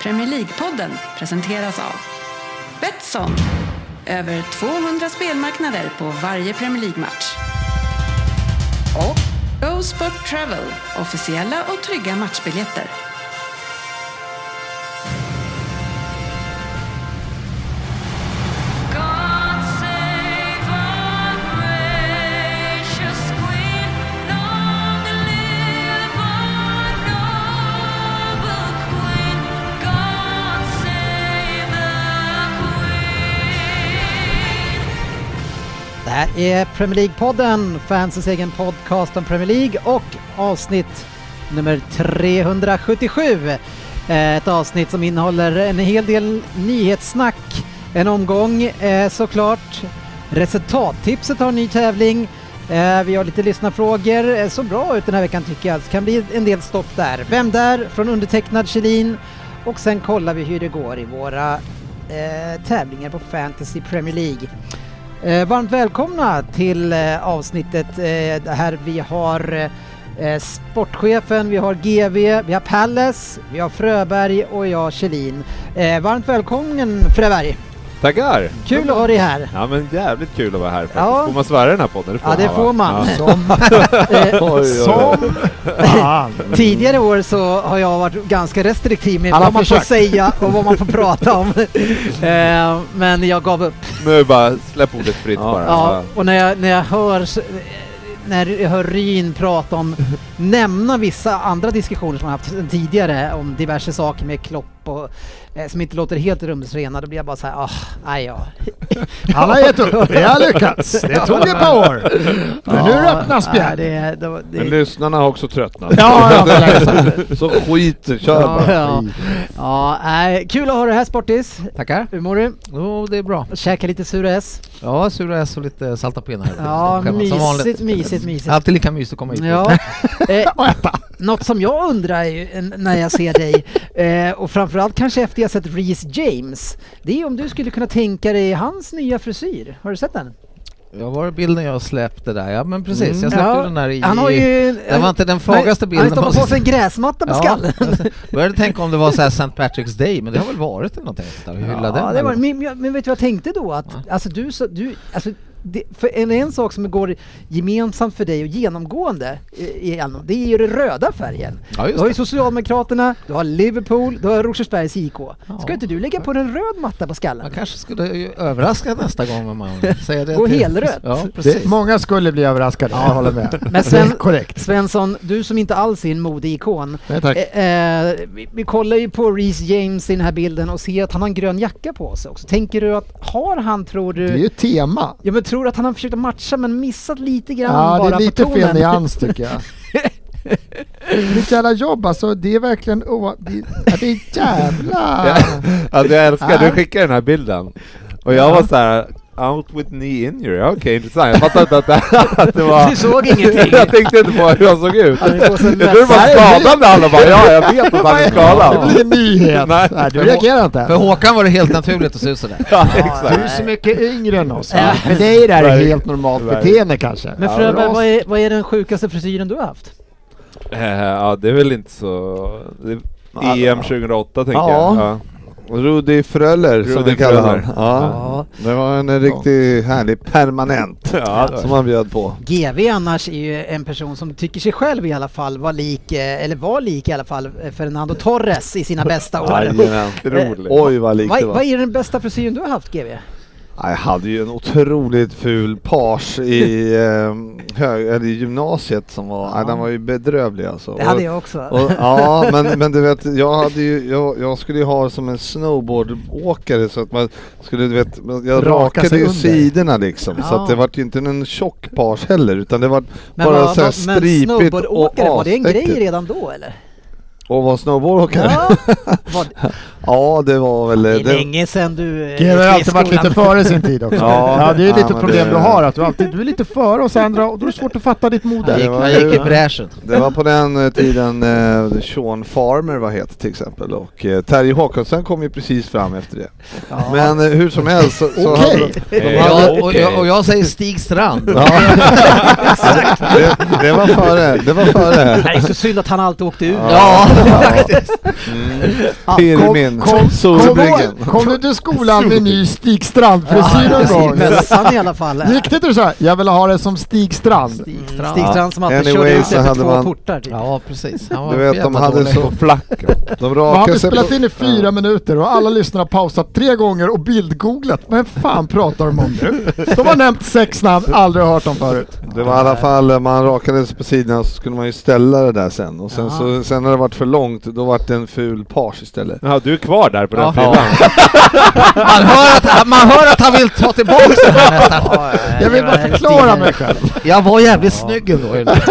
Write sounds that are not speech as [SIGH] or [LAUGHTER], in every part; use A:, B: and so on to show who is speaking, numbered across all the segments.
A: Premier League-podden presenteras av Betsson. Över 200 spelmarknader på varje Premier League-match. Och Go Sport Travel. Officiella och trygga matchbiljetter.
B: God save our precious Queen. Long live our noble Queen. God save the Queen.
C: Det här är Premier League-podden, fansens egen podcast om Premier League och avsnitt nummer 377. Eh, Ett avsnitt som innehåller en hel del nyhetssnack, en omgång eh, såklart. Resultattipset har en ny tävling. Eh, Vi har lite lyssnarfrågor. Eh, Så bra ut den här veckan tycker jag. Det kan bli en del stopp där. Vem där? Från undertecknad Kjellin. Och sen kollar vi hur det går i våra eh, tävlingar på Fantasy Premier League. Eh, varmt välkomna till eh, avsnittet eh, här vi har eh, sportchefen, vi har GV, vi har Pallas, vi har Fröberg och jag Kjellin. Eh, varmt välkommen Fröberg!
D: Tackar!
C: Kul att ha dig här!
D: Ja men jävligt kul att vara här faktiskt.
C: Ja.
D: Får man svära i den här podden?
C: Ja det
D: va?
C: får man.
D: Ja.
C: Som,
D: Oj,
C: eh,
D: oj, oj.
C: som [LAUGHS] tidigare år så har jag varit ganska restriktiv med
D: Alla
C: vad man får
D: försök.
C: säga och vad man får prata
D: [LAUGHS]
C: om. eh, men jag gav upp.
D: Nu bara släpp ordet fritt bara.
C: Ja, och när jag, när jag hör s- när jag hör Ryn prata
E: [LAUGHS]
C: om, nämna vissa andra diskussioner som han haft sen tidigare om diverse saker med Klopp och eh, som inte låter helt rumsrena, då blir jag bara så här, ah, nej ja.
E: Han har gett upp. Vi har lyckats. Det tog ett par år. Men nu
C: Ja,
E: öppnas
C: nej,
E: spjärn.
C: det, det, var-
D: Men
C: det,
D: lyssnarna har också tröttnat.
E: Ja,
D: [LAUGHS]
E: ja,
D: Så skit, kör
C: ja,
D: bara. [LAUGHS]
C: ja. ja nej, Kul att ha dig här Sportis.
F: Tackar.
C: Hur mår du?
F: Jo, det är bra.
C: Käka lite sura S.
F: Ja, sura S och lite salta pinnar.
C: Ja,
F: Skämmas som
C: mysigt,
F: vanligt.
C: mysigt, mysigt.
F: Alltid lika mysigt att komma hit.
C: Ja. [LAUGHS] Eh, något som jag undrar är ju, eh, när jag ser dig, eh, och framförallt kanske efter jag sett Reece James, det är om du skulle kunna tänka dig hans nya frisyr. Har du sett den?
F: Jag var bilden jag släppte där. Ja, men precis. Jag släppte
C: Mm. Ja.
F: den där i...
C: Han har ju...
F: Det var inte den fagaste bilden.
C: Han har ju stoppat på sig en gräsmatta på
F: Ja,
C: skallen.
F: [LAUGHS] Jag började tänka om det var så här St. Patrick's Day, men det har väl varit eller någonting sånt där. Hylla
C: Ja,
F: den.
C: det var,
F: eller?
C: men, men- men vet du vad jag tänkte då? Att, alltså, du, så, du, alltså, det, för en, en sak som går gemensamt för dig och genomgående eh, igenom, det är ju den röda färgen.
F: Ja,
C: Du
F: just
C: har ju
F: det.
C: Socialdemokraterna, du har Liverpool, du har Rosersbergs IK. Ska inte du lägga på en röd matta på
F: Man
C: skallen?
F: kanske skulle ju överraska nästa gång om man säger det.
C: Gå
F: till-
C: helrött.
F: Ja,
E: Det,
F: precis.
E: många skulle bli överraskade, jag håller med.
C: Men
E: Det är
C: Sven-
E: korrekt.
C: Svensson, du som inte alls är en modeikon.
E: Nej, tack.
C: Eh, eh, vi, vi kollar ju på Reece James i den här bilden och ser att han har en grön jacka på sig också. Tänker du att, har han tror
E: Det
C: du...
E: är ju tema.
C: Ja men tror du att han har försökt att matcha men missat lite grann
E: Ja,
C: bara
E: det är lite
C: på tonen?
E: fel nyans tycker jag. Mitt jävla jobb alltså, det är verkligen o... Det, ja, det är jävla...
D: Alltså [LAUGHS] jag älskar, du
E: Ja.
D: skickar den här bilden. Och jag var så här. Out with knee injury, Ja, okej intressant. Jag fattade inte att det, [LAUGHS] att det
C: [LAUGHS]
D: var...
C: Du såg ingenting.
D: [LAUGHS] jag tänkte inte på hur jag såg ut.
C: Han är på
D: Jag
C: sig
D: trodde det var
C: mässa.
D: skadande alla bara, ja jag vet att han är skadad.
E: Det blir en nyhet.
D: Nej.
E: Nej, du reagerar inte.
F: För Håkan var det helt naturligt att se ut sådär.
D: [LAUGHS] Ja,
E: Du är
D: exakt.
E: så mycket yngre än oss.
C: Ja.
E: För dig är det här ett
D: Verkligen.
E: helt normalt
D: Verkligen.
E: beteende kanske.
C: Men
D: Ja,
C: Fröberg,
D: ras.
C: vad är, vad är den sjukaste frisyren du har haft?
D: Eh, ja, det är väl inte så... Det, EM 2008 tänker
E: Ja.
D: jag. Ja.
G: Rudi Fröller som
D: Rudi
G: vi kallar
D: Fröller.
G: honom. Ja. Det var en riktigt härlig permanent
D: Ja, det var-
G: som han bjöd på.
C: GV annars är ju en person som tycker sig själv i alla fall vara lik, eh, eller var lik i alla fall, eh, Fernando Torres i sina bästa år.
G: [LAUGHS] Jajamän.
D: Otroligt.
E: Eh,
G: Oj vad likt
C: Vad,
G: det
C: vad
G: var.
C: är den bästa frisyren du har haft GV?
G: Ja, Jag hade ju en otroligt ful
C: [LAUGHS]
G: page i, eh, hög, eller i gymnasiet som var, nej, den var ju bedrövlig alltså.
C: Det hade
G: Och-
C: jag också.
G: Och,
C: [LAUGHS]
G: ja, men, men du vet, jag, hade ju, jag, jag skulle ju ha som en snowboardåkare så att man skulle, du vet, jag
E: Raka sig
G: rakade ju
E: under.
G: sidorna liksom. Så
C: Ja.
G: att det var ju inte någon tjock page heller utan det var
C: Men,
G: bara
C: vad-
G: så här
C: vad- men
G: stripigt och
C: snowboardåkare, var det en grej
G: astäckligt.
C: redan då eller?
G: Och var snowboardåkare? Ja. [LAUGHS]
D: [LAUGHS]
C: Ja, vad,
G: det var väl...
C: det är
G: det-
C: länge sedan du... eh,
E: Det har
C: gick i
E: alltid varit
C: skolan.
E: lite
C: [LAUGHS]
E: före sin tid också.
G: [LAUGHS] Ja.
E: Ja, det är ju
G: Ja,
E: lite
G: men
E: problem
G: det-
E: du har, att du, alltid, du är lite före oss andra och då är det svårt att fatta ditt
F: Han
E: mode.
F: gick,
G: var
F: han
G: ju-
F: gick i bräschen.
G: Det var på den eh, tiden eh, Sean Farmer var het till exempel och eh, Terje Håkansson kom ju precis fram efter det. Men eh, hur som helst så... så
E: Okej.
G: hade-
D: Eh,
F: Ja,
D: okej.
F: och, jag, och jag säger Stig Strand. [LAUGHS]
G: Ja. det, det var före, det var före.
C: Nej, Det är så synd att han alltid åkte ur.
G: Ja. [LAUGHS]
E: Ah, kom-
G: Pirmin,
E: kom-
G: Solbryggen.
E: Kom, kom du till skolan med ny Stig Strand-frisyr
C: Ja,
E: någon gång?
C: mössan i alla fall.
E: Gick det du sa jag vill ha det som Stig Strand?
F: Stigstrand.
C: Stig Strand som alltid
G: Anyway,
C: körde ut
G: så
C: efter
G: hade
C: två
G: man-
C: portar typ.
F: [LAUGHS] Ja, precis. Han var
G: Du vet,
F: för
G: de
F: jävla
G: hade
F: dålig.
G: så flack. De
E: Vad har
G: rakade
E: vi
G: sig
E: spelat
G: på...
E: in i fyra minuter och alla lyssnare har pausat tre gånger och bildgooglat. Vad fan pratar de om nu? De har nämnt sex namn, aldrig hört dem förut.
G: Det var i alla fall, eh, man rakade sig på sidan så skulle man ju ställa det där sen. Och sen, så, sen när det varit för långt, då vart det en ful page istället.
C: [LAUGHS]
D: Jaha, du är kvar där på den
F: Ja.
D: frillan?
F: Man hör, att, man hör att han vill ta tillbaka den här nästan.
E: Jag vill bara förklara mig själv.
F: Jag var jävligt snygg ändå. i den [LAUGHS] där.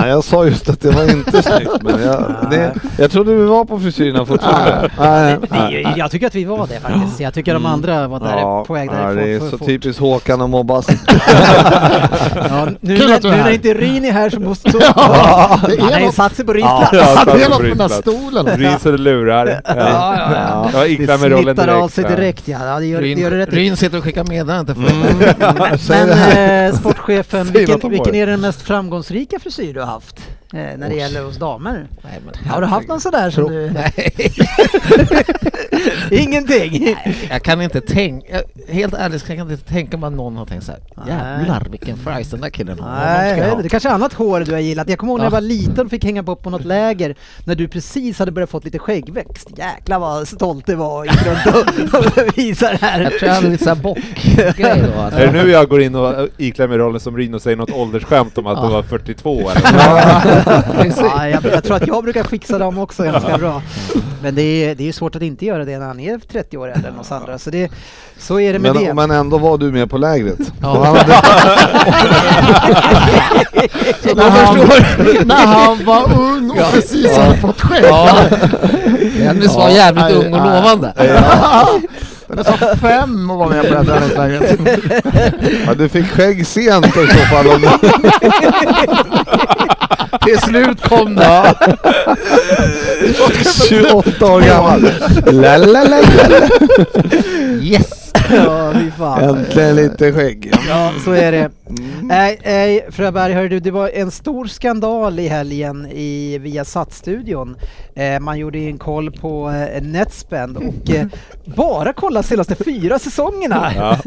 G: Nej, jag sa just att det var inte snyggt, men jag, det, jag trodde vi var på frisyrerna fortfarande. Nej.
C: Nej, jag tycker att vi var det faktiskt. Jag tycker de andra var där på väg
G: ja,
C: därifrån
G: det är
C: för
G: så typ-
C: fort.
G: typiskt Håkan och mobbas.
C: Ja, nu
E: Kul
C: när,
E: att du
C: nu
E: är här.
C: när inte Ryn är här så måste... Så,
E: Ja, det
C: han har
E: är
C: ju
E: något,
C: satt sig på Ryns
D: [LAUGHS] Ja,
C: plats.
D: jag satt
E: det är
D: på
E: något med den här
D: brytplatsen.
E: stolen.
D: Risade lurar. Ja.
F: ja.
D: Jag gick där med rollen direkt.
C: av sig
D: ja.
C: direkt ja. ja det gör, det gör du
F: Ryn,
C: rätt i. [LAUGHS]
F: Ryn sitter och skickar meddelanden till folk.
G: Mm. Säg
C: Men
G: det här.
C: eh, sportchefen,
D: Säg något
C: vilken,
D: om
C: vilken
D: det.
C: är den mest framgångsrika frisyr du har haft? Eh, när det gäller hos damer?
F: Nej, men
C: Har du haft någon sådär som du... [LAUGHS]
F: Nej,
C: Ingenting!
F: jag kan inte tänka, helt ärligt så kan jag inte tänka mig att någon har tänkt såhär
C: Nej.
F: Jävlar vilken fräs den där killen har, honom
C: Nej,
F: ska
C: det
F: jag ha.
C: är kanske annat hår du har gillat. Jag kommer ihåg när jag
F: Ja.
C: var liten och fick hänga på på något läger när du precis hade börjat fått lite skäggväxt. Jäklar vad stolt det var i runt och, och visade det här.
F: Jag tror jag hade lite såhär bockgrej då alltså.
D: Är det nu jag går in och äh, iklär mig rollen som Ryn och säger något åldersskämt om att du var 42
E: [LAUGHS]
D: eller?
C: ja, jag, jag tror att jag brukar fixa dem också ganska bra. Men det är, det är ju svårt att inte göra det när han är 30 år äldre än oss andra. Så, det, så är det med
G: Men,
C: det.
G: men ändå var du med på lägret.
F: Ja.
G: Och [LAUGHS]
D: [LAUGHS]
G: han hade,
C: [LAUGHS]
E: När han, [LAUGHS] när han var ung och precis hade fått skägg.
F: Ja, Dennis var jävligt ung och lovande.
E: Den är så fem och var med på det här träningslägret.
G: [LAUGHS] ja, du fick skägg sent i så
E: [LAUGHS]
G: fall. Om du,
F: Till slut kom det.
E: [LAUGHS]
G: 28 år gammal. La, la, la, la.
F: Yes!
C: Ja, fy fan.
G: Äntligen lite skägg.
C: Ja, så är det. Nej, nej Fröberg, hörru du, det var en stor skandal i helgen i Viasat-studion. Eh, man gjorde en koll på eh, Netspend och eh, bara kolla senaste fyra säsongerna.
D: Ja.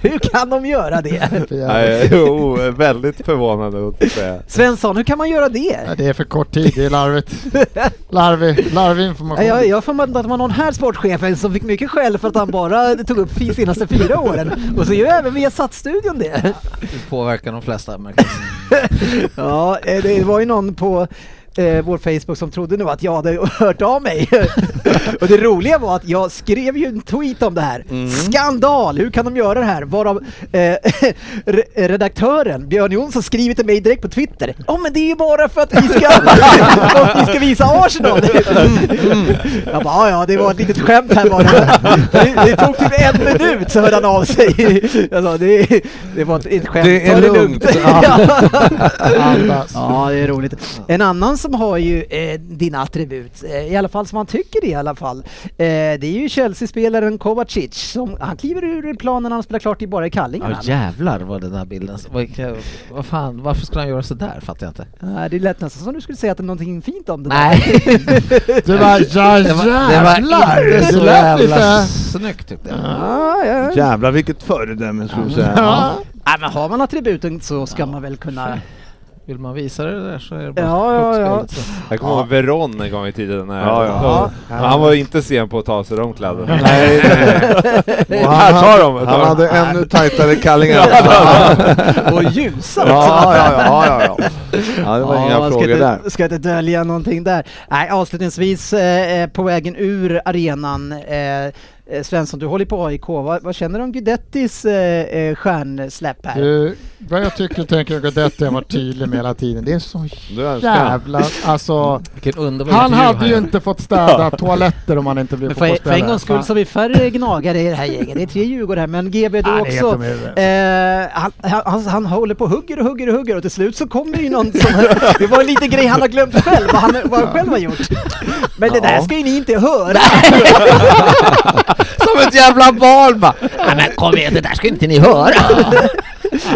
C: Hur kan de göra det?
E: För jävla-
D: Nej, jo, väldigt förvånande att säga.
C: Svensson, hur kan man göra det?
E: Nej, det är för kort tid, det är larvigt. Larvig, larvig information.
C: Nej, Jag, jag får med att det var någon här sportchefen som fick mycket skäll för att han bara tog upp fi- senaste fyra åren. Och så gör även Viasat-studion det.
F: Det påverkar de
C: [LAUGHS]
F: flesta. märker jag.
C: Ja, eh, det var ju någon på eh, vår Facebook som trodde nu att jag hade hört av mig. [LAUGHS] och det roliga var att jag skrev ju en tweet om det här.
G: Mm.
C: Skandal! Hur kan de göra det här? Varav eh, [LAUGHS] re- redaktören Björn Jonsson skriver till mig direkt på Twitter. Ja men det är ju bara för att vi
G: [LAUGHS]
C: ska, för att vi ska visa Arsenal!
G: Mm,
C: Jag bara, "Ja, ja det var ett litet skämt här bara. [LAUGHS] Det, det tog typ en minut så hörde han av sig. [LAUGHS] Jag sa, det, det var ett, ett skämt,
G: Det är
C: ta
G: lugnt."
C: Ja.
E: Andas.
C: Ja, det är roligt. En annan som har ju eh, dina attribut, eh, i alla fall som han tycker det i alla fall, eh, det är ju Chelsea-spelaren Kovacic. Som, han kliver ur planen när han spelar klart i bara i kallingarna.
F: Ja jävlar vad den där bilden, vad, vad fan, varför skulle han göra sådär fattar jag inte.
C: Nej, Eh, det lät nästan som du skulle säga att det är någonting fint om det
F: Nej,
E: [LAUGHS] Du bara ja
F: det var, det var
E: jävlar!
F: inte
E: Det
F: så
E: lät
F: jävla
E: lite...
F: snyggt tyckte jag.
C: där. Ja, Ah, ja.
G: [LAUGHS] Jävlar vilket föredöme skulle jag säga.
E: Ja.
C: Nej, men har man attributen så ska man väl kunna...
F: Vill man visa det där så är det bara
C: Ja, ja, ja.
F: klockspelet så.
D: Jag kommer ihåg Veron en gång i tiden. När
G: Ja, ja.
D: Men Han var ju inte sen på att ta av sig de kläderna.
G: [LAUGHS] Nej,
D: [LAUGHS]
C: [LAUGHS]
G: Och
D: Här,
G: han,
D: ta dem! Ta
G: han
D: dem.
G: hade ännu
D: [LAUGHS]
G: tajtare kallingar.
C: [LAUGHS] Och ljusa
G: Ja, ja, ja, ja, ja. ja det var inga
C: man
G: frågor
C: ska
G: där.
C: inte, Ska inte dölja någonting där. Nej, avslutningsvis eh, eh, på vägen ur arenan. Eh, eh, Svensson, du håller på AIK. Vad, vad känner du om Gudettis eh, eh, stjärnsläpp här?
E: Du, vad jag tycker och tänker om Guidetti har varit tydlig med hela tiden. Det är så
G: Du älskar honom.
E: jävla... Alltså,
F: Vilken underbar
E: han
F: intervju
E: hade ju
F: här.
E: inte fått städa toaletter om han inte blev
C: Men för, för
E: fotbollsspelare.
C: en gångs skull så har vi färre gnagare i det här gänget. Det är tre Djurgårdar här, men GB du
E: Ja, det är
C: också.
E: helt [LAUGHS]
F: [LAUGHS]
E: omöjligt.
C: Eh, han, han, han, han håller på och hugger och hugger och hugger och till slut så kommer det ju någon som... Det var en liten grej han har glömt själv, vad han, vad han själv har gjort. Men det där ska ju ni inte höra!
G: [LAUGHS]
C: [LAUGHS]
F: Som ett jävla barn bara! Nej men kom igen, det där ska inte ni höra!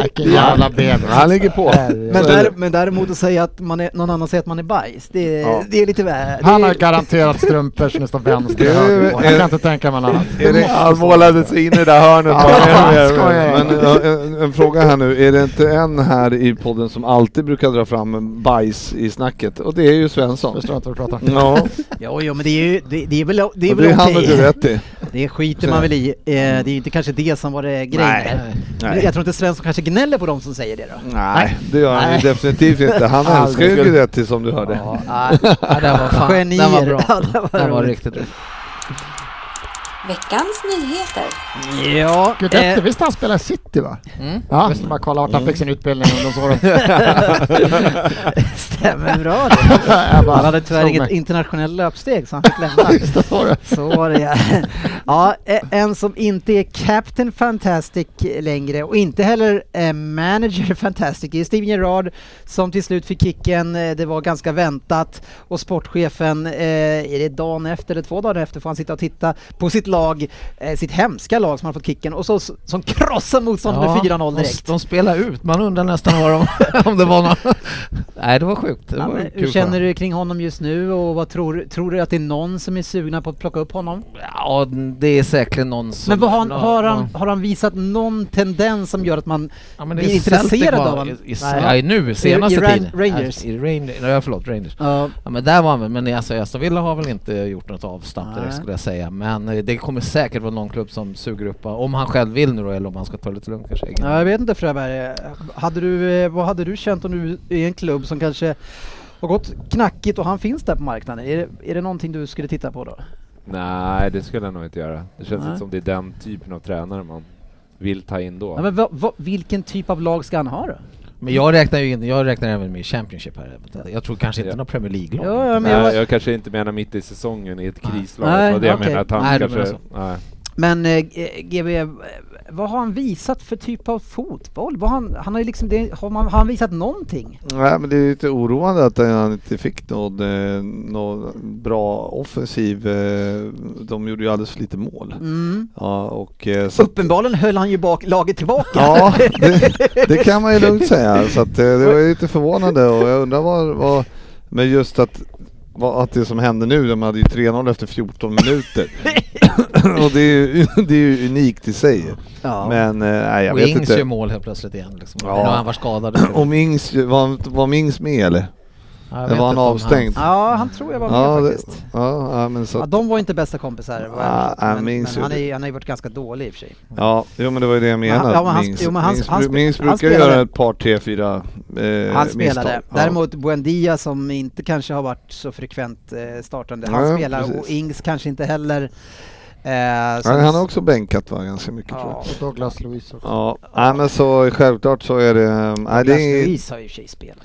E: Vilken jävla bebis.
G: Han ligger på.
C: Men, där, men däremot att säga att man är, någon annan säger att man är bajs, det, är-
G: Ja.
C: det är lite väl.
E: Han har garanterat strumpor som är så vänster och
G: Det är-
E: höger. Jag
G: är-
E: kan inte tänka mig något annat.
G: Är det,
D: Han målade sig in i det där hörnet.
C: [LAUGHS]
E: Ja,
D: bara,
E: jag
D: "Kom
E: skojar.
D: igen."
G: men eh, en, en fråga här nu. Är det inte en här i podden som alltid brukar dra fram bajs i snacket? Och det är ju Svensson.
E: Förstår inte vad du pratar om.
G: Ja, och
C: Jo, jo, men det är ju, det, det är väl, det är
G: det
C: väl
G: har du
C: okej.
G: rätt i.
C: [LAUGHS] Det skiter man väl i. Eh, det är ju inte kanske det som var det grejen.
G: Nej.
C: här.
G: Nej.
C: Jag tror inte Svensson kanske gnäller på dem som säger det då.
G: Nej, det gör han ju
C: Nej.
G: definitivt inte. Han älskar ju
D: Aldrig.
G: Guidetti som du hörde.
F: nej, nej, den var fan,
C: Genier.
F: Den var bra.
C: Ja, den var
F: den var
C: rolig.
F: riktigt bra.
A: Veckans nyheter.
C: Ja,
E: Guidetti, visst han spelar i City va? Ja. Måste bara kolla vart han fick sin utbildning i ungdomsåren.
C: [LAUGHS] stämmer bra det.
E: Jag bara
C: Han hade tyvärr
E: slog
C: inget
E: mig.
C: internationellt löpsteg så han fick lämna. Så var
F: [LAUGHS]
C: det ja. ja. eh, En som inte är Captain Fantastic längre och inte heller eh, Manager Fantastic är Steven Gerrard som till slut fick kicken. Eh, Det var ganska väntat och sportchefen, eh, är det dagen efter eller två dagar efter får han sitta och titta på sitt lag, eh, sitt hemska lag som har fått kicken och så, som krossar motståndet med 4-0
F: de-
C: direkt.
F: De spelar ut, man undrar nästan vad de, [LAUGHS] om det var någon... Nej, det var sjukt. Det
C: Ja,
F: var
C: men
F: kul
C: hur
F: för
C: känner du kring honom just nu och vad tror, tror du att det är någon som är sugna på att plocka upp honom?
F: Ja, det är säkert någon som...
C: Men vad har, han,
F: någon-
C: har, han,
F: någon-
C: har han visat någon tendens som gör att man
F: Ja, men det
C: blir
F: är
C: intresserad
F: Celtic, va?
C: av honom?
F: I, i,
C: Nej.
F: nej, nu, senaste
C: Ran-
F: tiden.
C: Rangers.
F: Ja, I Rangers. Nej, förlåt, Rangers.
C: Ja,
F: Ja, men där var han väl, men alltså, Aston Villa har väl inte gjort något avstamp
C: Nej.
F: direkt skulle jag säga. Men eh, det kommer säkert vara någon klubb som suger upp honom, om han själv vill nu då, eller om han ska ta det lite lugnt kanske. egen-
C: Ja, jag vet inte Fröberg, hade du, eh, vad hade du känt om du är en klubb som kanske har gått knackigt och han finns där på marknaden? Är det, är det någonting du skulle titta på då?
D: Nej, det skulle jag nog inte göra. Det känns
C: Nej.
D: inte som det är den typen av tränare man vill ta in då.
C: Ja, men vad- vad- vilken typ av lag ska han ha då?
F: Men jag räknar ju in, jag räknar även med Championship här. Jag tror kanske inte
D: Ja.
F: någon Premier League-lag.
C: Ja, ja, men
D: Nej,
C: jag var-
D: jag, kanske inte menar mitt i säsongen i ett krislag.
C: Nej,
D: det var det jag
C: okej.
D: menar. Att han
F: Nej, du
D: kanske,
F: menar så.
D: nej.
C: Men eh, G- GB, eh, vad har han visat för typ av fotboll? Vad har han, han har, ju liksom det, har, man, har han visat någonting?
G: [LAUGHS] Nej, men det är lite oroande att han inte fick någon, eh, någon bra offensiv. eh, De gjorde ju alldeles för lite mål.
C: Mm.
G: Ja, och eh, så
C: Uppenbarligen höll han ju bak, laget tillbaka.
G: Ja,
C: [LAUGHS]
G: det, det kan man ju lugnt säga. Så att, eh, det var ju lite förvånande och jag undrar vad, vad men just att, vad, att det som hände nu, de hade ju 3-0 efter 14
C: [LAUGHS]
G: minuter. och det är, ju, [LAUGHS] det är ju unikt i sig.
C: Ja.
G: Men eh, nej, jag
F: och
G: vet
F: Ings gör
G: inte.
F: mål helt plötsligt igen liksom.
G: Ja.
F: Nu har han varit skadad.
G: [CLEARS THROAT] Om Ings, var, var Ings med eller?
F: Ja, jag
G: det
F: vet
G: var
F: inte
G: han
F: om
G: avstängd.
C: ja, han tror jag var med
G: Ja, det,
C: faktiskt.
G: ja, ja, men så,
C: Ja,
G: att-
C: de var inte bästa kompisar, vad jag
G: Ah,
C: vet,
G: ah,
C: men, men
G: minns ju
C: han, är,
G: det.
C: ju- han har ju varit ganska dålig i och för sig.
G: ja, jo, men det var ju det jag
C: han-
G: menade.
C: ja, men han-
G: Mings,
C: jo, men han-
G: Mings,
C: han spe-
G: Mings
C: han
G: brukar
C: spelade.
G: göra ett par, tre, fyra eh,
C: han spelade.
G: misstag. Ja.
C: Däremot Buendia som inte kanske har varit så frekvent eh, startande, han
G: Nej,
C: spelar
G: precis.
C: och Ings kanske inte heller. Eh, så-
G: Nej, han har också bänkat va, ganska mycket tror jag.
C: ja,
E: Och Douglas Lewis också.
G: Ja, nej, men så självklart så är det... ehm, Nej, det,
C: Douglas
G: är,
C: Luiz har ju i och för sig spelat.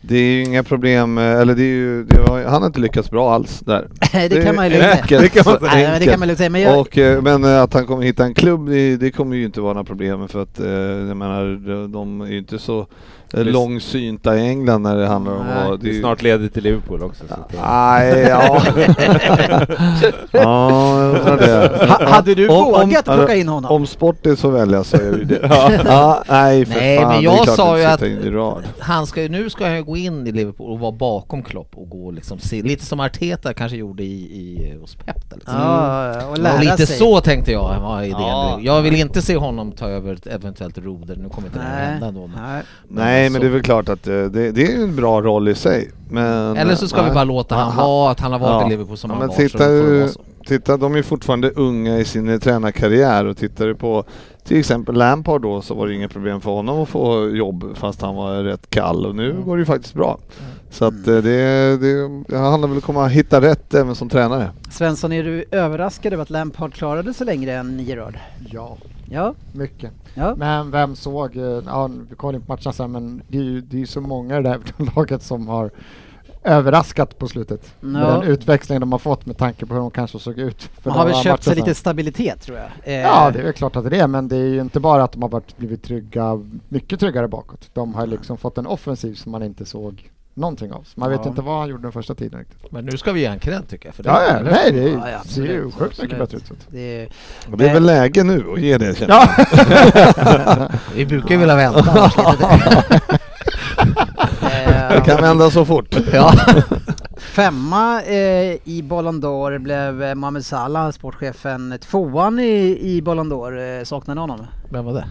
C: [LAUGHS]
G: det är ju inga problem, eh, eller det är ju, det har, han har inte lyckats bra alls där.
C: det,
G: Det
C: kan
G: är
C: man ju lugnt [LAUGHS] säga.
G: enkelt, det kan man
C: Så-
G: säga.
C: nej, men Det kan man lugnt säga. [LAUGHS] Men jag,
G: Och, eh, men eh, att han kommer hitta en klubb, det, det kommer ju inte vara några problem för att eh, jag menar, de- de är ju inte så eh,
D: Visst.
G: långsynta i England när det handlar om
C: Nej.
G: vad...
D: Det är
G: ju-
D: snart ledigt till Liverpool också. Så att, eh,
G: Nej,
C: [LAUGHS]
G: ja... [LAUGHS] ja, jag undrar det.
C: ha, hade du
G: Om- om-
C: vågat plocka
G: hade-
C: in honom?
G: Om sport är så välja så är det ju det. ja, [LAUGHS] nej, för
F: Nej,
G: fan.
F: men
G: det är
F: jag
G: klart
F: sa
G: att
F: ju
G: sitta
F: att-
G: in i rad.
F: Han ska ju, nu ska han ju gå in i Liverpool och vara bakom Klopp och gå liksom, se, lite som Arteta kanske gjorde i, i, hos Pep där, liksom.
C: Ja, och lära
F: och lite
C: sig.
F: så tänkte jag var idén.
G: Ja.
F: Jag vill inte se honom ta över ett eventuellt roder, nu kommer inte det här
C: Nej.
F: hända då. men-
C: Nej.
G: Nej,
F: Så-
G: men det är väl klart att eh, det, det är ju en bra roll i sig. Men,
F: Eller så ska
G: nej.
F: vi bara låta han
G: Aha.
F: vara, att han har varit
G: Ja.
F: i Liverpool som
G: Ja,
F: han
G: men
F: var.
G: titta,
F: så då får det
G: hur-
F: vara så.
G: Titta, de är ju fortfarande unga i sin eh, tränarkarriär och tittar du på till exempel Lampard då så var det inget problem för honom att få jobb fast han var rätt kall och
F: Mm.
G: nu går det ju faktiskt bra. Så att eh, det, det, det handlar väl om att komma hitta rätt även som tränare.
C: Svensson, är du överraskad över att Lampard klarade så längre än Gerard?
E: Ja,
C: Ja,
E: mycket.
C: ja.
E: Men vem såg, eh, ja vi kollar in på matcherna sen men det är ju det är ju så många i det här [LAUGHS] laget som har överraskat på slutet. Med
C: Ja.
E: den utväxling de har fått med tanke på hur de kanske såg ut. För
C: Man har
E: några
C: väl köpt sig
E: matcher
C: lite
E: sen.
C: stabilitet tror jag. Eh,
E: Ja, det är väl klart att det är men det är ju inte bara att de har varit, blivit trygga, mycket tryggare bakåt. De har liksom fått en offensiv som man inte såg någonting av. Så Man vet
C: Ja.
E: inte vad han gjorde den första tiden riktigt.
F: Men nu ska vi ge han cred tycker jag. För det
E: Ja,
F: var-
E: ja,
F: eller?
E: nej, det
C: Ja, ja,
E: ser ju
C: absolut,
E: sjukt mycket
C: absolut.
E: bättre ut. så att-
C: Det är,
G: Det är väl läge nu att ge det känner jag.
C: [LAUGHS]
E: [LAUGHS] Ja,
F: Vi brukar ju vilja
G: [LAUGHS]
F: vänta annars
G: Det kan vända så fort.
F: [LAUGHS] Ja.
C: Femma eh, i Ballon d'Or blev eh, Mohamed Salah, sportchefen. Tvåan i, i Ballon d'Or, eh, saknade honom.
F: Vem var det?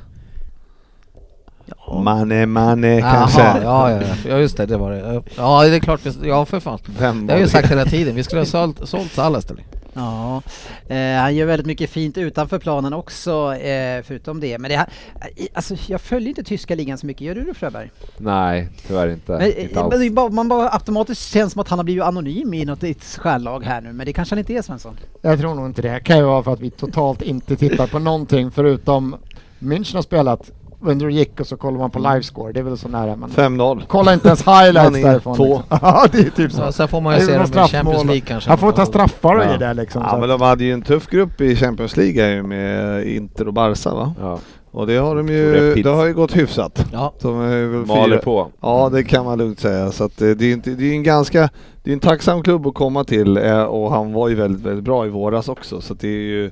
G: Mané, mané kanske.
F: Jaha, ja, ja, ja. ja just det, det var det. Ja det är klart, vi- ja för fan.
G: Vem
F: Det
G: var
F: har jag ju
G: det?
F: sagt hela tiden, vi skulle ha sålt, sålt Salah istället.
C: Ja, eh, han gör väldigt mycket fint utanför planen också, eh, förutom det. Men det här, eh, alltså, jag följer inte tyska ligan så mycket, gör du det Fröberg?
D: Nej, tyvärr inte.
C: Men,
D: inte
C: eh, men
D: alls.
C: det är bara, man bara automatiskt känns som att han har blivit anonym i något ett stjärnlag här nu, men det kanske han inte är Svensson?
E: jag tror nog inte det. Det kan ju vara för att vi totalt inte tittar på någonting förutom München har spelat under och gick och så kollar man på livescore. Det är väl så nära man...
G: 5-0.
E: Kolla inte ens
G: Man
E: highlights
G: är
E: därifrån.
G: två.
E: liksom. [LAUGHS] Ja, det är typ så.
F: Så, sen får man ju
E: Det är väl
F: se dem
E: någon
F: i Champions
E: straffmål.
F: League kanske.
E: Han får ta straffar och
D: Ja.
E: ge det liksom.
G: Ja
E: så
G: men
E: att-
G: de hade ju en tuff grupp i Champions League här ju med Inter och Barca va?
D: Ja.
G: Och det har de
D: Tror det är
G: ju,
D: pizza.
G: det har ju gått hyfsat.
F: Ja,
G: De är väl
D: Maler
G: fyra-
D: på.
G: Ja det kan man lugnt säga så att eh, det är, inte, det är en ganska, det är en tacksam klubb att komma till eh, och han var ju väldigt, väldigt bra i våras också så att det är ju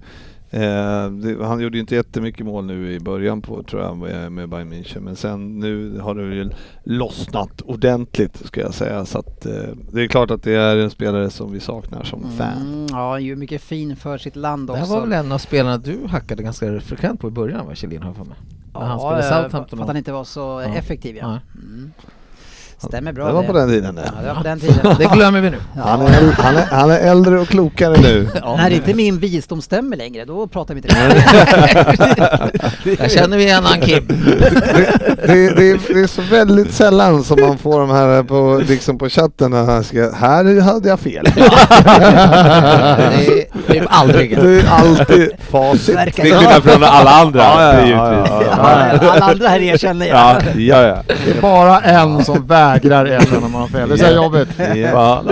G: eh, det, han gjorde ju inte jättemycket mål nu i början på, tror jag, med, med Bayern München. Men sen nu har det ju lossnat ordentligt ska jag säga. Så att, eh, det är klart att det är en spelare som vi saknar som fan.
C: Mm, ja, han gör mycket fin för sitt land
F: det
C: också.
F: här var väl en av spelarna du hackade ganska frekvent på i början va, Kjellin har jag för mig. När han
C: ja,
F: spelade
C: eh,
F: Southampton.
C: För att han inte var så eh,
F: Ja.
C: effektiv ja.
F: Nej.
C: Mm. Stämmer bra
G: det var på den tiden det.
C: Ja, det var på den tiden.
F: [LAUGHS] Det glömmer vi nu.
G: Han, är, äl- han, är, han är äldre och klokare nu.
D: [LAUGHS]
C: När inte min visdom stämmer längre, då pratar vi inte det.
F: [LAUGHS] Jag känner vi igen han Kim.
G: det, det, det, är, det är så väldigt sällan som man får de här på, liksom på chatten när han ska, här hade jag fel.
F: [LAUGHS] Det är typ aldrig.
G: Det är alltid facit.
C: Verkar
D: Till skillnad från alla andra.
G: Ja, ja, ja,
D: givetvis.
G: ja,
C: Alla, alla andra här erkänner jag.
D: Ja, ja, ja.
E: Det är bara en som vägrar erkänna när man har fel. Det är så här jobbigt.
D: Ja.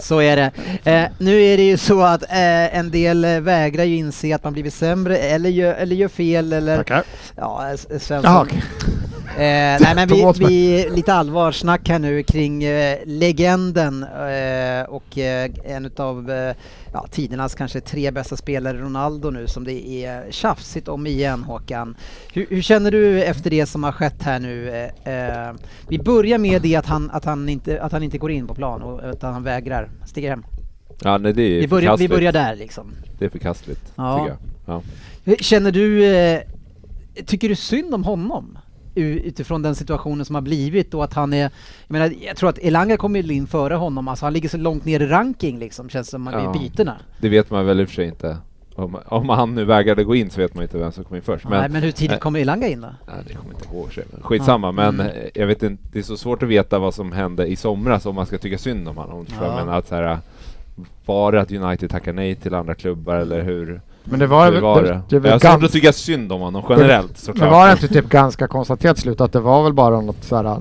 C: Så är det. Eh, nu är det ju så att eh, en del eh, vägrar ju inse att man blivit sämre eller gör, eller gör fel eller...
E: Tackar.
C: Ja, eh, S-
E: Jaha,
C: Svensson.
E: okej.
C: Eh, nej men
E: Tog
C: vi,
E: åt mig.
C: vi lite allvarsnack här nu kring eh, legenden eh, och eh, en av eh, ja, tidernas kanske tre bästa spelare, Ronaldo nu, som det är tjafsigt om igen Håkan. Hur, hur känner du efter det som har skett här nu? Eh, eh, vi börjar med det att han, att, han inte, att han inte går in på plan, och, utan han vägrar, stiger hem.
D: ja, nej det är
C: Vi börjar, vi
D: förkastligt.
C: börjar där liksom.
D: Det är förkastligt,
C: Ja.
D: tycker jag. Ja.
C: Hur- Känner du, eh, tycker du synd om honom? U- Utifrån den situationen som har blivit och att han är, jag menar jag tror att Elanga kommer ju in före honom, alltså han ligger så långt ner i ranking liksom, känns som man
D: Ja.
C: ja. vid bytena.
D: Det vet man väl i och för sig inte. Om, om han nu vägrade gå in så vet man inte vem som kom in först.
C: Nej men hur tidigt
D: eh,
C: kommer Elanga in då?
D: Nej, det kommer jag inte ihåg. i och för sig, men Skitsamma,
C: Mm.
D: men eh, jag vet inte, det är så svårt att veta vad som hände i somras om man ska tycka synd om honom. Ja.
C: Ja.
D: Jag menar att så här, var det att United tackade nej till andra klubbar eller hur,
E: Men det var,
D: hur var det?
E: det var
D: jag har svårt
E: gans-
D: att tycka synd om honom generellt
E: Men
D: såklart.
E: var det inte typ ganska konstaterat slut att det var väl bara något sådär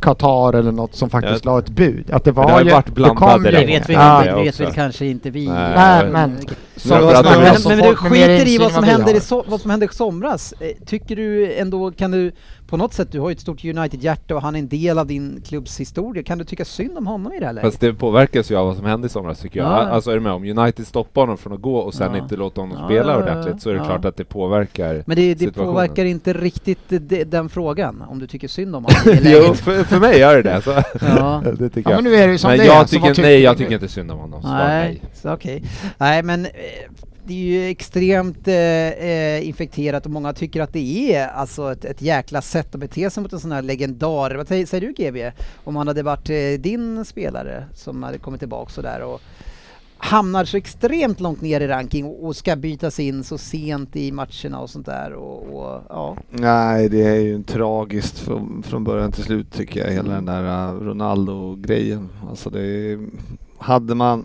E: Qatar eller något som faktiskt
D: Ja.
E: la ett bud? Att det var
D: det har ju varit
E: kom
D: blandade
E: ju-
D: Det
C: Det
D: vet
C: vet
D: vi
C: vi,
D: inte, Ja, det
C: det vet
D: också.
C: väl kanske inte vi.
D: Nej,
E: Nej, men-
D: Så det var
E: men-
D: snarare
E: men-
D: som
E: men
C: Men
E: du
C: du
E: folk med mer
C: skiter i
E: insyn
C: vad som,
E: än vi
C: händer i
E: har.
C: so- vad som händer i somras. Eh, Tycker du ändå, kan du på något sätt, du har ju ett stort United-hjärta och han är en del av din klubbs historia, kan du tycka synd om honom i det här läget?
D: Fast det påverkas ju av vad som hände i somras tycker jag.
C: Ja.
D: Alltså är du med? Om United stoppar honom från att gå och sen
C: Ja.
D: inte låter honom
C: Ja,
D: spela
C: ja, ja,
D: ordentligt så är det
C: ja.
D: klart att det påverkar
C: Men det, det
D: situationen.
C: påverkar inte riktigt eh, de, den frågan, om du tycker
G: [LAUGHS]
C: synd om honom i det
D: [LAUGHS] Jo,
C: läget.
D: för, för mig gör det det. Så.
C: Ja.
D: det tycker
E: Ja
D: jag.
E: men nu är det ju som
D: Men
E: det
D: jag
E: är, så vad
D: tycker,
E: tycker
D: nej, jag
E: du?
D: tycker inte synd om honom. Svar
C: Nej,
D: nej.
C: så okej. Nej men eh, det är ju extremt eh, eh, infekterat och många tycker att det är alltså ett, ett jäkla sätt att bete sig mot en sån här legendar. Vad säger, säger du GB? Om han hade varit eh, din spelare som hade kommit tillbaka sådär och hamnar så extremt långt ner i ranking och, och ska bytas in så sent i matcherna och sånt där och, och ja.
G: Nej, det är ju en tragiskt från, från början till slut tycker jag, hela den där eh, Ronaldo-grejen. Alltså det är- hade man...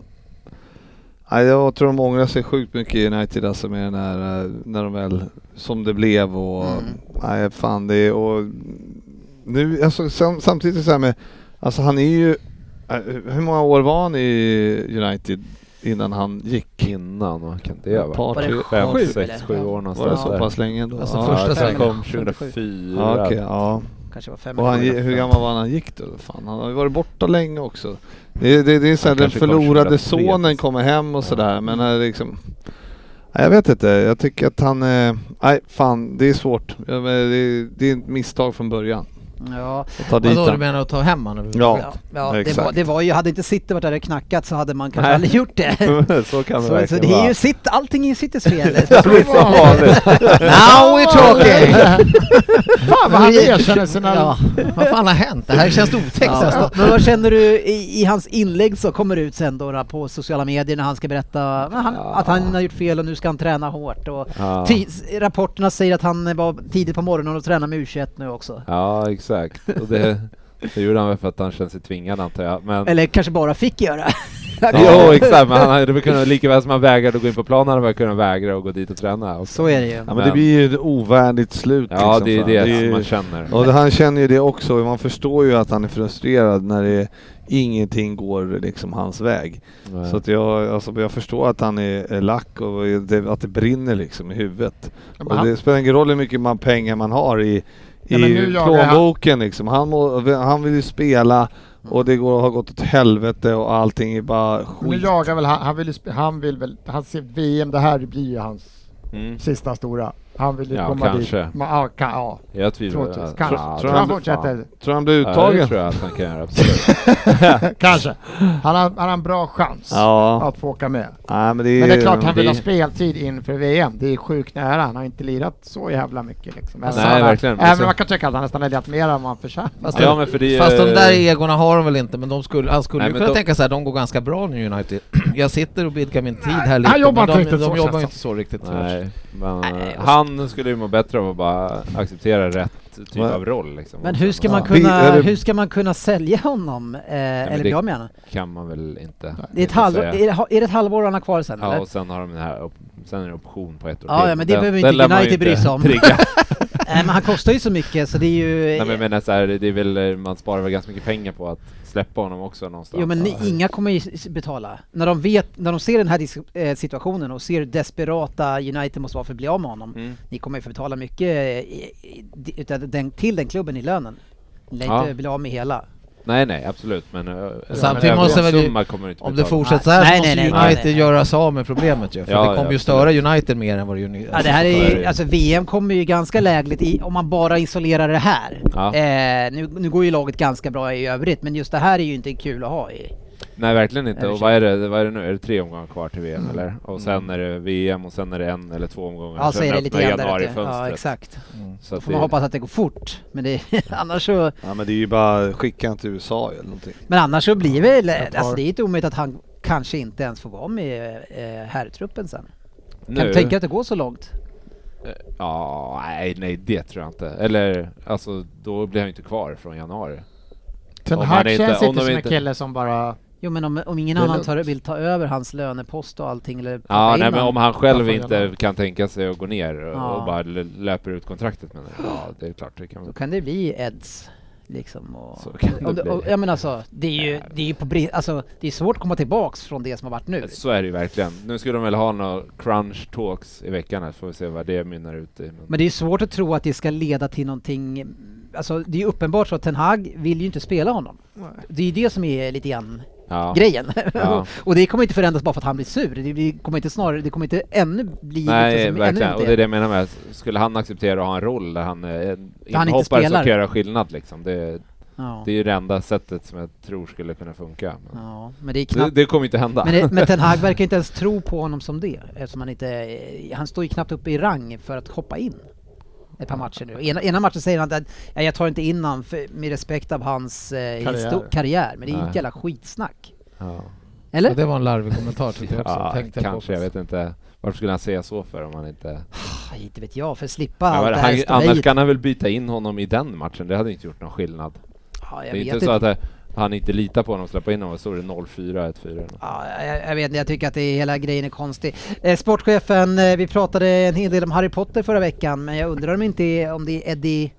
G: Nej, jag tror de ångrar sig sjukt mycket i United alltså med den här, eh, när de väl, som det blev och...
C: Mm.
G: Nej, fan det är, och nu, alltså sam, samtidigt så här med, alltså han är ju, eh, hur många år var han i United innan han gick?
D: Innan, vad kan det vara?
G: Par,
C: Var det
G: tre-
C: sju?
G: fem,
C: Sju,
D: sex,
C: eller?
D: sju år
G: Var det
D: någonstans
G: så
D: där.
G: pass länge då?
F: Alltså
D: Ja,
F: första
D: sen
F: svängen.
D: kom
F: 77.
D: 2004.
G: Ja, okej, ja.
C: Kanske var fem
G: Och han,
C: eller fem.
G: hur gammal var han när han gick då? Fan, han har ju varit borta länge också. Det, det, det är så här,
H: Han
G: den
H: kanske kom
G: förlorade
H: 2003.
G: sonen kommer hem och sådär men eh, liksom... Nej, jag vet inte, jag tycker att han... eh, Nej fan, det är svårt. Ja, men Det, det är ett misstag från början.
C: Ja,
G: Att ta dit
F: Vadå du
G: han.
F: menar att ta hem honom?
C: ja, ja det, var,
G: exakt.
C: det var ju, hade inte City varit där och knackat så hade man kanske
D: Nej.
C: aldrig gjort
D: [LAUGHS]
C: det.
D: så kan det
C: Så, så
D: verkligen
C: det är
D: [LAUGHS] vara.
C: ju sitt, allting är ju
D: [LAUGHS]
C: Citys fel.
D: Det blir som
C: [LAUGHS]
D: vanligt.
F: [LAUGHS] Now we're talking!
D: [LAUGHS]
E: Fan vad han erkänner sina...
C: Ja.
F: Vad fan har hänt? Det här känns otäckt nästan.
C: Ja. Men vad känner du i, i hans inlägg så kommer det ut sen då, då på sociala medier när han ska berätta men han, att han har gjort fel och nu ska han träna hårt. Och
D: Ja.
C: ti- s- rapporterna säger att han var tidigt på morgonen och tränar med U21 nu också.
D: Ja, exakt. Och det, det gjorde han väl för att han kände sig tvingad antar jag. Men,
C: Eller kanske bara fick göra. [LAUGHS]
D: Jo, exakt. Men han hade väl kunnat, lika väl som han vägrade att gå in på planen, hade han kunnat vägra att gå dit och träna. Och,
C: Så är det ju.
G: Ja, men det blir ju ett ovärdigt slut.
D: ja,
G: liksom,
D: det är
G: fan.
D: det,
G: är
D: som
G: ju-
D: man känner.
G: Och det- han känner ju det också. Man förstår ju att han är frustrerad när det ingenting går liksom hans väg.
D: Men-
G: Så att jag, alltså, jag förstår att han är, är lack och det, att det brinner liksom i huvudet.
E: men
G: Och
E: han-
G: det spelar ingen roll hur mycket man, pengar man har i,
E: Ja,
G: i
E: men nu jagar han-
G: plånboken liksom. Han, må, han vill ju spela och det går, har gått åt helvete och allting är bara
E: Nu
G: skit.
E: jagar väl han, han vill ju sp- han vill väl, han ser VM, det här blir ju hans
D: Mm.
E: sista stora. Han vill ju
D: Ja,
E: komma
D: kanske.
E: dit. Ma, ja, kan, ja,
D: Jag tvivlar.
E: troligtvis.
D: Ja,
E: Kanske.
D: ja,
E: Tror
D: tror
E: han
D: han-
E: fortsätter.
G: Tror han blir
D: Ja, det
G: uttagen?
D: tror jag att han kan
C: [LAUGHS]
D: göra, absolut.
E: Kanske. Han har, han har en bra chans
G: Ja,
E: att få åka med.
G: nej, men det är
E: Men det är klart han vill
G: det-
E: ha speltid inför VM. Det är sjukt nära. Han har inte lirat så jävla mycket liksom. Även
C: Alltså,
D: Nej,
E: om han-
D: verkligen. Men
G: Alltså-
E: Även
D: så-
E: om man kan tycka att han nästan har lirat mer än vad han förtjänar.
F: Fast,
D: Ja,
F: de-
D: men för det är ju-
F: fast de där egorna har de väl inte, men de skulle, han skulle
D: Nej,
F: ju
D: men
F: kunna
D: de-
F: tänka så här, de går ganska bra nu United. [CLEARS THROAT] Jag sitter och vidgar min tid här lite,
E: han jobbar
F: men
E: inte
F: de,
E: riktigt
F: de
E: så,
F: jobbar
E: känns
F: ju
E: det.
F: inte så riktigt.
D: Alltså, Nej, men han skulle ju må bättre av att bara acceptera rätt typ
G: Va?
D: av roll. Liksom.
C: Men hur ska,
D: Ja.
C: man
G: Vi-
C: kunna,
G: eller-
C: hur ska man kunna sälja honom? Eh, eller
D: det-
C: bli av med honom?
D: kan man väl inte.
C: Det är, ett
D: inte
C: halvår,
D: säga.
C: är, det, ha- är det ett halvår han har kvar sen
D: Ja,
C: eller?
D: och sen har de den här, op- sen är det option på ett år
C: Ja,
D: till.
C: ja, men det behöver inte
D: den lär man ju
C: United bry sig om. [LAUGHS]
D: [LAUGHS] trigga.
C: Nej men han kostar ju så mycket så det är ju...
D: Nej, men jag menar så här, det är väl, eh, man sparar väl ganska mycket pengar på att släppa honom också någonstans.
C: Jo men
D: Ja.
C: ni- inga kommer ju s- s- betala. När de, vet, när de ser den här dis- eh, situationen och ser hur desperata United måste vara för att bli av med honom.
D: Mm.
C: Ni kommer ju få betala mycket eh, i- i- di- utav den, till den klubben i lönen. Ni lär
D: Ja.
C: inte bli av med hela.
D: Nej, nej, absolut. Men ö,
F: Samtidigt måste väl-
D: summa kommer inte
F: Om det
D: betala.
F: fortsätter så här
C: Nej,
F: så måste
C: nej, nej,
F: United
C: nej, nej.
F: göra sig av med problemet ju, för
D: Ja, ja,
F: det kommer ju
D: absolut.
F: störa United mer än vad det United...
C: Ja, det här
D: så är
C: är
D: det
C: ju,
D: ju.
C: alltså VM kommer ju ganska lägligt i, om man bara isolerar det här.
D: Ja.
C: Eh, nu, nu går ju laget ganska bra i övrigt men just det här är ju inte kul att ha i.
D: Nej, verkligen inte.
C: Eller
D: Och vad är det, vad är det nu? Är det tre omgångar kvar till VM
C: Mm.
D: eller? Och sen är det VM och sen är det en eller två omgångar.
C: Ja så
D: Sen
C: är det
D: öppnar
C: lite grann där uppe.
D: januarifönstret.
C: Ja exakt.
D: Så
C: Då
D: att
C: får man
D: det-
C: hoppas att det går fort. Men det, [LAUGHS] annars så...
G: Ja men det är ju bara skicka han till USA eller någonting.
C: Men annars så blir väl,
E: tar-
C: alltså det är inte omöjligt att han kanske inte ens får vara med i eh, herrtruppen sen. Kan
D: Nu-
C: du tänka att det går så långt?
D: Ja, nej, nej, det tror jag inte. Eller, alltså, då blir han ju inte kvar från januari.
E: Ten
D: Om
E: Hag
D: han inte-
E: känns
D: om
E: inte
D: de
E: som en
D: inte-
E: kille som bara...
C: Jo men om, om ingen
E: Det är
C: annan
E: lugnt.
C: tar, vill ta över hans lönepost och allting eller plocka
D: Ja,
C: in
D: nej, men
C: honom.
D: om han själv
E: Varför
D: inte
E: januari?
D: kan tänka sig att gå ner och,
C: Ja.
D: och bara l- löper ut kontraktet med det. Ja, det är klart, det kan
C: Då
D: man.
C: kan det bli Eds liksom. Och,
D: Så kan det
C: om du,
D: bli.
C: och, ja men alltså, det är ju, det är ju på bre- alltså, det är svårt att komma tillbaks från det som har varit nu.
D: Så är det ju verkligen. Nu skulle de väl ha några crunch talks i veckan här, så får vi se vad det mynnar ut i. Men,
C: Men det är svårt att tro att det ska leda till någonting, alltså det är ju uppenbart så att Ten Hag vill ju inte spela honom. Det är ju det som är lite grann
D: ja.
C: grejen.
D: Ja.
C: [LAUGHS] och det kommer inte förändras bara för att han blir sur. Det blir- kommer inte snarare, det kommer inte ännu bli lite
D: Nej,
C: som-
D: verkligen.
C: ännu
D: Och det är det jag menar med, att skulle han acceptera att ha en roll där han eh, är en
C: han inte
D: inhoppare som
C: spelar.
D: kan göra skillnad liksom. Det,
C: Ja.
D: det är ju det enda sättet som jag tror skulle kunna funka. Men
C: ja, men det är
D: det,
C: knappt.
D: det kommer ju inte hända.
C: Men, det, men Ten Hag verkar inte ens tro på honom som det, eftersom han inte, eh, han står ju knappt upp i rang för att hoppa in ett par matcher nu. Ena, ena matchen säger han att "Ja, jag tar inte in han för, med respekt av hans eh,
E: Karriär.
C: karriär. karriär, men det är ju
D: Nej.
C: ett jävla skitsnack.
D: ja.
F: Ja,
C: Eller?
F: det var en larvig kommentar tyckte jag också.
D: Ja,
F: tänkte jag på.
D: kanske. Jag vet inte. Varför skulle han säga så för om han inte...
C: Ah, inte vet jag, för att slippa
D: Ja,
C: allt
D: men
C: det här
D: han, annars
C: ståhejet.
D: kan han väl byta in honom i den matchen. Det hade ju inte gjort någon skillnad.
C: Ja, jag
D: det är
C: vet
D: inte så att eh, han inte litar på honom och släpper in honom. Så är det 0-4, 1-4. eller något.
C: Ja, jag, jag vet inte, jag tycker att det är, hela grejen är konstig. Eh, sportchefen, eh, vi pratade en hel del om Harry Potter förra veckan, men jag undrar om, inte, om det är Eddie,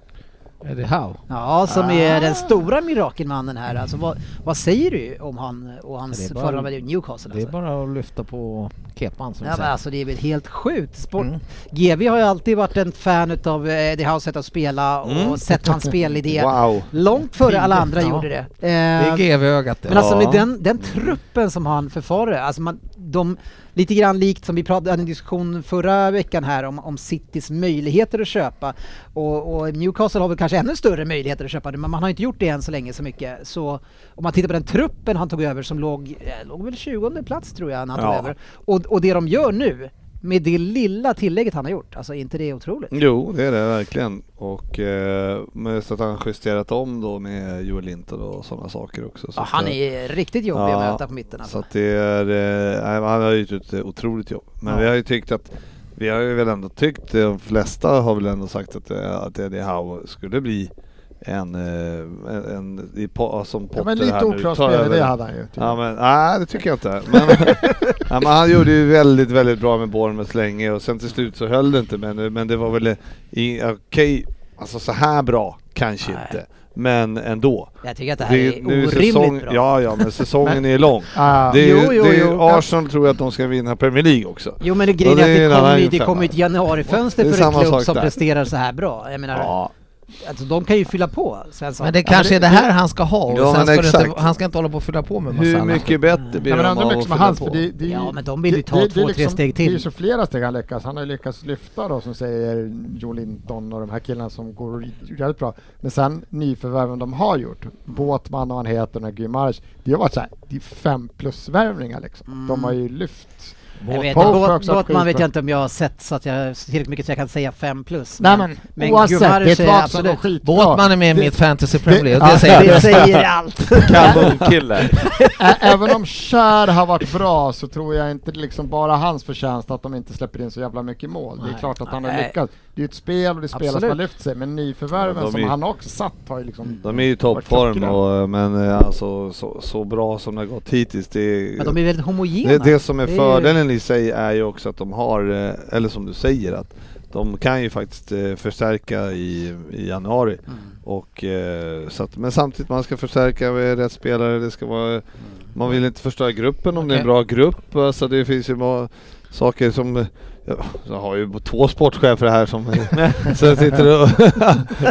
F: Eddie Howe.
C: ja, som är den stora mirakelmannen här. Alltså, vad, vad säger du om han och hans
F: Det är bara-
C: förhållande med Newcastle?
F: Det är
C: Alltså?
F: bara att lyfta på paketband som
C: Ja,
F: vi
C: men
F: säger.
C: alltså det är väl helt sjukt. Sport...
F: Mm.
C: GV har ju alltid varit en fan utav eh, det här sättet att spela och sett hans spelidé.
G: [LAUGHS] Wow.
C: Långt före alla andra
F: Ja.
C: gjorde det. Eh,
F: Det är GV-ögat det.
C: Men alltså
G: Ja. Mm.
C: med den, den truppen som han förfarar, alltså man, de, lite grann likt som vi pratade, hade en diskussion förra veckan här om, om Citys möjligheter att köpa och, och Newcastle har väl kanske ännu större möjligheter att köpa det men man har inte gjort det än så länge så mycket. Så om man tittar på den truppen han tog över som låg, eh, låg väl 20 plats tror jag när han
G: Ja.
C: tog över och, och det de gör nu med det lilla tillägget han har gjort, alltså är inte det otroligt?
G: Jo, det är det verkligen. Och eh, men så att han justerat om då med Joel Linton och sådana saker också. Så
C: Ja,
G: att,
C: han
G: eh,
C: är riktigt jobbig
G: Ja,
C: att möta på mitten
G: Så
C: alltså.
G: att det är, eh, nej, han har ju gjort ett eh, otroligt jobb. Men
C: Ja.
G: vi har ju tyckt att, vi har ju väl ändå tyckt, eh, de flesta har väl ändå sagt att, eh, att Eddie Howe skulle bli en, eh, en, en i, po- som Potter
E: Ja, men lite
G: här nu,
E: oklar
G: tar
E: spelare,
G: över.
E: det hade han ju. typ. tycker
G: Ja
E: jag.
G: men nej det tycker jag inte.
E: [LAUGHS]
G: Men, ja, men han gjorde ju väldigt, väldigt bra med Bournemouth länge och sen till slut så höll det inte men, men det var väl i- i- okej, alltså så här bra kanske
C: Nej.
G: inte. Men ändå.
C: Jag tycker att det här är
G: nu
C: orimligt
G: säsong,
C: bra.
G: Ja, ja
C: [LAUGHS]
G: men säsongen är lång.
E: Ah,
G: Det är, ju-
C: Jo, jo,
G: det är, ju-
C: jo.
G: Arsenal tror att de ska vinna Premier League också.
C: Jo men det
G: Och
C: grejen
G: det
C: är att
G: är
C: det
G: en
C: kommer
G: annan
C: ju, det
G: femma.
C: kommer ju ett januarifönster
G: Det är
C: för en
G: samma
C: klubb
G: sak
C: som
G: där.
C: presterar så här bra. Jag menar,
G: Ja.
C: alltså, de kan ju fylla på Svensson.
F: Men det kanske är det här han ska ha och
G: Ja,
F: sen
G: men
F: ska det inte,
G: exakt.
F: han ska inte hålla på och fylla på med massa
G: Hur
F: annat.
G: mycket bättre blir
E: Ja, men
G: de
E: undrar hur
G: av
E: mycket
G: att
E: som är
G: fylla
E: hans,
G: på?
E: för det, det är ju-
C: Ja, men de vill ju
E: det-
C: ta
E: det- det är liksom-
C: två, tre steg till.
E: Det är ju så flera steg han lyckas. Han har ju lyckats lyfta då som säger Joe Linton och de här killarna som går jävligt bra. Men sen nyförvärven de har gjort, Båtman och han heter, den här Guimaraes, det har varit så här, det är fem plus värvningar liksom.
C: Mm.
E: De har ju lyft.
C: jag vet,
E: Paul
C: Båt-
E: Perks har varit
C: Båtman vet
E: skitbra.
C: jag inte om jag har sett så att jag tillräckligt mycket så jag kan säga fem plus.
E: Nej men,
C: men
E: oavsett, det
C: Guimaraes
E: är
C: är
E: ett lag som går
C: absolut-
E: skitbra.
F: Båtman är med i
E: Det-
F: mitt fantasy Premier League och
E: [LAUGHS] Ja,
F: det säger
C: det
F: det.
C: säger allt.
D: Kanonkille.
E: Ä- Även om Cher har varit bra så tror jag inte det liksom bara hans förtjänst att de inte släpper in så jävla mycket mål. Det är
C: Nej.
E: klart att han har
C: Nej.
E: lyckats. Det är ju ett spel och det är spelare som
C: Absolut.
E: har lyft sig men nyförvärven
G: Ja, de
E: som
G: är ju-
E: han också satt har ju liksom...
G: De är ju i
E: Vart
G: toppform
E: klockrena.
G: och, eh, men eh, alltså så, så bra som det har gått hittills det är,
C: Men de är väldigt homogena.
G: det, det som är
C: Det är ju-
G: fördelen i sig är ju också att de har, eh, eller som du säger att de kan ju faktiskt eh, förstärka i, i januari. Och, eh, så att, men samtidigt man ska förstärka med rätt spelare, det ska vara, man vill inte förstöra gruppen om det är en
F: Okej.
G: bra grupp. Alltså det finns ju bara saker som, eh, ja, jag har ju två sportchefer
E: [LAUGHS]
G: här som så sitter och [LAUGHS]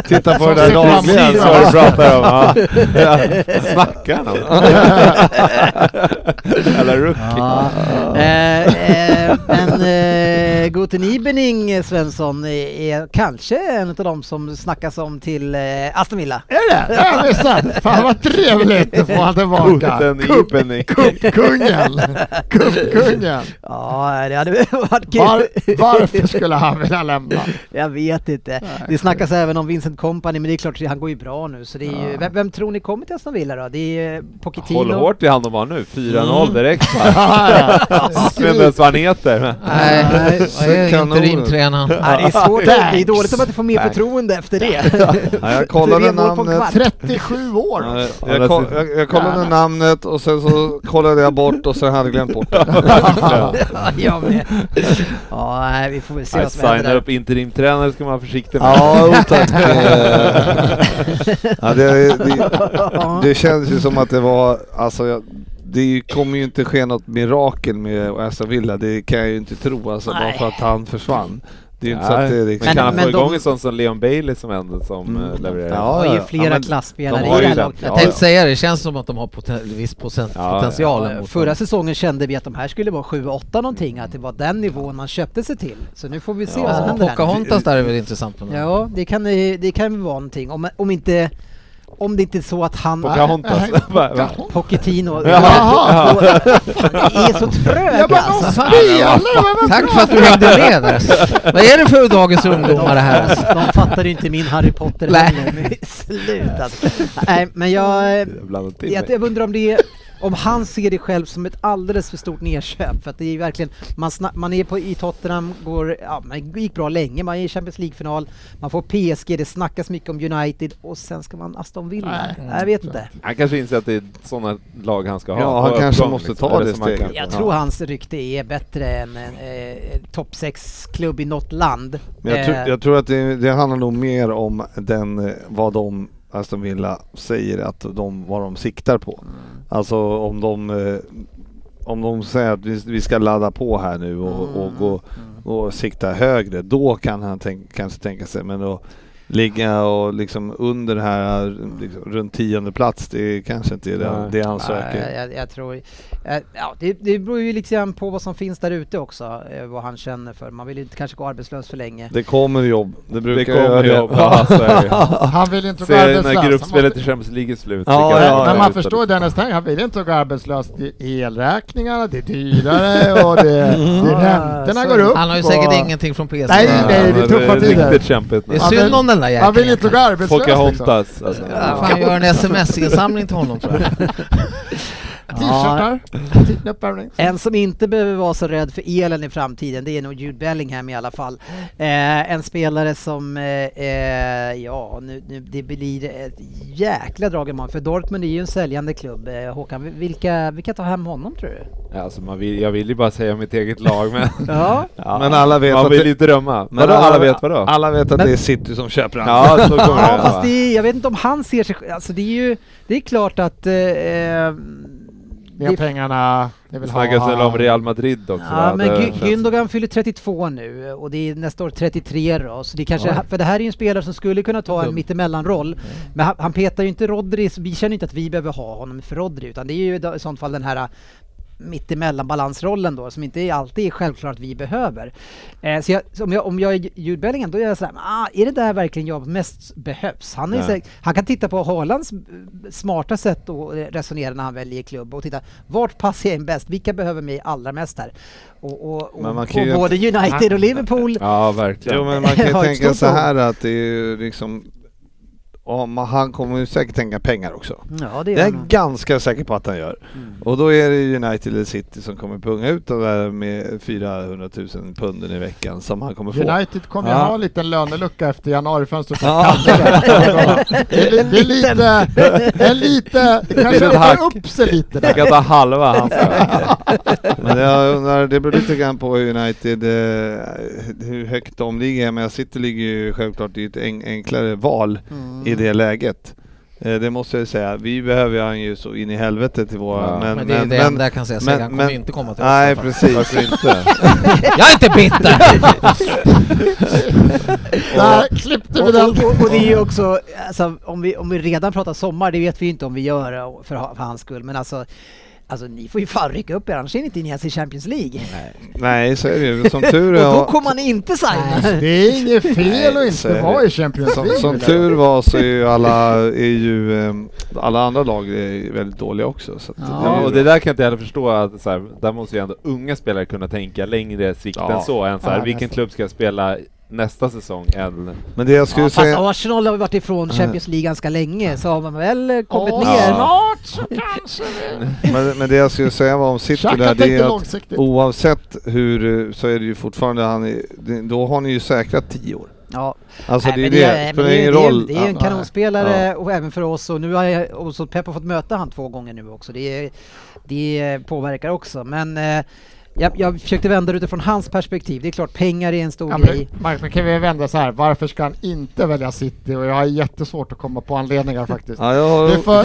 G: tittar på det där
E: Som sitter
G: dagligen.
E: framför.
G: Så du pratar om. Ja. Ja. Snackar han om? Eller rookie.
C: [LAUGHS] Ja. Eh, eh, men eh, Guten Ibening eh, Svensson är, är kanske en av de som snackas om till eh, Aston Villa.
E: Är det? [LAUGHS] Ja, det är sant! Fan vad trevligt att få honom tillbaka!
D: Guten Ibening.
E: Kuppkungen! Kuppkungen!
C: Ja, det hade [LAUGHS] varit kul.
E: Var, varför skulle han vilja lämna?
C: [LAUGHS] Jag vet inte. det snackas även om Vincent Kompany, men det är klart, han går ju bra nu. Så det är ju, vem, vem tror ni kommer till Aston Villa då? Det är eh, Pochettino.
D: Håll hårt i hand om han nu.
G: Mm.
D: 4-0 direkt.
G: [LAUGHS]
D: Jag vet inte
E: Skrik.
D: ens vad han heter. men-
F: Nej,
C: Nej,
F: vad är
G: kanon.
F: interimtränaren?
C: Nej, det är svårt. Det är
E: Thanks.
C: dåligt om man inte får mer
G: Thanks.
C: förtroende efter det. [LAUGHS]
G: Ja, jag kollade
C: Tre mål på en
G: [LAUGHS] namnet.
C: kvart.
E: 37 år!
G: Ja,
E: alltså.
G: Jag, ko- jag, jag kollade namnet och sen så kollade jag bort och sen hade jag glömt
E: [LAUGHS]
G: bort det.
C: ja, jag med. Ja, nej, vi får väl se
D: Nej,
C: vad som händer
D: Signar
C: där.
D: upp interimtränare ska man vara försiktig med.
G: Ja, jo, tack.
D: [LAUGHS]
G: ja, det, det, det känns ju som att det var, alltså jag, det kommer ju inte ske något mirakel med Aston Villa, det kan jag ju inte tro alltså, bara
C: Nej.
G: för att han försvann. Det är ju inte så
D: Nej,
G: att det är
D: men
G: liksom...
D: kan han
C: men
D: få
C: de-
D: igång en sån som Leon Bailey som ändå som
G: Mm.
D: eh, levererar?
G: Ja.
C: Det är ju
G: Ja,
C: flera
G: men
C: klasspelare
G: de
C: i
G: har
C: det
G: ju
C: här
G: den.
C: laget.
G: Ja,
F: Jag tänkte säga det, det känns som att de har poten viss procent
D: Ja,
F: potential.
C: Ja,
F: mot
C: Eh, Förra
F: dem.
C: säsongen kände vi att de här skulle vara 7-8 någonting, att det var den nivån man köpte sig till. Så nu får vi se vad som
F: Ja,
C: händer där.
F: Pocahontas där är väl intressant på något.
C: Ja, det kan, eh, det kan vara någonting. Om, om inte... Om det inte är så att han...
D: Pocahontas. alltså. [LAUGHS] Va- va? [LAUGHS]
C: Pochettino. [LAUGHS]
E: Jaha.
C: Fan, det är så
E: Jag
C: trög
E: bara, de
C: alltså.
E: spelar!
F: Tack för att du hängde med där. Vad är det för dagens ungdomar det här? alltså?
C: De fattar ju inte min Harry Potter
F: Nej.
C: heller. Men [LAUGHS] Slut alltså. Nej, men jag... eh,
D: Jag blandar till
C: Jag,
D: mig.
C: jag undrar om det är, om han ser det själv som ett alldeles för stort nedköp för att det är verkligen, man, sna- man är på, i Tottenham, går, ja, man gick bra länge, man är i Champions League-final, man får PSG, det snackas mycket om United och sen ska man Aston Villa. jag vet
F: Mm.
C: inte.
D: Han kanske inser att det är sådana lag han ska ha.
G: Ja, han
D: Och
G: kanske
D: uppgång,
G: måste
D: liksom.
G: ta
D: Eller
G: det
D: som han
G: steget.
D: kan-
C: Jag
G: Ja.
C: tror hans rykte är bättre än en eh, topp 6-klubb i något land.
G: Men jag, tror,
C: Eh,
G: jag tror att det, det handlar nog mer om den, eh, vad de, Aston
C: Mm.
G: Villa, säger att de, vad de siktar på. Alltså om de, eh, om de säger att vi, vi ska ladda på här nu och,
C: Mm,
G: och, gå, och sikta högre, då kan han tänk, kanske tänka sig. Men då ligga och liksom under det här, liksom, runt tionde plats, det kanske inte är det,
D: Nej.
G: det han
C: Ja,
G: söker.
C: jag, jag tror... eh, Ja, det, det beror ju liksom på vad som finns där ute också, eh, vad han känner för. Man vill ju inte kanske gå arbetslös för länge.
G: Det kommer jobb. Det
D: Det
G: brukar
D: kommer
G: göra
D: jobb. Ja, så är det.
E: Han vill inte gå
D: Se
E: arbetslös.
D: när
E: Han
D: gruppspelet
E: måste-
D: i Champions League är slut.
G: Ja,
D: vilka
G: ja,
D: som
G: ja.
D: är
E: Men man
D: utan-
E: förstår Dennis Tang, han vill inte gå arbetslös. Det är elräkningarna, det är
G: [LAUGHS]
E: dyrare och det, det räntorna
C: så-
E: går upp.
F: Han har ju säkert
E: och-
F: ingenting från PC.
E: Nej,
D: Ja,
E: nej, det är
D: men
E: tuffa tider.
D: Riktigt kämpigt.
F: Det är
D: nu.
E: Han vill-
F: synd om den där
E: Han vill
F: jäkeln.
E: inte gå arbetslös. Liksom.
D: Pocahontas. Alltså.
F: Ja, fan, gör en sms-insamling till honom tror jag.
E: T-shirtar, t- uppvärmning.
C: En som inte behöver vara så rädd för elen i framtiden, det är nog Jude Bellingham i alla fall. Eh, en spelare som, eh, eh, ja, nu, nu, det blir ett jäkla drag i morgon, för Dortmund är ju en säljande klubb. Eh, Håkan, vi- vilka, vilka tar hem honom tror du?
D: Ja, Alltså, man vill, jag vill ju bara säga mitt eget lag, men...
C: Ja,
D: Ja,
G: Men alla vet
D: man
G: att
D: vill
G: det-
D: ju drömma.
G: Men
D: Vadå, alla vet vadå?
G: Alla vet att
C: Men-
G: det är City som köper han.
D: Ja, så kommer
C: ja
D: det.
C: fast
D: va?
C: det är, jag vet inte om han ser sig sj- alltså det är ju, det är klart att eh, eh,
E: Mer pengarna, jag
D: Det
E: vill ha...
D: snackas väl om Real Madrid också?
C: Ja,
D: va?
C: men
D: Det
C: Gü-
D: känns-
C: Gündogan fyller 32 nu och det är nästa år 33 då, så det kanske,
D: Ja.
C: för det här är ju en spelare som skulle kunna ta en
F: Dum.
C: mittemellanroll, men han, han petar ju inte Rodri, så vi känner inte att vi behöver ha honom för Rodri, utan det är ju då- i sånt fall den här eh, mittemellan-balansrollen då, som inte är- alltid är självklart att vi behöver. Eh, så jag, så om, jag, om jag är Jude Bellingham, då är jag såhär, ah, är det där verkligen jag mest behövs? Han, är ju
D: Nej.
C: säkert- han kan titta på Haalands eh, smarta sätt att resonera när han väljer klubb och titta, vart passar jag in bäst? Vilka behöver mig allra mest här? Och, och, och,
G: Men man
C: och
G: kan ju
C: både United och Liverpool.
D: Ja, verkligen.
G: Jo, men man kan ju
C: Har ett
G: tänka
C: stort
G: så här att det är ju liksom... Ja, men han kommer ju säkert tänka pengar också.
C: Ja, det
G: Det
C: gör
G: är
C: man.
G: jag ganska säker på att han gör. Och då är det United eller City som kommer punga ut de där med 400 000 punden i veckan som han kommer få.
E: United kommer ju
G: Ja.
E: ha en liten lönelucka efter januarifönstret.
G: Ja.
E: Det är li- det är lite, en lite, det kanske
D: litet
E: tar
D: hack.
E: upp sig lite
D: Jag
E: där.
D: kan ta halva hans [LAUGHS]
G: Men jag undrar, det beror lite grann på hur United, eh, hur högt de ligger. Men City ligger ju självklart i ett en- enklare val i det läget. Eh, Det måste jag ju säga. Vi behöver ju han ju så in i helvete till våra...
D: Ja.
G: Men,
F: Men det är
G: men,
F: det enda jag kan säga, Sagan
G: men-
F: kommer
G: men-
F: ju inte komma till
G: Nej,
F: oss.
G: precis.
D: Varför inte?
F: Jag är inte
G: [LAUGHS]
F: bitter!
E: Där klippte
C: Och,
E: vi den.
C: och, och det är ju också, alltså, om, vi, om vi redan pratar sommar, det vet vi ju inte om vi gör eh, för, ha- för hans skull, men alltså, alltså ni får ju fan rycka upp er, annars är ni inte in ens i Champions League.
G: Nej, så är det ju. Som tur
C: och då
G: är...
C: kommer man inte signa.
E: Det är inget fel att
G: Nej, så är
E: inte
G: det.
E: vara i Champions
G: Som,
E: League.
G: som tur var så är ju alla, är ju, eh, alla andra lag är väldigt dåliga också. Så att
D: Ja,
G: ju
D: och
G: bra.
D: det där kan jag inte heller förstå. Att, så här, där måste ju ändå unga spelare kunna tänka längre sikt
G: Ja.
D: än så. Än så här,
E: Ja,
D: vilken
E: nästan.
D: klubb ska jag spela nästa säsong? Än...
G: Men det jag skulle
C: Ja, fast
G: säga...
C: Arsenal har ju varit ifrån Champions League ganska länge, så har man väl eh, kommit
E: Ja,
C: ner.
E: snart så kanske vi...
G: Men, men det jag skulle säga var om City där,
E: Xhaka
G: det
E: tänkte
G: är att
E: långsiktigt.
G: oavsett hur eh, så är det ju fortfarande han, är- det- då har ni ju säkrat 10 år.
C: Ja.
G: Alltså
C: Nej,
G: det är
C: men men
G: det, spelar
C: det är-
G: ingen
C: det är-
G: roll.
C: Det är ju en
G: Ja, nej.
C: kanonspelare och även för oss och nu har jag, och så Pep har fått möta han två gånger nu också. Det, är- det påverkar också men eh, jag, jag försökte vända det utifrån hans perspektiv. Det är klart pengar är en stor
E: Ja, men,
C: grej.
E: Mark, men kan vi vända så här, varför ska han inte välja City? Och jag har jättesvårt att komma på anledningar faktiskt.
G: Ja, jag har
E: Det är för-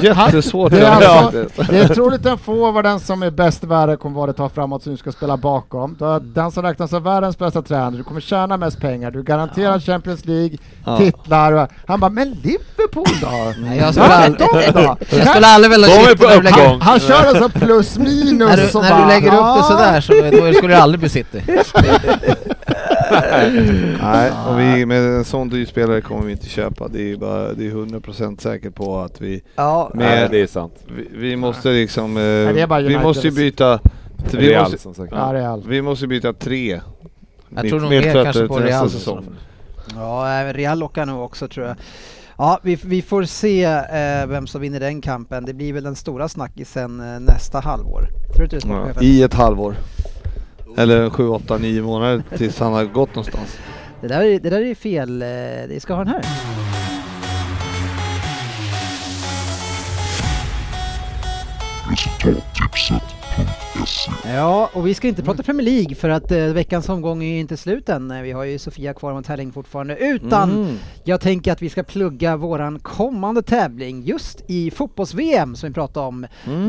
E: [LAUGHS]
G: jättesvårt
E: Det är,
G: att göra
E: alltså,
G: det.
E: det är troligt den forwarden som är bäst i världen kommer vara det tar framåt som du ska spela bakom. Du
G: Mm.
E: har den som räknas som världens bästa tränare, du kommer tjäna mest pengar, du garanterar Champions League,
G: Ja.
E: titlar. och- Han bara, men Liverpool
G: [LAUGHS]
E: då?
F: Nej, jag
E: Vad
F: skulle
E: är
F: aldrig-
E: de då?
F: Jag skulle aldrig vilja
D: De är
F: sitta
D: på
F: när du lägger-
D: uppgång.
E: Han kör alltså plus minus
F: Alltså, När
E: och
F: du, när du
E: bara,
F: lägger upp det
E: "Ja."
F: sådär så då skulle det aldrig bli City.
G: Nej, och vi, med en sån dyr spelare kommer vi inte köpa. Det är ju bara, det är 100% säker på att vi,
C: Ja,
G: Men-
D: Nej, det är sant.
G: vi, vi måste liksom, eh,
E: det är bara
G: vi
E: United.
G: måste ju byta, vi
D: Real,
G: måste,
D: som sagt.
E: Ja, Real.
G: vi måste ju byta tre.
F: Jag tror nog
G: mitt-
F: mer kanske på
G: mittfältare till
F: Real.
G: nästa säsong.
C: ja eh, Real lockar nog också tror jag. Ja, vi, vi får se eh, vem som vinner den kampen. Det blir väl den stora snackisen eh, nästa halvår. Tror du inte det,
G: Ja,
C: sportchefen?
G: I ett halvår. Eller 7, 8, 9 månader tills han har gått någonstans.
C: Det där, är- det där är fel. eh, Det ska ha den här. Ja, och vi ska inte prata Premier League för att eh, veckans omgång är ju inte slut än. Eh, Vi har ju Sofia kvar mot Herräng fortfarande. Utan jag tänker att vi ska plugga våran kommande tävling just i fotbolls-VM som vi pratade om.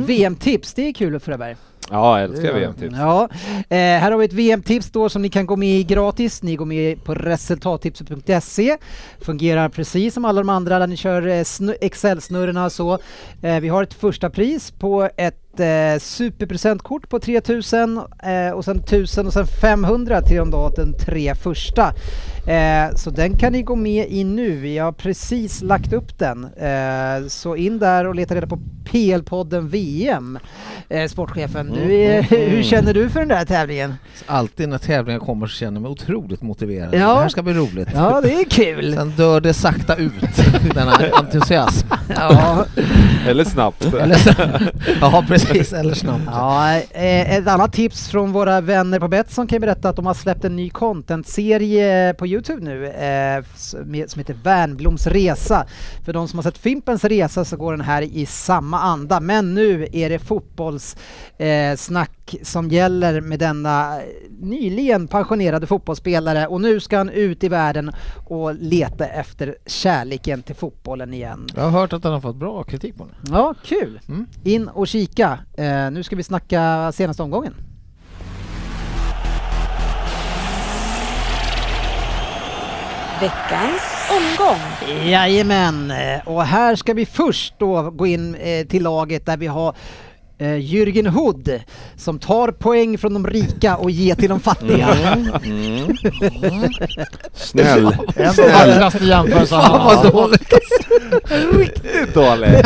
C: VM-tips, det är kul Fröberg.
D: Ja, jag älskar typ.
E: Det gör
D: VM-tips.
C: Ja, eh, här har vi ett VM-tips då som ni kan gå med i gratis. Ni går med på resultattipset.se. Fungerar precis som alla de andra där ni kör eh, snu- Excel-snurrorna och så. Eh, vi har ett första pris på ett eh, superpresentkort på 3000 eh, och sen 1000 och sen 500 till de, då, de tre första. Eh, så den kan ni gå med i nu. Jag har precis lagt upp den. Eh, så in där och leta reda på PL-podden VM. Eh, sportchefen, du är, [LAUGHS] hur känner du för den där tävlingen?
F: Alltid när tävlingar kommer så känner jag mig otroligt motiverad.
C: Ja.
F: Det här ska bli roligt.
C: Ja, det är [LAUGHS] kul!
F: Sen dör det sakta ut, [LAUGHS] denna entusiasm.
C: Ja,
D: Eller
G: [LAUGHS]
D: snabbt. [LAUGHS]
F: Eller så, ja, precis. Eller snabbt.
C: ja, eh, ett annat tips från våra vänner på Betsson kan jag berätta att de har släppt en ny content-serie på Youtube nu eh, som med- som heter Värnbloms resa. För de som har sett Fimpens resa så går den här i samma anda, men nu är det fotbollssnack eh, snack som gäller med denna nyligen pensionerade fotbollsspelare och nu ska han ut i världen och leta efter kärleken till fotbollen igen.
F: Jag har hört att den har fått bra kritik på den.
C: Ja, kul!
F: Mm.
C: In och kika. Eh, nu ska vi snacka senaste omgången.
H: Veckans omgång.
C: Jajamän! Eh, Och här ska vi först då gå in eh, till laget där vi har eh, Jürgen Hood som tar poäng från de rika och ger till de fattiga.
G: Mm. Snäll.
E: En av de vackraste jämförelserna han har.
F: dåligt!
D: Riktigt
G: [LAUGHS]
D: dåligt.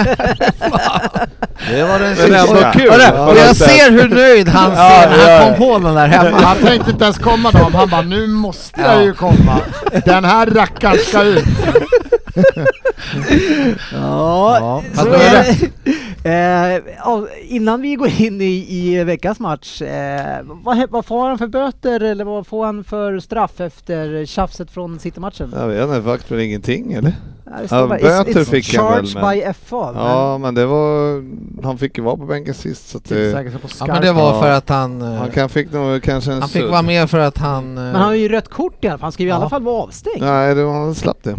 G: Det var den
D: Men ändå kul.
F: Hörru, och jag ser hur nöjd han
D: Ja,
F: ser när
D: ja,
F: han
D: ja.
F: kom på den där hemma.
E: Han tänkte inte ens komma dem, han bara nu måste jag ju komma. Den här rackaren ska ut.
C: ja, så
E: fast det var
C: är det. Eh, ja, innan vi går in i, i veckans match, eh, vad, he- vad får han för böter eller vad får han för straff efter tjafset från Citymatchen?
G: Jag vet inte, vakt väl ingenting eller?
C: Ja, det står
G: ja,
C: bara,
G: böter fick han väl,
C: charged
G: men-
C: by FA. men-
G: Ja, men det var... Han fick ju vara på bänken sist så att det,
E: Tillsäker sig på
F: Ja, men det
E: skarpen.
F: var för att han... eh,
G: Han kan, fick nog kanske en
F: Han fick
G: sudd.
F: vara med för att han... eh,
C: Men han har ju rött kort i alla fall, han ska ju i alla
F: Ja.
C: fall vara avstängd.
G: Nej, det var, han slapp det.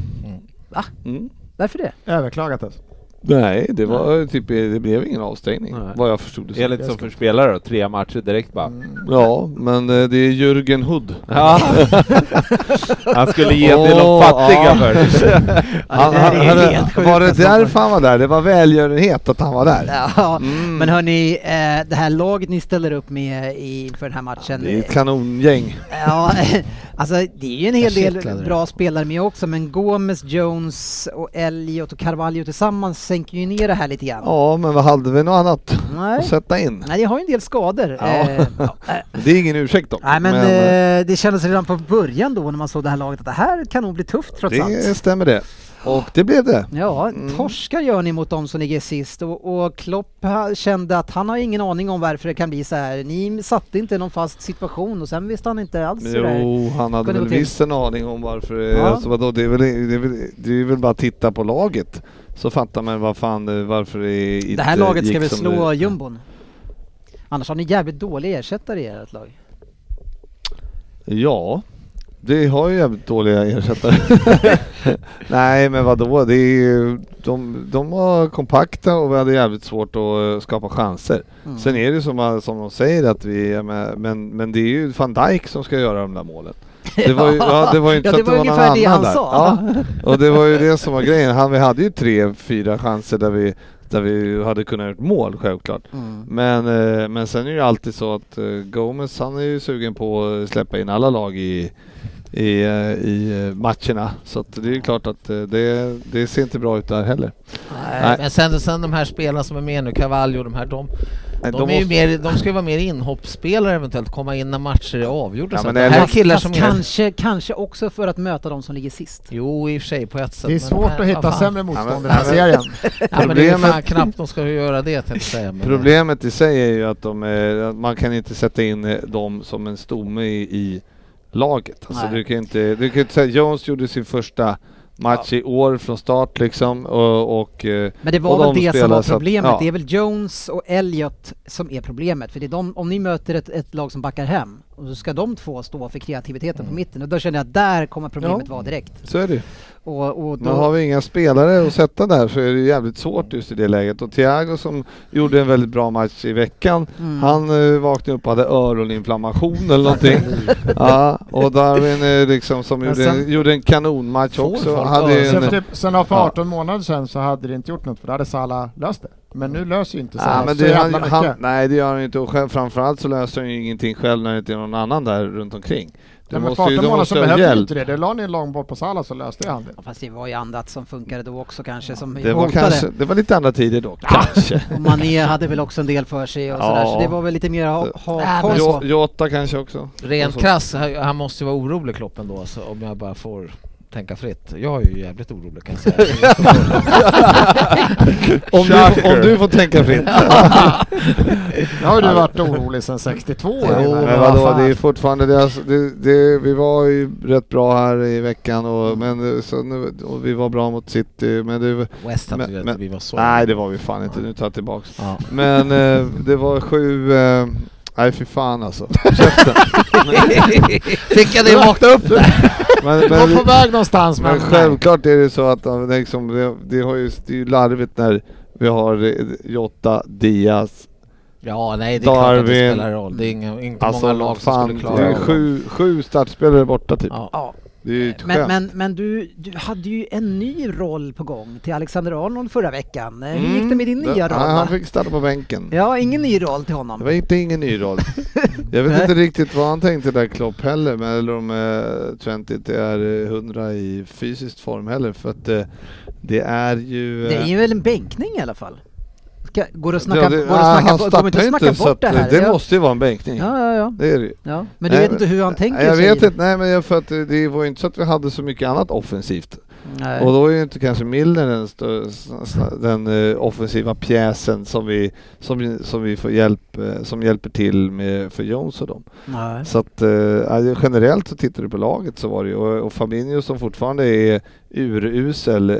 C: Va?
G: Mm.
C: Varför det?
E: Överklagat alltså.
G: Nej, det var typ... Det blev ingen avstängning
D: Nej.
G: vad jag Mm. förstod det som.
D: Enligt som för spelare då, tre matcher direkt bara.
G: Ja, men eh, det är Jürgen Hood.
D: Ja. Han skulle ge till de
G: Åh,
D: fattiga [LAUGHS]
G: ja.
D: först.
G: Han,
C: det där
G: han,
C: är helt
G: han,
C: sjukt
G: var det
C: alltså.
G: därför han var där? Det var välgörenhet att han var där?
C: Ja,
G: Mm.
C: men hörni, eh, det här laget ni ställer upp med i- inför den här matchen. eh,
G: Det är ett kanongäng.
C: Ja, [LAUGHS] alltså det är ju en hel
F: Jag
C: del
F: kittlade.
C: bra spelare med också, men Gomes, Jones och Elliot och Carvalho tillsammans sänker ju ner det här lite grann.
G: Ja, men vad hade vi något annat att
C: Nej.
G: sätta in?
C: Nej, det har ju en del skador.
G: Ja.
C: Eh, ja. eh,
G: Det är ingen ursäkt dock.
C: Nej, men,
G: eh,
C: eh, det kändes redan på början då när man såg det här laget att det här kan nog bli tufft trots allt.
G: det stämmer det. Och
D: [LAUGHS]
G: det blev det.
C: Ja,
G: Mm.
C: torskar gör ni mot dem som ligger sist och, och Klopp ha- kände att han har ingen aning om varför det kan bli så här. Ni satte inte någon fast situation och sen visste han inte alls hur det är.
G: Jo, han hade
C: Kunde
G: väl
C: gå till.
G: visst en aning om varför det
C: Ja.
G: alltså, vadå, det, är väl, det, är väl, det är väl bara att titta på laget. Så fattar man vad fan, det- varför det inte
C: Det här laget ska
G: gick
C: väl
G: som
C: slå
G: det-
C: jumbon? Annars har ni jävligt dålig ersättare i ert lag.
G: Ja, det har ju jävligt dåliga ersättare. [LAUGHS] Nej men vadå, det är, ju- de, de var kompakta och vi hade jävligt svårt att eh, skapa chanser.
C: Mm.
G: Sen är det ju som, eh, som de säger att vi är med, men, men det är ju van Dijk som ska göra de
C: [LAUGHS]
G: där målen. Det var ju, ja, det var ju inte
C: Ja, det
G: så att det
C: var
G: var
C: ungefär
G: någon
C: det
G: annan
C: han
G: där.
C: sa.
G: Ja, och det var ju det som var grejen. Han, vi hade ju tre, fyra chanser där vi, där vi hade kunnat gjort mål självklart.
C: [LAUGHS] Mm.
G: Men, eh, men sen är det ju alltid så att eh, Gomez han är ju sugen på att släppa in alla lag i, i, eh, i eh, matcherna. Så att det är ju klart att eh, det, det ser inte bra ut där heller.
F: Nej. Men sen, sen de här spelarna som är med nu, Cavallo och de här, de, de,
G: Nej,
F: är ju
G: måste-
F: mer, de ska ju vara mer inhoppsspelare eventuellt, komma in när matcher är avgjorda.
G: Ja,
F: så
G: men
F: att det
G: det är
F: här är
G: lite-
F: killar
C: Fast
F: som... Är,
C: kanske, kanske också för att möta de som ligger sist.
F: jo, i och för sig på ett
E: Det
F: sätt.
E: är
F: men
E: svårt
F: nej,
E: att hitta
F: vad fan.
E: sämre
G: Ja, men-
E: motstånd i den här serien.
F: Ja, men det är ju fan
G: Problemet-
F: knappt de ska göra det, tänkte jag säga. Men,
G: Problemet i sig är ju att, de är, att man kan inte sätta in eh, dem som en stomme i, i laget. Alltså
C: Nej.
G: du kan ju inte, du kan ju inte säga, Jones gjorde sin första match i år från start liksom och, och eh,
C: Men det
G: Och
C: var väl
G: de
C: det som
G: spelar
C: var
G: så att-
C: problemet.
G: ja.
C: Det är väl Jones och Elliot som är problemet. För det är de, om ni möter ett, ett lag som backar hem, Och så ska de två stå för kreativiteten på mitten och då känner jag att där kommer problemet
G: Mm. Ja.
C: vara direkt.
G: Så är det ju.
C: Och, och då,
G: Men har vi inga spelare att sätta där så är det jävligt svårt just i det läget. Och Thiago som gjorde en väldigt bra match i veckan,
C: Mm.
G: han eh, vaknade upp och hade öroninflammation eller någonting. ja, och Darwin eh, liksom som
C: Men
G: gjorde,
C: sen-
G: en, gjorde en kanonmatch
F: Får
G: också.
F: folk
G: Hade ju
E: Sen,
G: en,
E: för typ, sen för
G: Ja.
E: 18 månader sedan så hade det inte gjort något för då hade Salah löst det. Men nu löser ju inte Salah
G: Ja, men
E: så
G: det, han,
E: jävla
G: han,
E: mycket.
G: nej det gör han ju inte och själv, framförallt så löser han ju ingenting själv när det inte är någon annan där runt omkring. Du
E: Nej, men för
G: måste ju
E: 18
G: du
E: månader så
G: måste ha
E: behövde ju
G: hjälp.
E: inte det. Det la ni en lång boll på Salah så löste han det.
C: Ja, Fast det var ju annat som funkade då också kanske som
G: Det var,
C: hotade.
G: kanske, det var lite andra tider då, kanske.
C: Och Mané hade väl också en del för sig och
G: Ja. Äh,
C: sådär så det var väl lite mer att ha,
F: Nej, men
C: ha koll
G: Jo-
C: på.
G: Jota kanske också.
F: Rent
G: Och så-
F: krass, han- han måste ju vara orolig Kloppen då alltså, om jag bara får tänka fritt. Jag är ju jävligt orolig kan jag
G: [LAUGHS]
F: säga.
G: Om du,
D: Shocker.
G: om du får tänka [LAUGHS] fritt.
E: Nu har ju du varit orolig sedan 62.
G: Jo,
E: Einar. Vad
G: men vadå,
E: fan.
G: det är fortfarande deras, det, det, Vi var ju rätt bra här i veckan och, men, eh, så nu, och vi var bra mot City, men det...
F: West Ham
G: Men-
F: tyckte jag
G: men-
F: att vi var så...
G: Nej, det var vi fan inte. Nu tar jag tillbaks.
F: Ja. [LAUGHS]
G: Men eh, det var sju... Eh, nej, fy fan alltså.
F: Fick jag det i måttet?
G: upp Men,
E: Du var på
G: men,
E: väg någonstans men...
G: men självklart är det så att eh, liksom, det, det, har ju, det är ju larvigt när vi har eh, Jota, Diaz.
F: Ja, nej det är klart att det
G: Darwin.
F: spelar roll. Det är inga, inte många
G: Alltså
F: lag som
G: fan,
F: skulle
G: det
F: klara
G: är
F: av
G: ju
F: dem.
G: sju, sju startspelare borta typ.
F: Ja.
C: Ja.
G: Det är ju ett
C: Men,
G: skämt.
C: men, men du, du hade ju en ny roll på gång till Alexander Arnold förra veckan. Eh, Hur gick det med din
G: Mm.
C: nya
G: Ja,
C: roll?
G: Han
C: va?
G: fick starta på bänken.
C: Ja, ingen ny roll till honom.
G: Det var inte ingen
C: [LAUGHS]
G: ny roll. Jag vet
C: Nej.
G: inte riktigt vad han tänkte där Klopp heller, men eller om eh, Trent inte är eh, hundra i fysiskt form heller för att eh, det är ju... eh,
C: Det är ju väl en bänkning i alla fall? Ska, går det att snacka,
G: ja,
C: går
G: det-
C: det,
G: ah,
C: att snacka,
G: han
C: går det inte att
G: startar
C: snacka
G: inte, så
C: bort det
G: att, eh,
C: här?
G: Det
C: ja.
G: måste ju vara en bänkning.
C: ja, ja, ja.
G: Det är det ju.
C: ja. Men du
G: Nej,
C: vet inte hur han tänker?
G: Nej, Jag
C: säger
G: vet
C: du.
G: inte, nej men jag- för att det- det var ju inte så att vi hade så mycket annat offensivt.
C: Nej.
G: Och då är ju inte kanske Milner den, stö- s- s- den eh, offensiva pjäsen som vi, som, som vi får hjälp, eh, som hjälper till med för Jones och dem.
C: Nej.
G: Så att eh, ja, generellt så tittar du på laget så var det ju och, och Fabinho som fortfarande är urusel eh,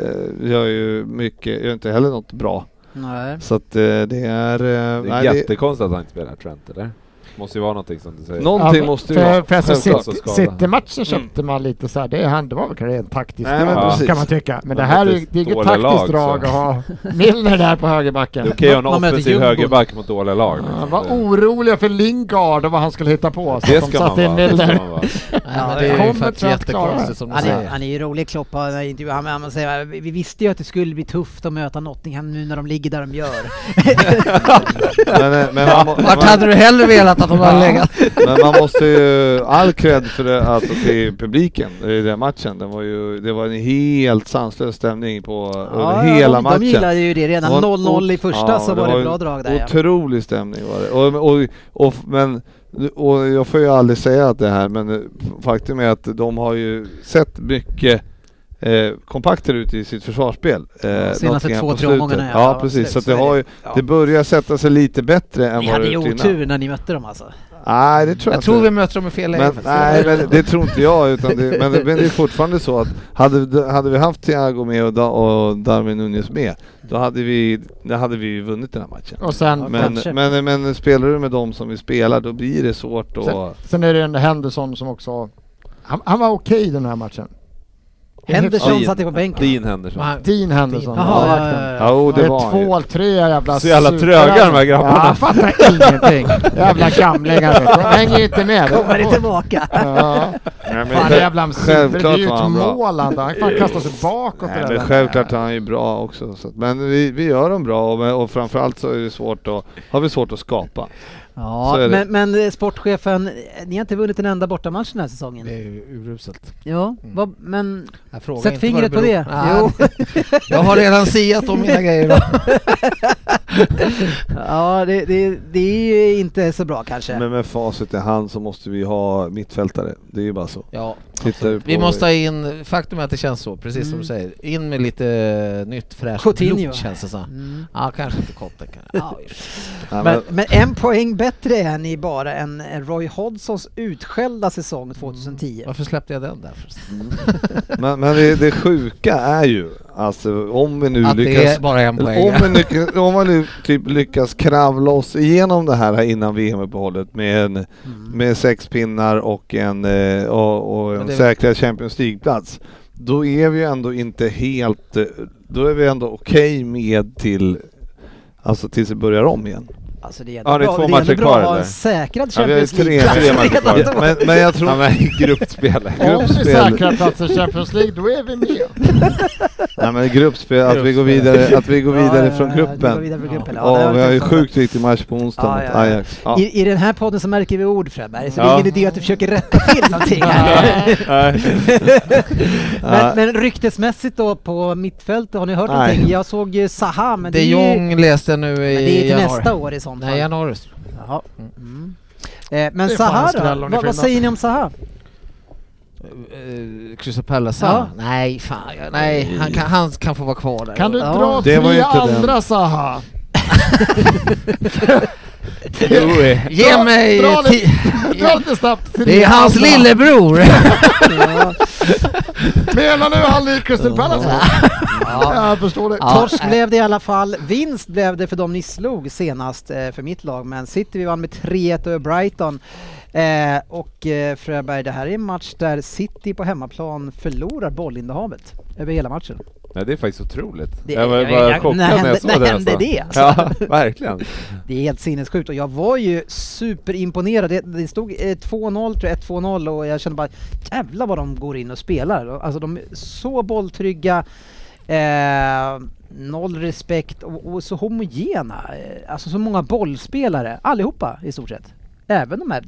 G: gör ju mycket, gör inte heller något bra.
C: Nej.
G: Så att eh, det är... Eh,
D: Det är
G: nej, [LAUGHS] det,
D: jättekonstigt att han inte spelar Trent, eller? Måste ju vara någonting som du säger.
G: någonting
E: Ja,
G: måste ju
E: för,
G: vara.
E: för alltså
D: självklart.
E: City-
D: Så skada. Mm.
E: City-matchen köpte man lite så här, det, är han, det var väl rent taktiskt
G: Nej, men
E: drag
D: precis.
E: kan man tycka. Men
D: Men
E: det här är, ju-
D: lite
E: det är inget
D: dåliga
E: taktiskt
D: lag, så.
E: drag att ha Milner där på högerbacken.
D: Det är okej att ha
C: Man
D: en
C: möter
D: offensiv
C: Djurgården.
D: högerback mot dåliga lag.
E: De
D: liksom.
E: var
D: Det-
E: oroliga för Lingard och vad han skulle hitta på. Så
D: det
E: att de
D: ska man
E: satte in
D: vara. Det ska
E: Milner.
D: man vara.
F: Nej, men
E: Ja,
F: det
E: det
F: är ju
E: kommer
F: för att
E: Trent klara det.
F: jättekonstigt som du
C: Han är,
F: säger.
C: han är ju rolig Klopp, han, är intervju- han, han säger vi vi visste ju att det skulle bli tufft att möta Nottingham nu när de ligger där de
G: [LAUGHS]
C: gör.
G: Men, eh, men, man, må-
F: Vart hade
G: man,
F: du hellre velat att de hade
G: [LAUGHS]
F: legat?
G: men man måste ju... All cred för det, alltså, till publiken i den matchen. Det var ju det var en helt sanslös stämning på över hela
C: de,
G: matchen.
C: de gillade ju det redan.
G: Det var en
C: 0-0 i
G: ot-
C: första
G: ja,
C: så var det,
G: en
C: bra drag där. Ja.
G: Otrolig stämning var det. Och, och, och, men, och jag får ju aldrig säga att det här men eh, faktum är att de har ju sett mycket eh, kompakter ut i sitt försvarsspel. Eh,
C: Senaste
G: Nottingham
C: två,
G: på
C: tre
G: slutet.
C: omgångarna, ja.
G: Ja
C: Ja,
G: precis,
C: absolut,
G: så att
C: så
G: det,
C: är det.
G: har ju,
C: Ja.
G: det börjar sätta sig lite bättre än
C: Ni
G: vad
C: hade
G: det
C: ju
G: gjort innan.
C: otur när ni mötte dem alltså.
G: Nej det tror jag,
F: Jag tror
G: inte.
F: vi möter dem i fel läge
G: Men,
F: faktiskt. [LAUGHS]
G: nej, men det tror inte jag. Utan det, men, men det är fortfarande så att hade, hade vi haft Thiago med och, da, och Darwin Nunez med, då hade vi, då hade vi ju vunnit den här matchen.
E: Och sen,
G: Men,
C: Kanske.
G: men, men spelar du med dem som vi spelar, då blir det svårt att...
E: sen är det en Henderson som också... Han, han var okej i den här matchen.
C: Henderson
D: Dean-
C: satt ju på bänken.
D: Dean
F: Men
D: Henderson.
F: han-
E: Dean Henderson.
C: Jaha, ja,
E: målvakten.
C: ja, ja.
G: Ja, oh, det
E: det
G: var
E: två,
G: han ju.
E: tre jävla
D: Så jävla
E: superöver.
D: tröga de här grabbarna.
E: Ja, jag fattar
G: [LAUGHS]
E: ingenting. jävla gamlingar.
D: [LAUGHS]
E: vet du. De hänger ju inte med.
C: Kommer ni tillbaka?
E: Ja.
G: Nej, men
E: Fan,
G: själv-
E: jävla Silver, det är
G: Självklart
E: ju
G: var
E: ett
G: han bra.
E: mål han Han fan kastar sig bakåt.
G: Nej,
E: där.
G: men självklart är han ju bra också. Så att, men vi, vi gör dem bra och, men- och framförallt så är det svårt att, har vi svårt att skapa.
C: Ja,
G: Så är det.
C: men, men eh, sportchefen, eh, ni har inte vunnit en enda bortamatch den här säsongen.
F: Det är ju uruselt.
C: Ja,
G: Mm.
C: vad, men
F: Jag frågar
C: sätt
F: inte vad
C: fingret på
F: beror-
C: det.
F: Nej,
C: Jo.
F: [LAUGHS] Jag har redan siat om mina grejer. då.
C: ja, det, det, det är ju inte så bra kanske.
G: Men med facit i hand så måste vi ha mittfältare. Det är ju bara så.
F: Ja,
G: Tittar du på
F: vi måste ha in, faktum är att det känns så, precis som du säger. In med lite eh, nytt fräscht
C: Coutinho.
F: blod känns det som.
C: Mm.
F: Ja, kanske inte Kotte kan. Ja,
G: Nej, men,
C: Men, men en poäng bättre är ni bara än Roy Hodgsons utskällda
G: Mm.
C: säsong 2010.
F: Varför släppte jag den där förresten?
G: men, men det, det sjuka är ju Alltså om vi nu
F: Att det
G: lyckas...
F: är bara en poäng,
G: Om
F: ja.
G: vi, lyckas, om vi nu typ lyckas kravla oss igenom det här innan VM-uppehållet med, en,
F: Mm.
G: med sex pinnar och en, eh, och, och
F: Men
G: en
F: det-
G: säkrad Champions League-plats. Då är vi ändå inte helt... eh, Då är vi ändå okej med till... Alltså tills vi börjar om igen.
C: Alltså det är
D: Ja, det är
C: jättebra-
D: två
C: det är
D: matcher
C: jättebra
D: kvar,
C: att ha en
D: eller?
C: säkrad
G: Ja, vi har ju
C: Champions
G: tre,
C: League-plats
G: tre
C: [LAUGHS]
G: matcher
C: redan då.
G: kvar. Men, men jag
D: [LAUGHS]
G: tror...
D: Han var i gruppspelet.
E: Om vi
G: Gruppspel.
E: säkrar platsen i Champions League, då är vi
G: [LAUGHS]
E: med.
G: Nej men gruppspel, att vi går vidare, att vi går vidare från
C: Ja, vi går
G: gruppen.
C: vidare från gruppen.
G: Ja,
C: det
G: vi har ju
C: tänkt på.
G: sjukt viktig match på onsdag
C: Ja,
G: mot
C: ja, ja.
G: Ajax. Ja.
C: I, I den här podden så märker vi ord Fredberg, så det är
G: Ja.
C: ingen idé att du försöker rätta till någonting här.
G: Ja.
C: [LAUGHS] men, men ryktesmässigt då på mittfältet, har ni hört
G: Nej.
C: någonting? Jag såg ju Zaha, men det,
F: De
C: är ju, men
F: Jong läste jag nu i
C: det är ju till
F: januari.
C: nästa år i sånt
F: Nej,
C: fall.
F: januari.
C: Jaha. Mm. Eh, men
E: Det är fan
C: Zaha
E: en skräll om
C: då? Vad,
E: ni
C: vad
E: finner.
C: säger ni om Zaha?
F: Uh, Crystal Palace? Ja. Nej, fan. jag- Nej, han kan, han kan få vara kvar där.
E: Kan du
C: Ja,
E: dra
G: det var
E: tre
G: inte den.
E: andra Zaha?
F: Ge
E: Dra-
F: mig...
E: dra
F: ti-
E: Dra lite snabbt. till
F: det är
E: din
F: hans
E: andra.
F: lillebror!
C: Ja.
E: Menar du han i Crystal Palace? Ja. jag förstår det.
F: Ja.
C: Torsk blev det i alla fall. Vinst blev det för dem ni slog senast eh, för mitt lag, men City vi vann med 3-1 över Brighton. Eh, och eh, Fröberg, det här är en match där City på hemmaplan förlorar bollinnehavet över hela matchen.
D: Nej, det är faktiskt otroligt.
C: Det-
D: jag var
C: jag-
D: bara
C: jag-
D: chockad
C: när
D: när
C: hände-
D: jag såg
C: när
D: det.
C: hände
D: nästan.
C: det, alltså?
D: Ja, verkligen.
C: Det är helt sinnessjukt och jag var ju superimponerad. Det, det stod eh, 2-0 tror jag, 1-2-0 och jag kände bara jävlar vad de går in och spelar. Alltså de är så bolltrygga, eh, noll respekt och, och så homogena. Eh, Alltså så många bollspelare, allihopa i stort sett. Även de här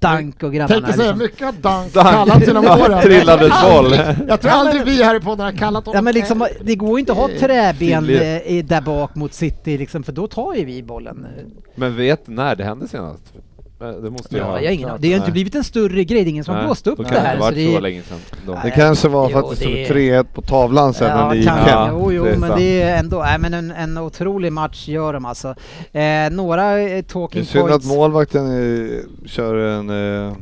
C: Dank och grabbarna.
E: Tänk dig så här,
C: liksom.
E: mycket har Dunk kallat genom åren.
D: Trillade boll.
E: Jag tror aldrig vi här i podden har kallat honom
C: Ja, men liksom,
E: Nej.
C: det går ju inte att ha
E: Eh,
C: träben
D: tydligt.
C: eh, i- där bak mot City liksom, för då tar ju vi bollen.
D: Men vet när det hände senast? Eh, Det måste jag
C: Ja,
D: ha.
C: jag har ingen, aning. det har ju inte
D: Nej.
C: blivit en större grej, det är ingen som har
D: Nej,
C: blåst upp
D: då
C: det
D: kan
C: här.
D: Det
C: Så
D: varit
C: det är,
D: så länge
G: [LAUGHS]
D: sedan. Då.
G: Det kanske var för
C: Jo,
G: att det stod
C: det-
G: 3-1 på tavlan sen när ni gick
C: kanske.
G: hem.
C: Jo, jo
D: Det är
C: men
D: sant.
C: det är ändå, nej men en, en otrolig match gör de alltså. Eh, några eh,
G: Det är
C: talking
G: synd att
C: points.
G: målvakten eh, kör en eh,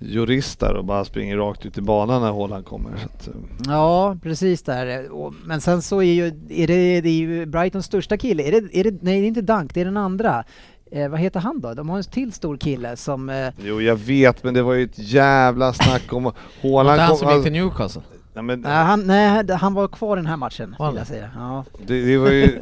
G: jurist där och bara springer rakt ut i banan när Haaland kommer. Så att, eh,
C: Ja, precis där. Och, men sen så är ju, är det, det är ju Brightons största kille, är det, är det, nej det är inte Dunk, det är den andra. Eh, vad heter han då? De har en till stor kille som... Eh,
G: jo, jag vet, men det var ju ett jävla snack
C: [LAUGHS]
G: om
F: Det är
G: Haaland.
F: han
G: Kom,
F: som gick till Newcastle.
G: nej, men,
C: nej, han, nej, han var kvar den här matchen,
F: Var
C: vill
F: han?
C: jag säga. Ja.
G: Det, det var ju... det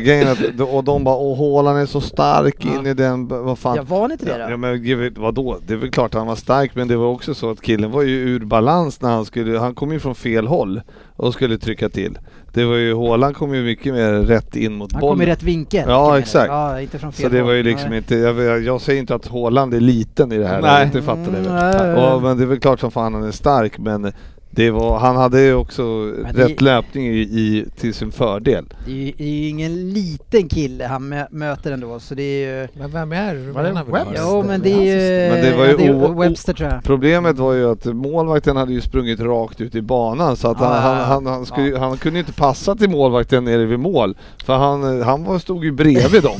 G: Grejen är att, och de bara åh Haaland är så stark in i den, b- vad fan.
C: Ja, var han inte det
G: Ja,
C: då?
G: men ge- vadå? Det är väl klart han var stark men det var också så att killen var ju ur balans när han skulle, han kom ju från fel håll och skulle trycka till. Det var ju, Haaland kom ju mycket mer rätt in mot
C: Han
G: bollen.
C: kom i rätt vinkel.
G: Ja,
C: menar du?
G: exakt.
C: Ja, inte från fel
G: Så det var ju
C: håll.
G: liksom
C: Nej.
G: inte, jag, jag- jag säger inte att Haaland är liten i det här,
D: Nej.
G: Nej. inte fattar det väl.
C: Mm, nej.
G: Och, men det är väl klart som fan han är stark men det var, han hade ju också
C: Men det-
G: rätt löpning i, i, till sin fördel.
C: Det är ju- det är ju ingen liten kille han mö- möter ändå, så det är ju...
F: Men vem är det? Alltså,
E: Var det
F: Menar vi?
E: Webster?
C: Jo men det är ju...
G: Men det var ju
C: ja, det är
G: o- o-
C: Webster tror jag.
G: Problemet var ju att målvakten hade ju sprungit rakt ut i banan så att
C: Ja,
G: han,
C: ja, ja.
G: han, han, han, skulle, han kunde ju inte passa till målvakten nere vid mål. För han, eh, han var, stod ju bredvid dem.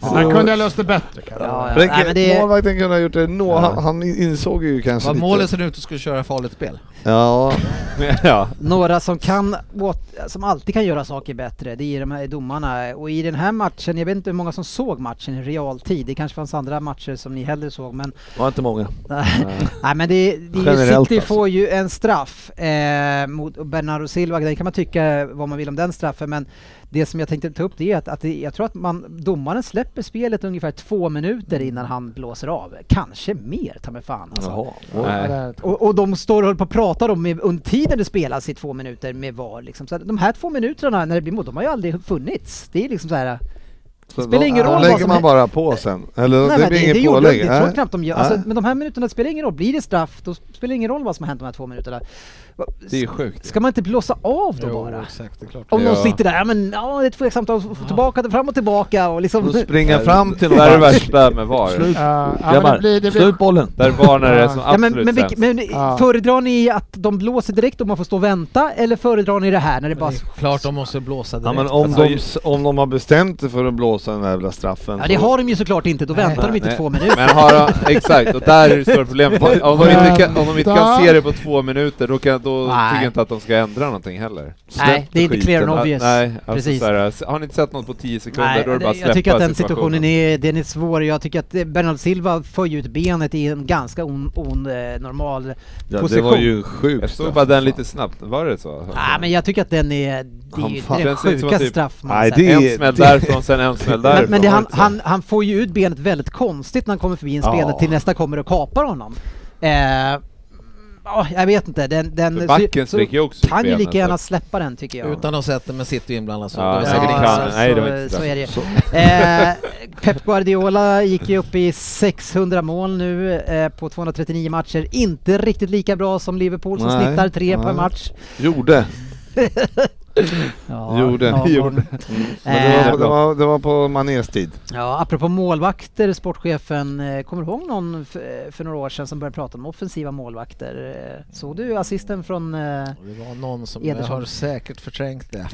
E: Han kunde ha löst det bättre kanske.
C: Ja, ja.
G: Men
C: Nej, men det,
G: Målvakten kunde ha gjort det. nå han, han insåg ju kanske
F: Var
G: lite.
F: målet såg ut att skulle köra farligt spel?
G: Ja,
D: ja.
C: några som kan, åt, som alltid kan göra saker bättre, det är de här domarna. Och i den här matchen, jag vet inte hur många som såg matchen i realtid, det kanske fanns andra matcher som ni hellre såg men...
G: det var inte många.
C: [LAUGHS] Nej men det, det är ju City
G: Generellt alltså.
C: får ju en straff eh, mot Bernardo Silva, det kan man tycka vad man vill om den straffen men det som jag tänkte ta upp det är att, att det, jag tror att man, domaren släpper spelet ungefär två minuter innan han blåser av. Kanske mer, ta mig fan alltså.
G: Jaha.
E: Ja, det
D: Nej.
E: är ett-
C: Och, och de står och håller på och pratar om med, under tiden det spelas i två minuter med VAR. Liksom. Så att de här två minuterna när det blir mål, de har ju aldrig funnits. Det är liksom så här...
G: Så
C: spelar ingen roll
G: de
C: vad
G: lägger
C: som
G: man
C: hä-
G: bara på sen. Eller
C: Nej,
G: det
C: men
G: blir
C: det, det
G: inget
C: gjorde de,
G: pålägg.
C: det tror jag
G: Nej.
C: knappt de gör. Alltså,
G: Nej.
C: men de här minuterna spelar ingen roll. Blir det straff, då spelar det ingen roll vad som har hänt de här två minuterna. Va-
D: Det är ju sjukt.
C: Ska man inte blåsa av då bara?
F: exakt. Det är klart.
C: Om någon
D: Ja.
C: sitter där, ja men ja, det är tveksamt, och f- tillbaka, fram och tillbaka och liksom...
G: Och springa fram till
D: Det här är det
G: någon.
D: värsta med VAR.
E: Ja, ja, men det blir,
G: Grabbar,
E: det
G: slå
E: blir,
G: ut bollen.
D: Där VAR när det är som
C: Ja, men,
D: absolut
C: men, vilk-
D: sämst.
C: men
E: Ja.
C: föredrar ni att de blåser direkt och man får stå och vänta, eller föredrar ni det här när det
F: Det
C: bara...
F: är klart de måste blåsa direkt.
G: Ja men om
F: Alltså,
G: de, om de har bestämt sig för att och sen den där jävla straffen.
C: Ja, det har de ju såklart inte, då väntar de inte
D: Nej.
C: två minuter.
D: Men har de, exakt, och där är det stora problemet. Om de inte kan, om de inte kan se det på två minuter, då, kan, då
C: Nej.
D: tycker jag inte att de ska ändra någonting heller.
C: Nej, det är inte
D: Skiten.
C: clear and obvious.
D: Nej, alltså
C: Precis.
D: Precis. Så här, har ni inte sett något på tio sekunder,
C: Nej,
D: då är det bara att
C: jag tycker att
D: släppa
C: den situationen
D: situationen.
C: är, den är svår. Jag tycker att eh, Bernardo Silva för ju ut benet i en ganska on, on, eh, normal
G: ja, det
C: position.
G: var ju sjukt.
D: Jag såg
G: straff,
D: bara den
G: fan.
D: lite snabbt, var det så?
C: Nej, men jag tycker att den är, det är
G: Han
C: ju
G: fan-
C: den
D: den ser ut som
C: sjukaste
D: typ-
C: straff man
G: Nej,
C: har sett.
G: det
D: En smäll därifrån, sen en
G: [LAUGHS]
D: smäll därifrån.
C: Men, men det,
D: var
C: han,
D: inte så?
C: han, han får ju ut benet väldigt konstigt när han kommer förbi en spelare
G: Ja.
C: till nästa kommer och kapar honom. Eh, ja, jag vet inte, den, den
D: För backen sträcker ju också ut
C: kan ju
D: benet,
C: lika
D: så-
C: gärna släppa den tycker jag.
F: Utan att sätta men sitter ju inblandad så
D: Ja,
F: det var
D: nej,
F: säkert
D: det
F: ingen
D: kan-
F: straff.
D: nej, det var
C: så,
D: inte
C: så
D: straff.
C: är det ju. eh, Pep Guardiola gick ju upp i 600 mål nu eh, på 239 matcher. Inte riktigt lika bra som Liverpool som
G: Nej,
C: snittar tre per
G: nej.
C: match.
G: Gjorde.
C: Ja,
G: Gjorde.
C: lagom.
G: Gjorde. Men
C: Eh,
G: det, var, det, var, det var på Manés tid.
C: Ja, apropå målvakter, sportchefen, eh, kommer du ihåg någon f- eh, för några år sedan som började prata om offensiva målvakter? Eh, Såg du assisten från... eh,
F: Och Det var någon som
C: Ederson.
F: jag har säkert förträngt det.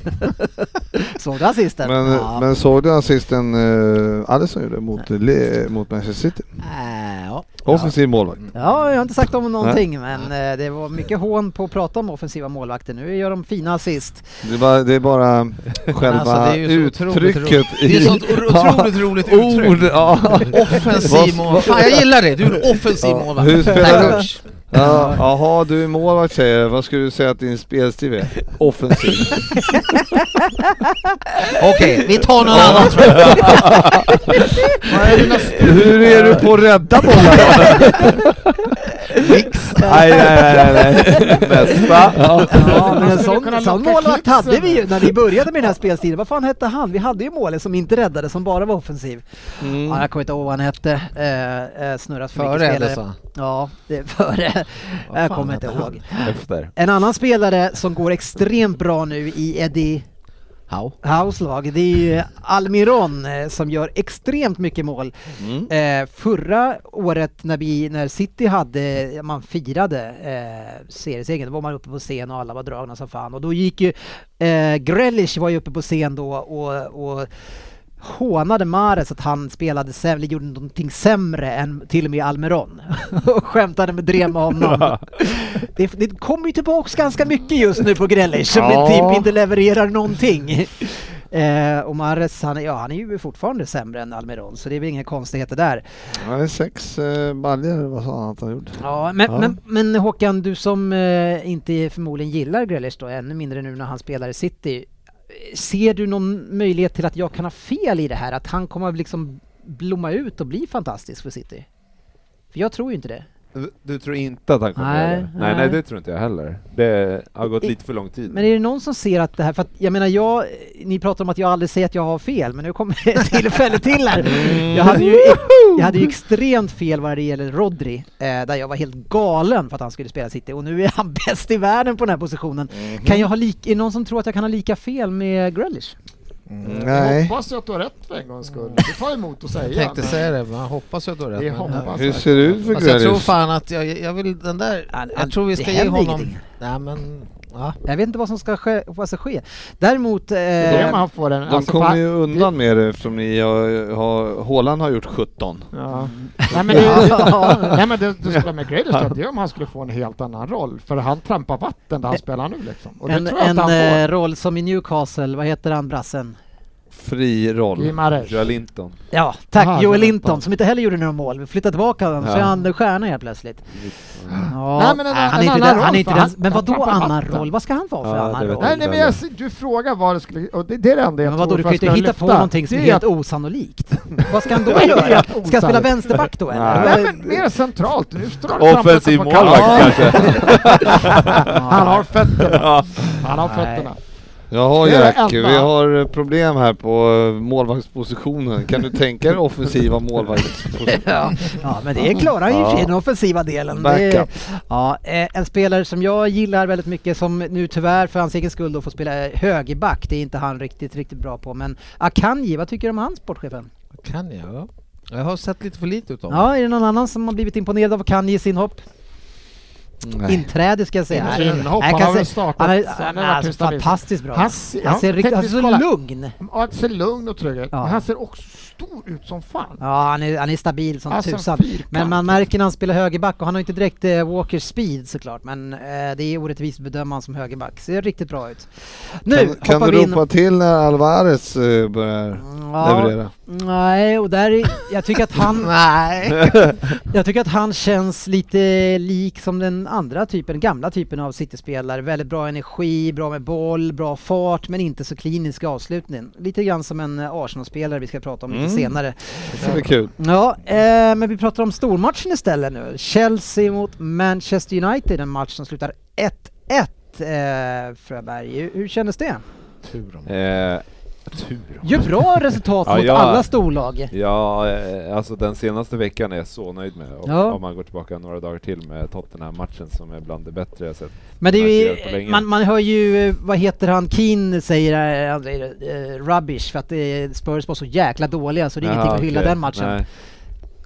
C: Såg du assisten?
G: Men,
C: ja.
G: men såg du assisten uh, Alisson gjorde mot, Le, mot Manchester City?
C: Eh,
F: Äh, ja.
G: Offensiv målvakt.
C: ja, jag har inte sagt om någonting, men eh, det var mycket hån på att prata om offensiva målvakter. Nu gör de fina assist.
G: Det, var, det är bara själva
F: Alltså, det är ju så otroligt
G: uttrycket
F: roligt. Det är ett
G: [LAUGHS]
F: sånt or- otroligt roligt uttryck.
G: Ord, ja.
F: Offensiv målvakt. Fan jag gillar det! Du är en offensiv
G: Ja,
F: målvakt.
G: hur spelar
F: Tack,
G: du?
F: coach.
G: Ja, Jaha, du är målvakt säger jag. Vad skulle du säga att din spelstil är? Offensiv.
F: Okej, vi tar någon annan tror jag.
G: [LAUGHS] Hur är du på att rädda bollar då?
D: Nej, nej, nej,
G: [LAUGHS]
D: nej, nej. Nästa.
C: Ja, men en
E: skulle kunna
C: sån, sån
E: locka
C: målvakt
E: klipsen.
C: hade vi ju när vi började med den här spelstilen. Vad fan hette han? Vi hade ju målet som inte räddade, som bara var offensiv. Ja, jag kommer inte ihåg vad han hette. Eh, eh, snurrat för
F: Före
C: mycket
F: Ederson.
C: spelare. Ja, det är före. jag
F: fan
C: kommer inte
F: hette han?
C: ihåg.
D: Efter.
C: En annan spelare som går extremt bra nu i Eddie
F: How?
C: Howes lag, det är ju Almiron eh, som gör extremt mycket mål. Eh, förra året när, vi, när City hade, man firade eh, seriesegern, då var man uppe på scen och alla var dragna som fan. Och då gick ju, eh, Grealish var ju uppe på scen då och, och hånade Mares att han spelade sämre, eller gjorde någonting sämre än till och med Almeron. [LAUGHS] och skämtade med drev med honom. [LAUGHS] det, det kommer ju tillbaks ganska mycket just nu på Grealish som
G: Ja.
C: typ inte levererar någonting. Eh, och Mares, han, är- ja, han är ju fortfarande sämre än Almeron, så det är väl inga konstigheter där.
G: Han är sex eh, baljor, vad sa han att han gjorde?
C: Ja, men,
G: Ja.
C: Men, men Håkan, du som eh, inte förmodligen gillar Grealish då, ännu mindre nu när han spelar i City. eh, Ser du någon möjlighet till att jag kan ha fel i det här? Att han kommer att liksom blomma ut och bli fantastisk för City? För jag tror ju inte det.
D: Du tror inte att han kommer
C: Nej,
D: göra det? Nej,
C: nej.
D: nej, det tror inte jag heller. Det har gått
C: I-
D: lite för lång tid.
C: Men är det någon som ser att det här, för att jag menar jag, ni pratar om att jag aldrig säger att jag har fel, men nu kommer ett [LAUGHS] tillfälle till här. Jag hade ju, jag hade ju extremt fel vad det gäller Rodri, eh, där jag var helt galen för att han skulle spela City, och nu är han [LAUGHS] bäst i världen på den här positionen. Kan jag ha lik, är det någon som tror att jag kan ha lika fel med Grealish?
G: Nej.
E: Hoppas att du har rätt för en gångs skull.
G: Mm.
E: Det tar emot att säga.
F: Jag tänkte
E: men
F: säga det, men jag hoppas att du har rätt.
E: Det
F: men-
E: hoppas
G: Hur ser det ut
E: Alltså,
G: för
F: Fast jag tror
G: Grealish?
F: fan att jag, jag vill den där...
C: Han- han-
F: Jag tror vi
C: det
F: ska ge
C: händer
F: honom...
C: ingenting.
F: Nej men... Ja.
C: Jag vet inte vad som ska ske. Vad ska ske. Däremot... Eh,
E: Det är om han får en...
G: De
E: alltså,
G: kommer
E: fan-
G: ju undan med det eftersom ni har... har Haaland har gjort 17.
E: Ja.
C: Mm.
E: Nej
C: [LAUGHS]
E: men det, det, nej, men det, det skulle med Grealish då, det är om han skulle få en helt annan roll. För han trampar vatten där han spelar nu liksom. Och det
C: en
E: tror jag
C: en
E: att han
C: eh,
E: får.
C: roll som i Newcastle, vad heter han brassen?
G: Fri
C: eh,
G: roll.
E: Gimares.
D: Joel Linton.
C: Ja, tack
E: Aha,
C: Joel
E: det var
C: Linton som inte heller gjorde några mål. Vi flyttade tillbaka honom så
D: Ja.
C: är han stjärna helt plötsligt. Ja,
E: Nej, men en-
C: han är
E: en
C: inte
E: annan
C: den, han är
E: roll,
C: inte
E: för
C: den,
E: han-
C: men
E: han
C: vadå
E: tappar
C: annan
E: vatten.
C: roll? Vad ska han vara för
D: Ja,
C: annan
D: det vet
C: roll?
E: Nej, nej men jag, ser- du frågar vad det skulle... Och det, det är det enda jag
C: Men vadå,
E: tror
C: du
E: för
C: kan ju
E: att
C: inte
E: kunna
C: hitta på
E: lyfta.
C: någonting som är
E: Det
C: helt
E: att- [LAUGHS]
C: osannolikt. Vad ska han då
E: Det är
C: göra?
E: helt
C: Ska han spela
E: osannolikt.
C: vänsterback då
E: Nej,
C: eller?
E: men mer centralt. Nu står han och trampar
D: Offensiv
E: på
D: målvakt
E: kanten.
D: kanske?
E: Han har fötterna. Han har
C: Nej.
E: fötterna.
G: Jaha
E: Det är
G: Jack,
E: elva.
G: vi har eh, problem här på eh, målvaktspositionen. Kan du tänka dig offensiva målvaktspositionen?
E: [LAUGHS]
C: Ja, ja, men det klarar han ju i och för sig, den offensiva delen. Det, är-
G: Backup.
C: ja, eh, en spelare som jag gillar väldigt mycket, som nu tyvärr för hans egen skull då får spela högerback, det är inte han riktigt, riktigt bra på. Men Akanji, vad tycker du om han, sportchefen?
F: Kan jag? ja. Jag har sett lite för lite utav
C: Ja, är det någon annan som har blivit imponerad av Akanjis inhopp? inträde ska jag säga.
E: Inte inhopp,
C: Jag
E: han
C: kan
E: har väl
C: säga-
E: startat-
C: han är-
E: han har
C: han
E: varit
C: är alltså
E: hyfsad liksom.
C: fantastiskt bra.
E: Han
C: Han
E: ser-
C: ser,
E: ja,
C: rikt- han
E: teknisk
C: ser så
E: kolla.
C: lugn.
E: Han ser lugn och trygg ut,
C: Ja.
E: men han ser också stor ut som fan.
C: Ja, han är, han är stabil som
E: Alltså,
C: tusan.
E: fyrkant.
C: Men man märker när han spelar högerback och han har inte direkt eh, Walker speed såklart, men eh, det är orättvist att bedöma honom som högerback. Ser riktigt bra ut. Nu
G: Kan,
C: hoppar
G: kan du
C: vi in...
G: ropa till när Alvarez eh, börjar leverera?
C: Nej, och där är, jag tycker att han... Nej. jag tycker att han känns lite lik som den andra typen, gamla typen av City-spelare. Väldigt bra energi, bra med boll, bra fart, men inte så klinisk i avslutningen. Lite grann som en eh, Arsenal-spelare vi ska prata om lite
G: Mm.
C: senare.
G: Det ska bli kul.
C: Ja, eh, men vi pratar om stormatchen istället nu. Chelsea mot Manchester United, en match som slutar 1-1. Eh, Fröberg, hur, hur kändes det?
F: Tur om.
D: Eh, tur.
C: Ju bra resultat
D: Ja,
C: mot
D: ja.
C: alla storlag.
D: Ja, eh, alltså den senaste veckan är jag så nöjd med. Och
C: Ja.
D: Om man går tillbaka några dagar till med Tottenham-matchen som är bland det bättre jag sett.
C: Men det
D: Verkligen, på
C: är ju,
D: länge.
C: man, man hör ju, eh, vad heter han, Keane säger eh, André, eh, rubbish för att eh, Spurs var så jäkla dåliga så det är
D: Jaha,
C: ingenting att hylla
D: okej.
C: den matchen.
D: Nej.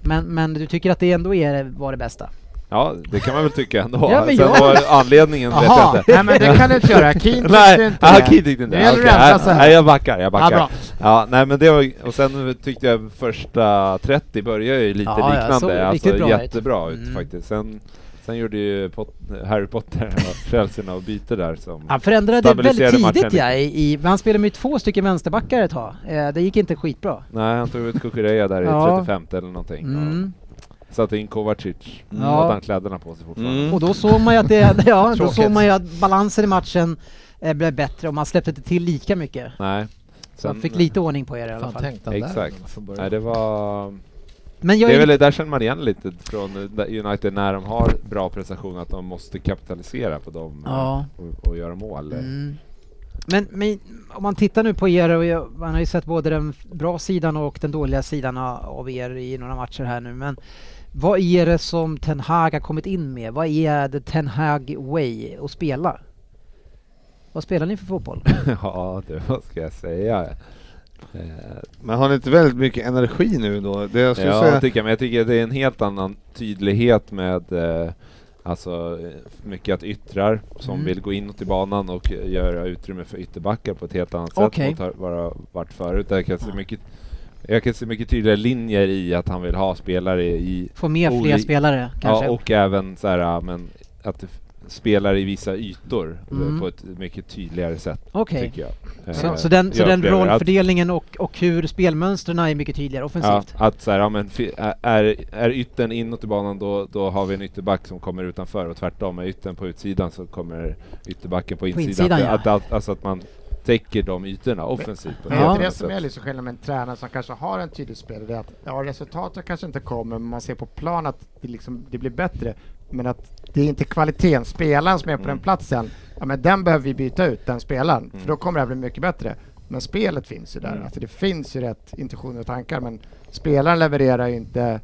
C: Men, men du tycker att det ändå är, eh, var det bästa?
D: Ja, det kan man väl tycka ändå.
C: Ja, men
D: Sen
C: jag-
D: var anledningen vet
C: [LAUGHS]
D: jag inte.
E: nej men det kan du inte göra. Keen tyckte
D: Nej,
E: inte
D: ah,
E: det.
D: Kid tyckte inte
E: Nu gäller
D: Okej,
E: det att
D: nej,
E: rensa här.
D: nej, jag backar, jag backar.
E: Ja, bra.
D: Ja, nej men det var, och sen tyckte jag första 30 började ju lite
C: Ja, ja,
D: liknande,
C: såg
D: alltså
C: riktigt bra ut.
D: jättebra ut
C: Mm.
D: faktiskt. Sen, sen gjorde ju Pot Harry Potter och Chelsea något byte där som...
C: Han förändrade väldigt
D: Stabiliserade
C: tidigt
D: matchen.
C: ja, i, i, men han spelade med två stycken vänsterbackar ett tag. Eh, det gick inte skitbra.
D: Nej, han tog ut Kukureya där
C: Ja.
D: i 35 eller någonting.
C: Mm.
D: Och satte in Kovacic.
C: Ja.
D: Mm. Hade han kläderna på sig fortfarande.
G: Mm.
C: Och då såg man ju att, det, [LAUGHS] ja, då
D: Tråkigt.
C: såg man ju att balansen i matchen eh, blev bättre och man släppte inte till lika mycket.
D: Nej.
C: Så
D: Sen,
C: man fick lite ordning på er i alla
F: Fan,
C: fall.
F: tänkte han där
D: Exakt.
F: från början?
D: Nej, det var...
C: Men jag
D: Det
C: är
D: är väl, där känner man igen lite från eh, där United när de har bra prestationer att de måste kapitalisera på dem eh,
C: Ja.
D: och, och göra mål.
C: Mm. Men, men om man tittar nu på er, och jag, man har ju sett både den bra sidan och den dåliga sidan a- av er i några matcher här nu, men vad är det som Ten Hag har kommit in med? Vad är the Ten Hag way att spela? Vad spelar ni för fotboll?
D: [LAUGHS] ja, du, vad ska jag säga? Eh,
G: Men har ni inte väldigt mycket energi nu då? Det jag skulle
D: ja,
G: säga...
D: jag tycker, men jag tycker det är en helt annan tydlighet med eh, alltså, eh, mycket att yttrar som
C: Mm.
D: vill gå inåt i banan och göra utrymme för ytterbackar på ett helt annat
C: Okej.
D: sätt mot vad det har varit förut. Där jag, kan se mycket, jag kan se mycket tydligare linjer i att han vill ha spelare i
C: Få med fler
D: Oli-
C: spelare kanske?
D: Ja, och även så här, äh, men att det f- spelar i vissa ytor eh,
C: Mm.
D: på ett mycket tydligare sätt,
C: Okej.
D: tycker jag. Eh,
C: Så, så den, så
D: jag
C: den
D: upplever att-
C: rollfördelningen och, och hur spelmönstren är mycket tydligare
D: Ja,
C: offensivt?
D: att så här, ja, men fi- ä- är, är yttern inåt i banan då, då har vi en ytterback som kommer utanför och tvärtom, är yttern på utsidan så kommer ytterbacken på insidan.
C: insidan,
D: att,
C: ja.
D: att, allt- alltså att man täcker de ytorna offensivt. på
E: Men
D: ett
E: det är
D: helt
E: inte det
D: annat
E: som
D: sätt.
E: är liksom skillnaden med en tränare som kanske har en tydlig spelare. Det är att, ja, resultatet kanske inte kommer, men man ser på plan att det, liksom, det blir bättre. Men att det är inte kvaliteten, spelaren som är på den platsen, ja, men den behöver vi byta ut, den spelaren, för då kommer det här bli mycket bättre. Men spelet finns ju där, alltså det finns ju rätt intentioner och tankar, men spelaren levererar ju inte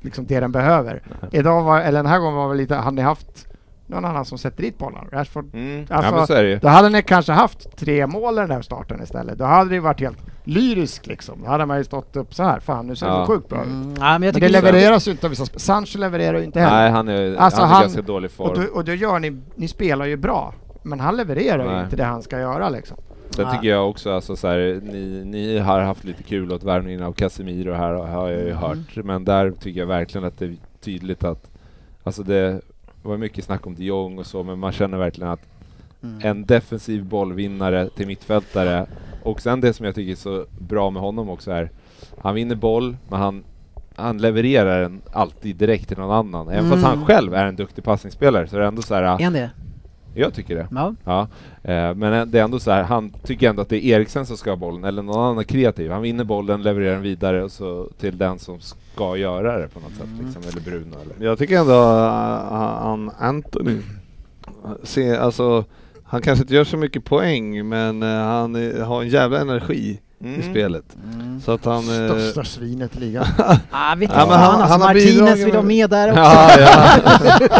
E: liksom det den behöver. Idag var, eller den här gången var väl lite, hade ni haft någon annan som sätter dit bollar? Rashford
D: Mm. ja,
E: Alltså,
D: men så är det ju.
E: då hade ni kanske haft tre mål i den här starten istället. Då hade det ju varit helt lyriskt liksom. Då hade man ju stått upp så här. Fan, nu ser det
D: Ja.
E: sjukt bra ut.
C: Mm, ja, men jag
E: Men det
C: tycker
E: levereras ju inte av vissa sp- Sancho levererar ju inte heller.
D: Nej, han är,
E: Alltså,
D: han är
E: han-
D: ganska dålig form.
E: och, då, och då gör ni, ni spelar ju bra. Men han levererar ju
D: Nej.
E: inte det han ska göra liksom.
D: Sen tycker jag också alltså så här, ni, ni har haft lite kul åt värvningen av Casemiro här har jag ju hört. Men där tycker jag verkligen att det är tydligt att, alltså det var mycket snack om de Jong och så, men man känner verkligen att en defensiv bollvinnare till mittfältare och sen det som jag tycker är så bra med honom också är, han vinner boll, men han han levererar den alltid direkt till någon annan. Även fast
C: Mm.
D: han själv är en duktig passningsspelare så är det ändå så här.
C: Är han det?
D: jag tycker det.
C: Ja.
D: Ja, eh, men ä- det är ändå så här, han tycker ändå att det är Eriksen som ska ha bollen, eller någon annan kreativ. Han vinner bollen, levererar den vidare och så till den som ska göra det på något sätt, liksom, eller Bruno eller...
G: Jag tycker ändå uh, han Anthony, äh, se, alltså, han kanske inte gör så mycket poäng men eh, han eh, har en jävla energi.
D: Mm.
G: i spelet. Så att han... eh,
E: Mm. Största svinet i ligan.
C: Ah, vet
G: [LAUGHS] Ja,
C: ja, han,
G: men han-
C: alltså,
G: han har bidragit
C: Martinez vill
G: med-
C: ha med där också.
G: Ja, ja.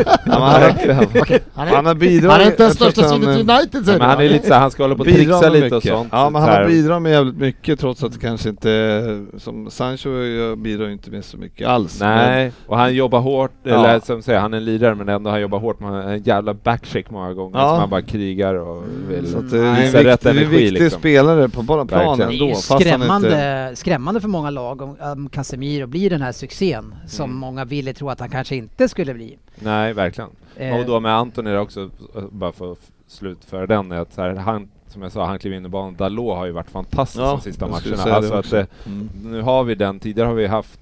G: ja, men han, har-
E: Okej, han, är,
G: han har bidragit...
E: han är inte den
G: jag tror att
E: största
G: han,
E: svinet i
G: eh,
E: United
D: Men
E: säger
D: han är
E: du?
D: lite såhär, han ska hålla på och
G: Bidrar
D: trixa
G: med
D: lite
G: mycket.
D: och sånt.
G: Ja, men
D: Så
G: han
D: här.
G: har bidragit med jävligt mycket trots att det kanske inte... Som Sancho eh, bidrar ju inte med så mycket alls. Men,
D: Nej, och han jobbar hårt,
G: Ja.
D: eller som säger, han är en lirare men ändå han jobbar hårt med en jävla backcheck många gånger
G: Ja.
D: som han bara krigar och vill
G: så att, eh, det är en
D: visa
G: viktig,
D: Mm. rätt
G: det är en
D: energi
G: viktig
D: liksom.
G: spelare på bara planen
D: Verkligen.
C: det
G: ändå.
C: är ju
G: fast han
C: skrämmande,
G: Inte,
C: skrämmande för många lag om, om Casemiro blir den här succén som
G: Mm.
C: många ville tro att han kanske inte skulle bli.
D: Nej, verkligen.
C: Eh,
D: Och då med Antoni där också, eh, bara för att f- slutföra den, är att så här, han, som jag sa, han klev in i banan. Dalot har ju varit fantastisk
G: Ja,
D: de sista
G: jag skulle
D: matcherna.
G: säga det
D: Alltså att,
G: också.
D: eh,
G: mm.
D: nu har vi den, tidigare har vi haft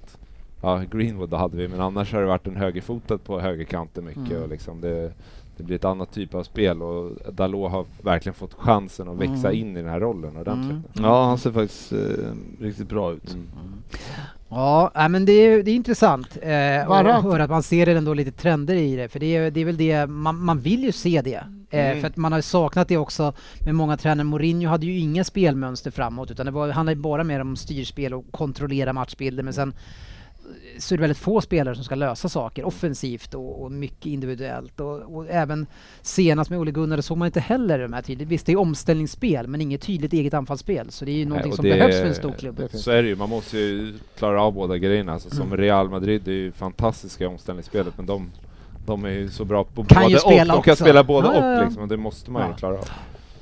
D: Ja, Greenwood hade vi, men annars har det varit en högerfotad på högerkanten mycket och liksom det, det blir ett annat typ av spel och Dalot har verkligen fått chansen att växa in i den här rollen ordentligt.
G: Ja, han ser faktiskt eh, riktigt bra ut.
C: Ja, nej, men det är, det är intressant eh,
E: Varra.
C: att höra att man ser det ändå lite trender i det, för det är, det är väl det, man, man vill ju se det. Eh, För att man har ju saknat det också med många tränare. Mourinho hade ju inga spelmönster framåt, utan det var, handlade ju bara mer om styrspel och kontrollera matchbilder, men sen eh, så är det väldigt få spelare som ska lösa saker offensivt och, och mycket individuellt. Och, och även senast med Ole Gunnar det såg man inte heller de här tydligt. Visst, det är omställningsspel, men inget tydligt eget anfallsspel. Så det är ju någonting
D: och
C: som
D: det-
C: behövs för en stor klubb.
E: Det finns.
D: Så är det ju, man måste ju klara av båda grejerna. Alltså,
E: Mm.
D: som Real Madrid är ju fantastiska i omställningsspelet men de, de är ju så bra på
C: Kan ju
D: både
C: spela
D: och. De kan
C: också.
D: spela både
C: Ja, ja, ja.
D: och liksom, och det måste man
C: Ja.
D: ju klara av.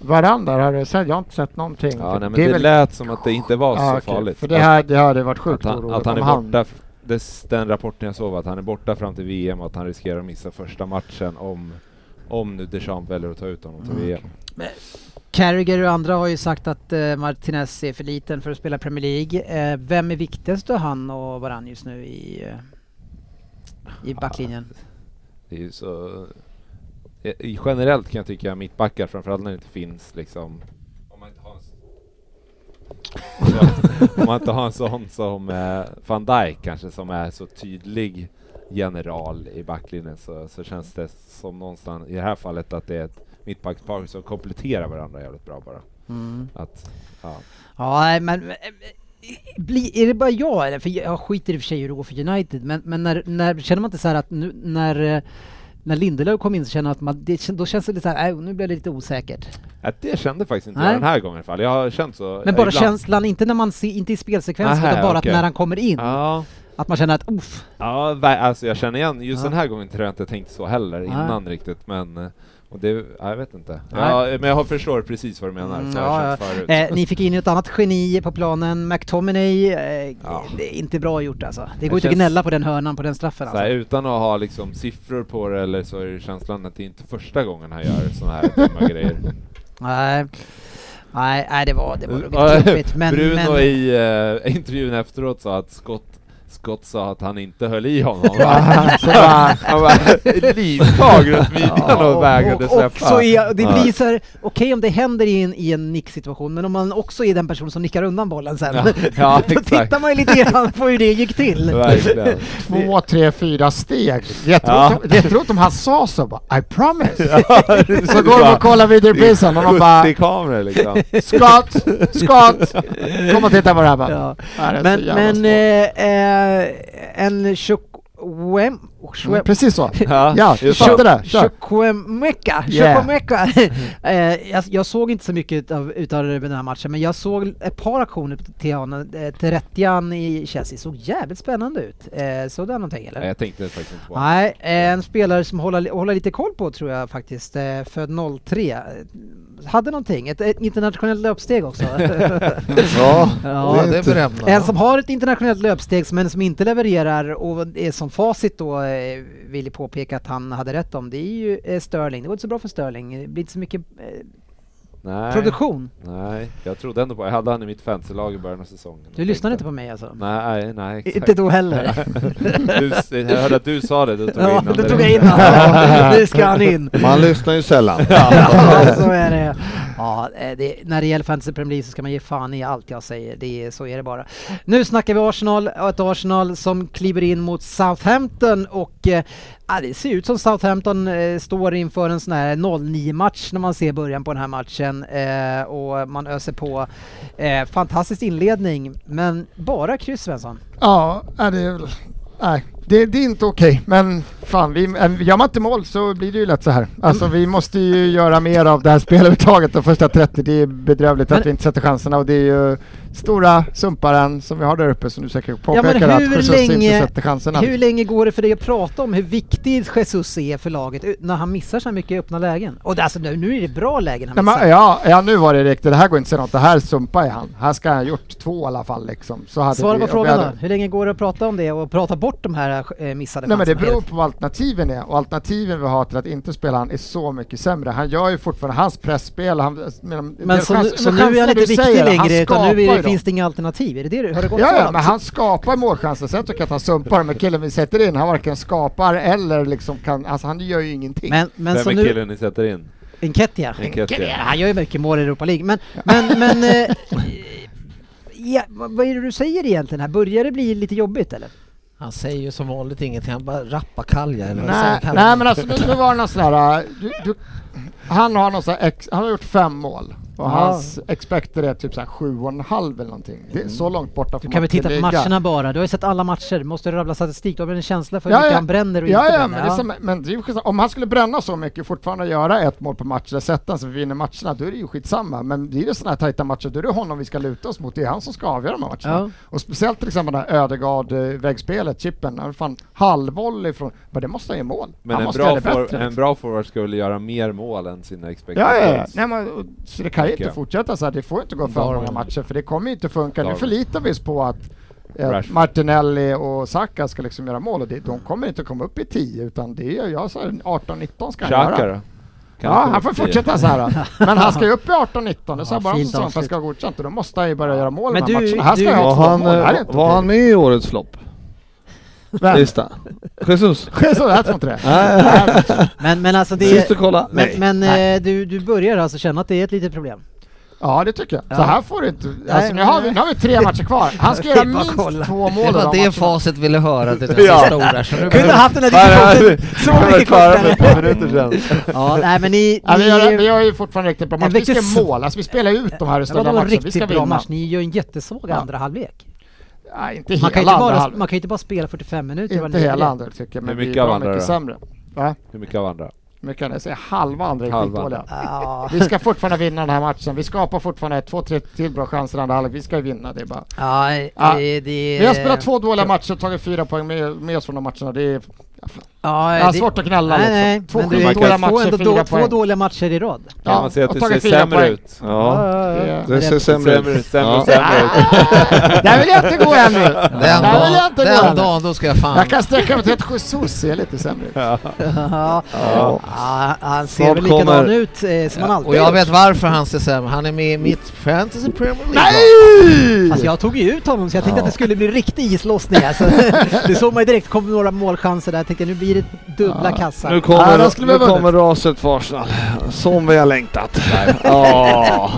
E: Varann där har du sett, jag har inte sett någonting.
D: Ja,
E: För
D: nej, men det,
E: väl-
D: lät som att det inte var så
E: Ja, okej.
D: farligt.
E: För det här, det här hade varit sjukt
D: att han,
E: oroligt
D: att han
E: om
D: är borta, f- des, den rapporten jag såg var att han är borta fram till VM och att han riskerar att missa första matchen om, om nu Deschamps väljer att ta ut honom till
E: Mm,
D: VM.
C: Carragher och andra har ju sagt att eh, Martinez är för liten för att spela Premier League. Eh, vem är viktigast av han och varann just nu i, eh, i backlinjen?
D: Det är ju så... I- I, generellt kan jag tycka mittbackar, framförallt när det inte finns liksom... Om man inte har en, s- så, [LAUGHS] om man inte har en sån som eh, van Dijk kanske, som är så tydlig general i backlinjen så, så känns det som någonstans, i det här fallet, att det är ett mittbackspar som kompletterar varandra jävligt bra bara. Att, ja.
C: Ja, nej, men eh, eh, bli, är det bara jag eller? För jag skiter i och för sig hur det går för United, men, men när, när, känner man inte så här att nu, när eh, när Lindelöf kom in så känner jag att man, det, kän- då känns det lite så här, äh, nu blev det lite osäkert.
D: Att det kände faktiskt inte
C: Nej.
D: jag den här gången i alla fall. Jag har känt så
C: Men bara
D: ibland.
C: känslan, inte när man ser, inte i spelsekvensen,
D: Aha,
C: utan bara
D: okej.
C: att när han kommer in,
D: Ja,
C: att man känner att uff,
D: ja ver- alltså jag känner igen. Just
C: Ja.
D: den här gången tror jag inte jag tänkte så heller
C: Nej.
D: innan riktigt. Men eh, och det, ja, jag vet inte. Ja,
C: Nej.
D: men jag förstår precis vad du menar.
C: Mm,
D: så jag har
C: ja,
D: känt förut.
C: Eh, ni fick in ett annat geni på planen, McTominay. Eh,
D: Ja.
C: Det är inte bra gjort alltså. Det
D: Det
C: går inte att
D: känns-
C: gnälla på den hörnan, på den straffen
D: så här,
C: alltså.
D: utan att ha liksom siffror på det eller så är det känslan att det inte är första gången han gör såna här
C: [LAUGHS]
D: dumma grejer.
C: Nej. Nej, nej, det var, det var
D: Ja, [LAUGHS]
C: ruggigt jobbigt. Men,
D: Bruno
C: men,
D: i eh, intervjun efteråt sa att Scott, Scott sa att han inte höll
C: [LAUGHS]
D: i honom.
E: Så bara,
D: [LAUGHS] Han var livtag runt [LAUGHS] midjan och vägrade
C: och, och
D: släppa.
C: så är, det
D: Ja.
C: blir så här, okej om det händer i en, i en nicksituation, men om man också är den person som nickar undan bollen sen, [LAUGHS]
D: Ja,
C: då
D: ja, exakt.
C: tittar man ju lite
D: [LAUGHS]
C: grann på hur det gick till.
D: Verkligen.
E: två, tre, fyra steg. Jag tror,
D: Ja.
E: inte- jag tror inte om han sa så bara I [LAUGHS] promise. så går de
D: [LAUGHS]
E: och kollar videoprisen och de bara
D: i kameror
E: [LAUGHS]
D: liksom.
E: Scott, Scott, kom och titta på det här bara.
C: Ja.
E: Det här är så
C: Men,
E: jävla
C: men
E: svårt.
C: eh, eh, en Chukwem...
E: Mm, precis så.
D: Ja,
E: Ja, du
D: just
E: fattade det. Kör.
C: Chukwemeka!
E: Yeah.
C: Chukwemeka! [LAUGHS] eh, jag, jag såg inte så mycket utav, utav den här matchen, men jag såg ett par aktioner till honom. Eh, Terettian i Chelsea såg jävligt spännande ut. Eh, såg du någonting eller?
D: Nej, jag tänkte faktiskt inte på det.
C: Nej, eh, en spelare som håller, li- håller lite koll på tror jag faktiskt, eh, född 03. Eh, Hade någonting, ett, ett internationellt löpsteg också. [LAUGHS]
G: Ja,
C: Ja,
G: det är berömda.
C: En som har ett internationellt löpsteg men som inte levererar och är som facit då eh, vill jag påpeka att han hade rätt om, det är ju eh, Sterling. Det går inte så bra för Sterling. Det blir inte så mycket eh,
D: Nej.
C: produktion.
D: Nej, jag trodde ändå på Jag hade han i mitt fantasylag i början av säsongen.
C: Du lyssnar inte på mig alltså?
D: Nej, nej, exakt.
C: Inte då heller.
D: du, s- jag hörde att du sa det, [LAUGHS] då tog jag
C: Ja,
D: in
C: då
D: det.
C: tog jag in honom. Nu ska han in.
E: [LAUGHS]
G: Man lyssnar ju sällan.
C: Ja, så är det. Ja, eh, det, när det gäller Fantasy Premier League så ska man ge fan i allt jag säger. Det är, så är det bara. Nu snackar vi Arsenal och ett Arsenal som kliver in mot Southampton och eh, ja, det ser ut som Southampton eh, står inför en sån här 0-9-match när man ser början på den här matchen eh, och man öser på. Eh, fantastisk inledning, men bara kryss Svensson.
E: Ja, nej, det är väl... Nej, det, det är inte okej. Men fan, vi, äh, gör man inte mål så blir det ju lätt så här. Alltså vi måste ju göra mer av det här spelövertaget. De första 30, det är bedrövligt
C: Men-
E: att vi inte sätter chanserna och det är ju stora sumparen som vi har där uppe som du säkert påpekar
C: men
E: att
C: hur
E: Jesus
C: länge-
E: inte sätter chanserna.
C: Hur länge går det för dig att prata om hur viktig Jesus är för laget eh, när han missar så här mycket i öppna lägen? Och det, alltså, nu, nu är det bra lägen han
E: Nej,
C: missar.
E: men, ja, ja, nu var det riktigt. Det här går inte att säga något. Det här sumpar ju han. Här ska han ha gjort två i alla fall liksom. Så hade
C: Svara
E: vi-
C: på
E: och vi
C: frågan
E: hade-
C: då. Hur länge går det att prata om det och prata bort de här eh, missade
E: Nej men det
C: chanserna?
E: beror på vad alternativen är och alternativen vi har till att inte spela han är så mycket sämre. Han gör ju fortfarande hans pressspel. Han, eh, men
C: Men så, nu- så nu är han inte viktig längre utan nu är det, finns det inga alternativ. Är det det du, har det gått
E: Ja,
C: så
E: ja,
C: långt?
E: men han skapar målchanser. Sen tycker jag att han sumpar, men killen vi sätter in, han varken skapar eller liksom kan, alltså han gör ju ingenting.
C: men, men så
D: Vem är
C: nu,
D: killen ni sätter in?
C: Enketia.
D: Enketia.
C: Enketia, Han gör ju mycket mål i Europa League. Men, men, men eh, ja, vad vad är det du säger egentligen här? Börjar det bli lite jobbigt eller?
F: Han säger ju som vanligt ingenting, han bara rappakalja eller vad
E: Nej,
F: säger han?
E: nej men alltså nu, nu var det någon sån här, äh, du, du, han har någon sån här ex, han har gjort fem mål och
C: Ja.
E: hans expected är typ så här sju och en halv eller någonting. Det är så långt borta
C: Du
E: får
C: kan
E: man
C: väl
E: inte
C: titta på
E: ligga.
C: matcherna bara? Du har ju sett alla matcher, måste du rabbla statistik? Du har väl en känsla för hur mycket han bränner och
E: ja,
C: inte
E: ja,
C: bränner?
E: men, det är som, men det är ju skitsamma. om han skulle bränna så mycket och fortfarande göra ett mål på match eller sätta en så vi vinner matcherna, då är det ju skitsamma. Men det är ju sådana här tajta matcher, då är det honom vi ska luta oss mot. Det är han som ska avgöra de här matcherna.
C: Ja.
E: Och speciellt till exempel det här Ödegaard-väggspelet, chippen, han fan halvvolley från... Men det måste han ju mål.
D: Men
E: han
D: en
E: måste
D: bra,
E: göra det
D: for,
E: bättre. liksom.
D: en bra forward ska väl göra mer mål än sina expected
E: Ja, ja, ja.
D: goals?
E: Nej, men, och- så det kan ju
D: Tycker
E: inte
D: jag.
E: fortsätta så här. Det får inte gå för
F: Darwin.
E: många matcher för det kommer ju inte funka. Nu
D: Darwin.
E: förlitar vi oss på att eh,
D: Rashford.
E: Martinelli och Saka ska liksom göra mål och det, de kommer inte komma upp i 10 utan det är jag så här 18-19 ska han
D: Xhaka då?
E: göra. [LAUGHS]
D: Kan
E: Ja,
D: inte
E: han får
D: bli-
E: fortsätta så här.
D: [LAUGHS]
E: då. Men han ska ju upp i 18-19. Det sa
C: Ja,
E: jag bara om
C: fint
E: säsongen för att
C: avslut.
E: ska ha godkänt och då måste han ju börja göra mål i
C: Men
E: de här
C: du-
E: matcherna. Här ska
C: du-
E: jag
G: Var
E: ha två
G: han,
E: mål. Det här är
G: eh,
E: inte
G: var han
E: okej.
G: med i årets flopp?
E: Vem?
G: Lista? Jesus?
E: [LAUGHS] Så jag tror inte det.
G: Nej.
E: Nej,
C: men, men alltså
G: Sist
C: det...
G: du kolla? Nej.
C: Men, men eh, du, du börjar alltså känna att det är ett litet problem?
E: Ja, det tycker jag.
C: Ja.
E: Så här får det inte...
C: Nej,
E: Alltså, nu, har vi,
C: nej.
E: nu har vi tre matcher kvar.
C: [LAUGHS]
E: Han ska göra
C: Jag vill bara
E: minst
C: kolla.
E: två mål i de
F: Det var det
E: matcherna.
F: facit ville höra till den
G: Ja.
F: sista ord här, så nu
C: Kunde haft den här diskussionen [LAUGHS] så mycket kortare!
E: [LAUGHS]
C: Ja, nej men ni...
E: Ja, vi, gör, vi
C: ni
E: gör ju fortfarande riktigt bra
C: Men
E: match. Vi
C: vilket
E: ska måla, alltså, vi spelar ut de här
C: Ja, det
E: stora
C: var en
E: matcherna. Vi ska
C: riktigt bra
E: vinna.
C: match. Ni gör en jättesvag
E: Ja.
C: andra halvlek.
E: Nej, inte hela
C: Man kan, ju inte
E: andra
C: bara,
E: halv-
C: man kan ju inte bara spela 45 minuter. vad
E: Inte
C: ni
E: hela
C: gör.
E: andra tycker
D: Hur
E: jag, men vi är
D: mycket
E: bra
D: av andra
E: mycket
D: då?
E: sämre. Va?
D: Hur mycket av andra?
E: Mycket, jag säger halva andra är
D: Halva.
E: skitdåliga.
C: Ja.
E: Vi ska fortfarande vinna den här matchen. Vi skapar fortfarande två, tre till bra chanser i andra halvlek. Vi ska ju vinna. Det är bara...
C: Ja,
E: Ja.
C: det, det,
E: Vi har spelat två dåliga matcher och tagit fyra poäng med, med oss från de matcherna. Det är,
C: Ja,
E: jag har
C: det-
E: svårt att gnälla
C: Nej,
E: liksom.
C: nej.
E: Två
C: men du två,
D: skitdåliga
E: matcher,
C: ändå
E: fyra
C: då, två
E: poäng.
C: dåliga matcher i rad.
D: Kan man säga att
E: och
D: det ser
E: tagit fyra
D: sämre
E: poäng.
D: ut?
G: Ja,
E: Det är-
G: det ser sämre
D: Sämre, sämre,
G: ut.
D: sämre,
G: Ja.
C: [LAUGHS]
D: ut.
E: Där vill jag inte gå
D: [LAUGHS]
E: ännu!
F: Den
E: Där vill jag
F: dagen,
E: inte gå
F: den
E: ännu!
F: dagen, då ska jag fan...
E: Jag kan sträcka mig till att Jesus ser lite sämre ut.
C: Ja.
G: Ja.
C: Ja, han ser
G: Snart
C: väl likadan
G: kommer-
C: ut eh, som han alltid
F: Och jag
C: gjort.
F: vet varför han ser sämre, han är med i mitt fantasy Premier League.
E: Nej!
C: Alltså jag tog ju ut honom så jag tänkte
F: Ja.
C: att det skulle bli riktig islossning alltså.
E: [LAUGHS]
C: Det såg man ju direkt, kom några målchanser där. Jag tänkte nu blir det dubbla kassar.
G: Nu
E: Ja, då
G: kommer,
E: skulle vi
G: nu
E: ha vunnit.
G: kommer raset för Arsenal. Som vi har längtat. [LAUGHS] Ja.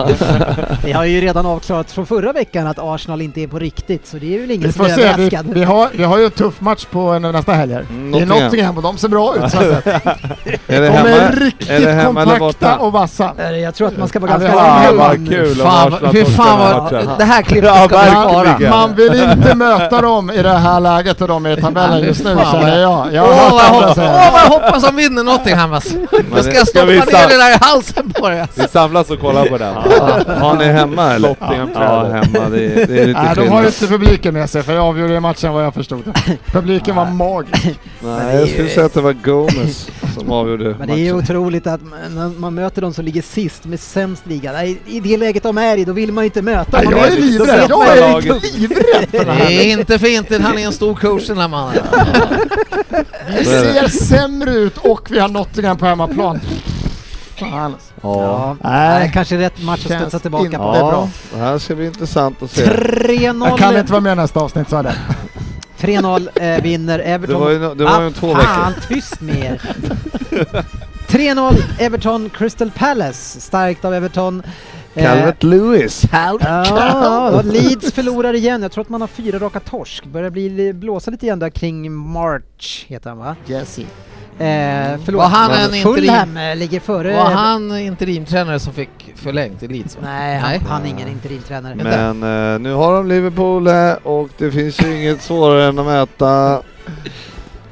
C: Vi har ju redan avklarat från förra veckan att Arsenal inte är på riktigt så det är väl ingen
E: Vi
C: som
E: får
C: är
E: se, vi,
C: överraskad.
E: vi, har, vi har ju en tuff match på en- nästa helg här. Det är
G: Nottingham.
E: Nottingham och de ser bra ut. Så att säga.
G: Mm, Är
E: de
G: det
E: är
G: hemma?
E: riktigt
G: är det hemma eller
E: kompakta
G: borta?
E: och vassa.
C: Eh, Jag tror att man ska vara
E: Ja,
C: ganska
E: vi har-
C: lugn.
E: vad
D: kul om
F: fan,
D: Arsenal
F: hur
D: tog
F: fan
D: den här
F: var...
D: matchen.
F: Det här klippet ska vi spara.
E: Man, man vill inte möta dem i det här läget och de är i tabellen just nu
F: Fan,
E: känner jag. Jag har
F: Åh vad
E: hört
F: jag
E: andra
F: hoppas, åh,
E: säga
F: vad jag hoppas han vinner Nottingham alltså. Jag ska
G: det-
F: stoppa
D: vi
F: ner
D: sa-
F: det där i halsen på dig alltså.
D: Vi samlas och kollar på den.
G: Har ni hemma eller? Ja,
D: Nottingham-kläder.
G: hemma. Det är, det är lite
E: Nej, de har ju
G: skillnad.
E: inte publiken med sig för jag avgjorde ju matchen vad jag förstod. Publiken var magisk.
G: Nej, jag skulle säga att det var Gomes som avgjorde
C: Men det är ju
G: matchen.
C: otroligt att man, när man möter de som ligger sist med sämst liga. Nej, I det läget de är i, då vill man ju inte möta
E: Nej,
C: dem.
E: jag är
C: Då vet
E: livrädd!
C: man-
E: Jag är
D: laget.
E: livrädd för det här!
F: Det är inte fint, han är en stor coach den här mannen.
E: Vi
G: Så är det.
E: ser sämre ut och vi har Nottingham på hemmaplan. Fan alltså.
C: Ja,
E: Nej.
C: nej, kanske rätt match att
E: Känns
C: studsa tillbaka
E: inte
C: på.
E: det är bra.
G: Ja, det här ska bli intressant att se.
C: 3-0,
E: Jag kan inte vara med i nästa avsnitt sa jag det.
C: 3-0 eh, vinner
G: Det
C: Everton.
G: var ju, no- det var ju om två
C: ah,
G: veckor.
C: fan, tyst med er! 3-0 Everton Crystal Palace. Starkt av Everton. Eh,
G: Calvert Lewis.
C: Ja, och Leeds förlorar igen. Jag tror att man har fyra raka torsk. Börjar bli li- blåsa lite igen där kring March, heter han va?
F: Jesse.
C: Eh, förlåt.
F: Var han en
C: Fulham eh, ligger före...
F: Var han interimtränare som fick förlängt i Leeds? va?
C: Nej, han,
F: Nej.
C: han är ingen interimtränare.
G: Men eh, nu har de Liverpool eh, och det finns ju inget svårare än att möta...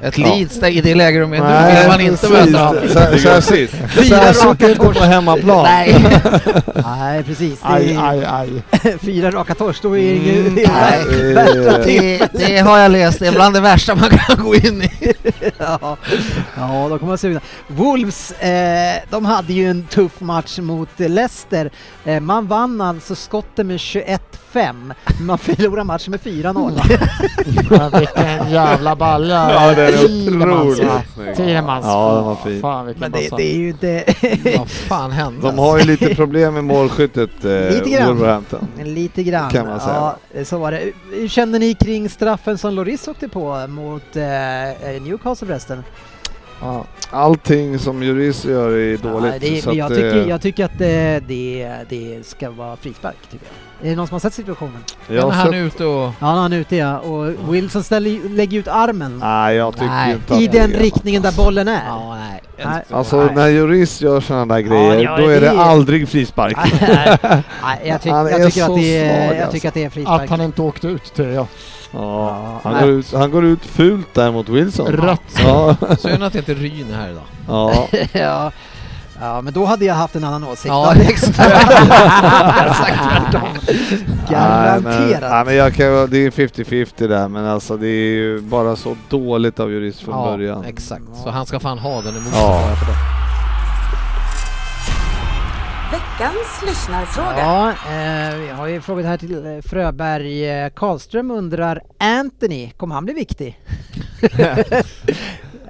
F: Ett
G: Ja.
F: Leeds där, i det läge de är nu
G: Nej,
F: vill man inte
G: precis.
F: möta dem.
G: Så- så- Särskilt särskilt inte på hemmaplan.
F: Nej.
C: Nej, precis. Det
E: Aj,
C: är
E: aj,
C: [LAUGHS]
E: aj.
C: fyra raka torsk, då är det ingen... [LAUGHS]
F: Mm,
C: det är-
F: nej.
G: Eh,
F: Det, det har jag läst, det är bland det värsta man kan gå in i.
C: [LAUGHS] ja, ja, då kommer man sugna. Wolves, eh, de hade ju en tuff match mot eh, Leicester. Eh, man vann alltså skotten med 21-5, men man förlorade matchen med
G: Mm.
C: [LAUGHS] 4-0.
E: Men vilken jävla balja.
G: Ja, den är
E: Thielemans,
G: otroligt
E: va?
D: snygg.
E: Thielemans.
G: Ja, den var fin.
E: Fan, vilken
C: men det,
E: bassa.
C: det är ju inte... [LAUGHS]
F: Vad fan hände?
G: De har ju lite problem med målskyttet, eh,
C: Lite grann.
G: Wolverhampton.
C: Lite grann.
G: Kan man säga.
C: Ja, så var det. Hur känner ni kring straffen som Loris åkte på mot eh, Newcastle förresten?
G: Ja. Allting som Juris gör är dåligt.
C: Ja, det,
G: så att,
C: jag, tycker,
G: eh,
C: jag tycker att det, det, det ska vara frispark, tycker jag. Är det någon som har sett situationen?
G: jag
F: Men
G: har
F: han
G: sett-
F: är ute och...
C: Ja, han är ute ja. Och Wilson ställer, lägger ut armen
G: Nej, jag tycker
F: Nej.
G: inte att
C: i
G: det är
C: den
G: något.
C: riktningen där bollen är.
F: Ja, nej.
C: Nej.
G: Alltså
C: Nej.
G: när Juris gör sådana där grejer,
C: ja,
G: då är det,
C: det-
G: aldrig frispark.
C: Nej, jag, tyck,
G: Han
C: jag,
G: är
C: tycker att
G: så
C: det är,
G: svag,
C: jag
G: alltså.
C: tycker att det är frispark.
E: Att han inte åkte ut, tycker jag.
G: Ja.
C: Nej.
G: Han, går ut, han går ut fult där mot Wilson.
E: Rött.
G: Ja. [LAUGHS]
F: Synd att inte Ryn är här idag.
G: ja.
C: [LAUGHS] ja. ja, men då hade [LAUGHS] jag haft en annan åsikt.
F: Ja,
C: Då-
F: exakt. Exakt tvärtom.
G: Nej, men, nej,
C: Garanterat.
G: men jag kan, det är 50-50 där, men alltså det är ju bara så dåligt av Juris från början.
F: Exakt, så han ska fan ha den emot sig.
G: Ja.
H: Veckans lyssnarfråga.
C: Ja, eh, vi har ju frågat här till eh, Fröberg. Eh, Karlström undrar, Anthony, kommer han bli
G: [LAUGHS]
C: viktig?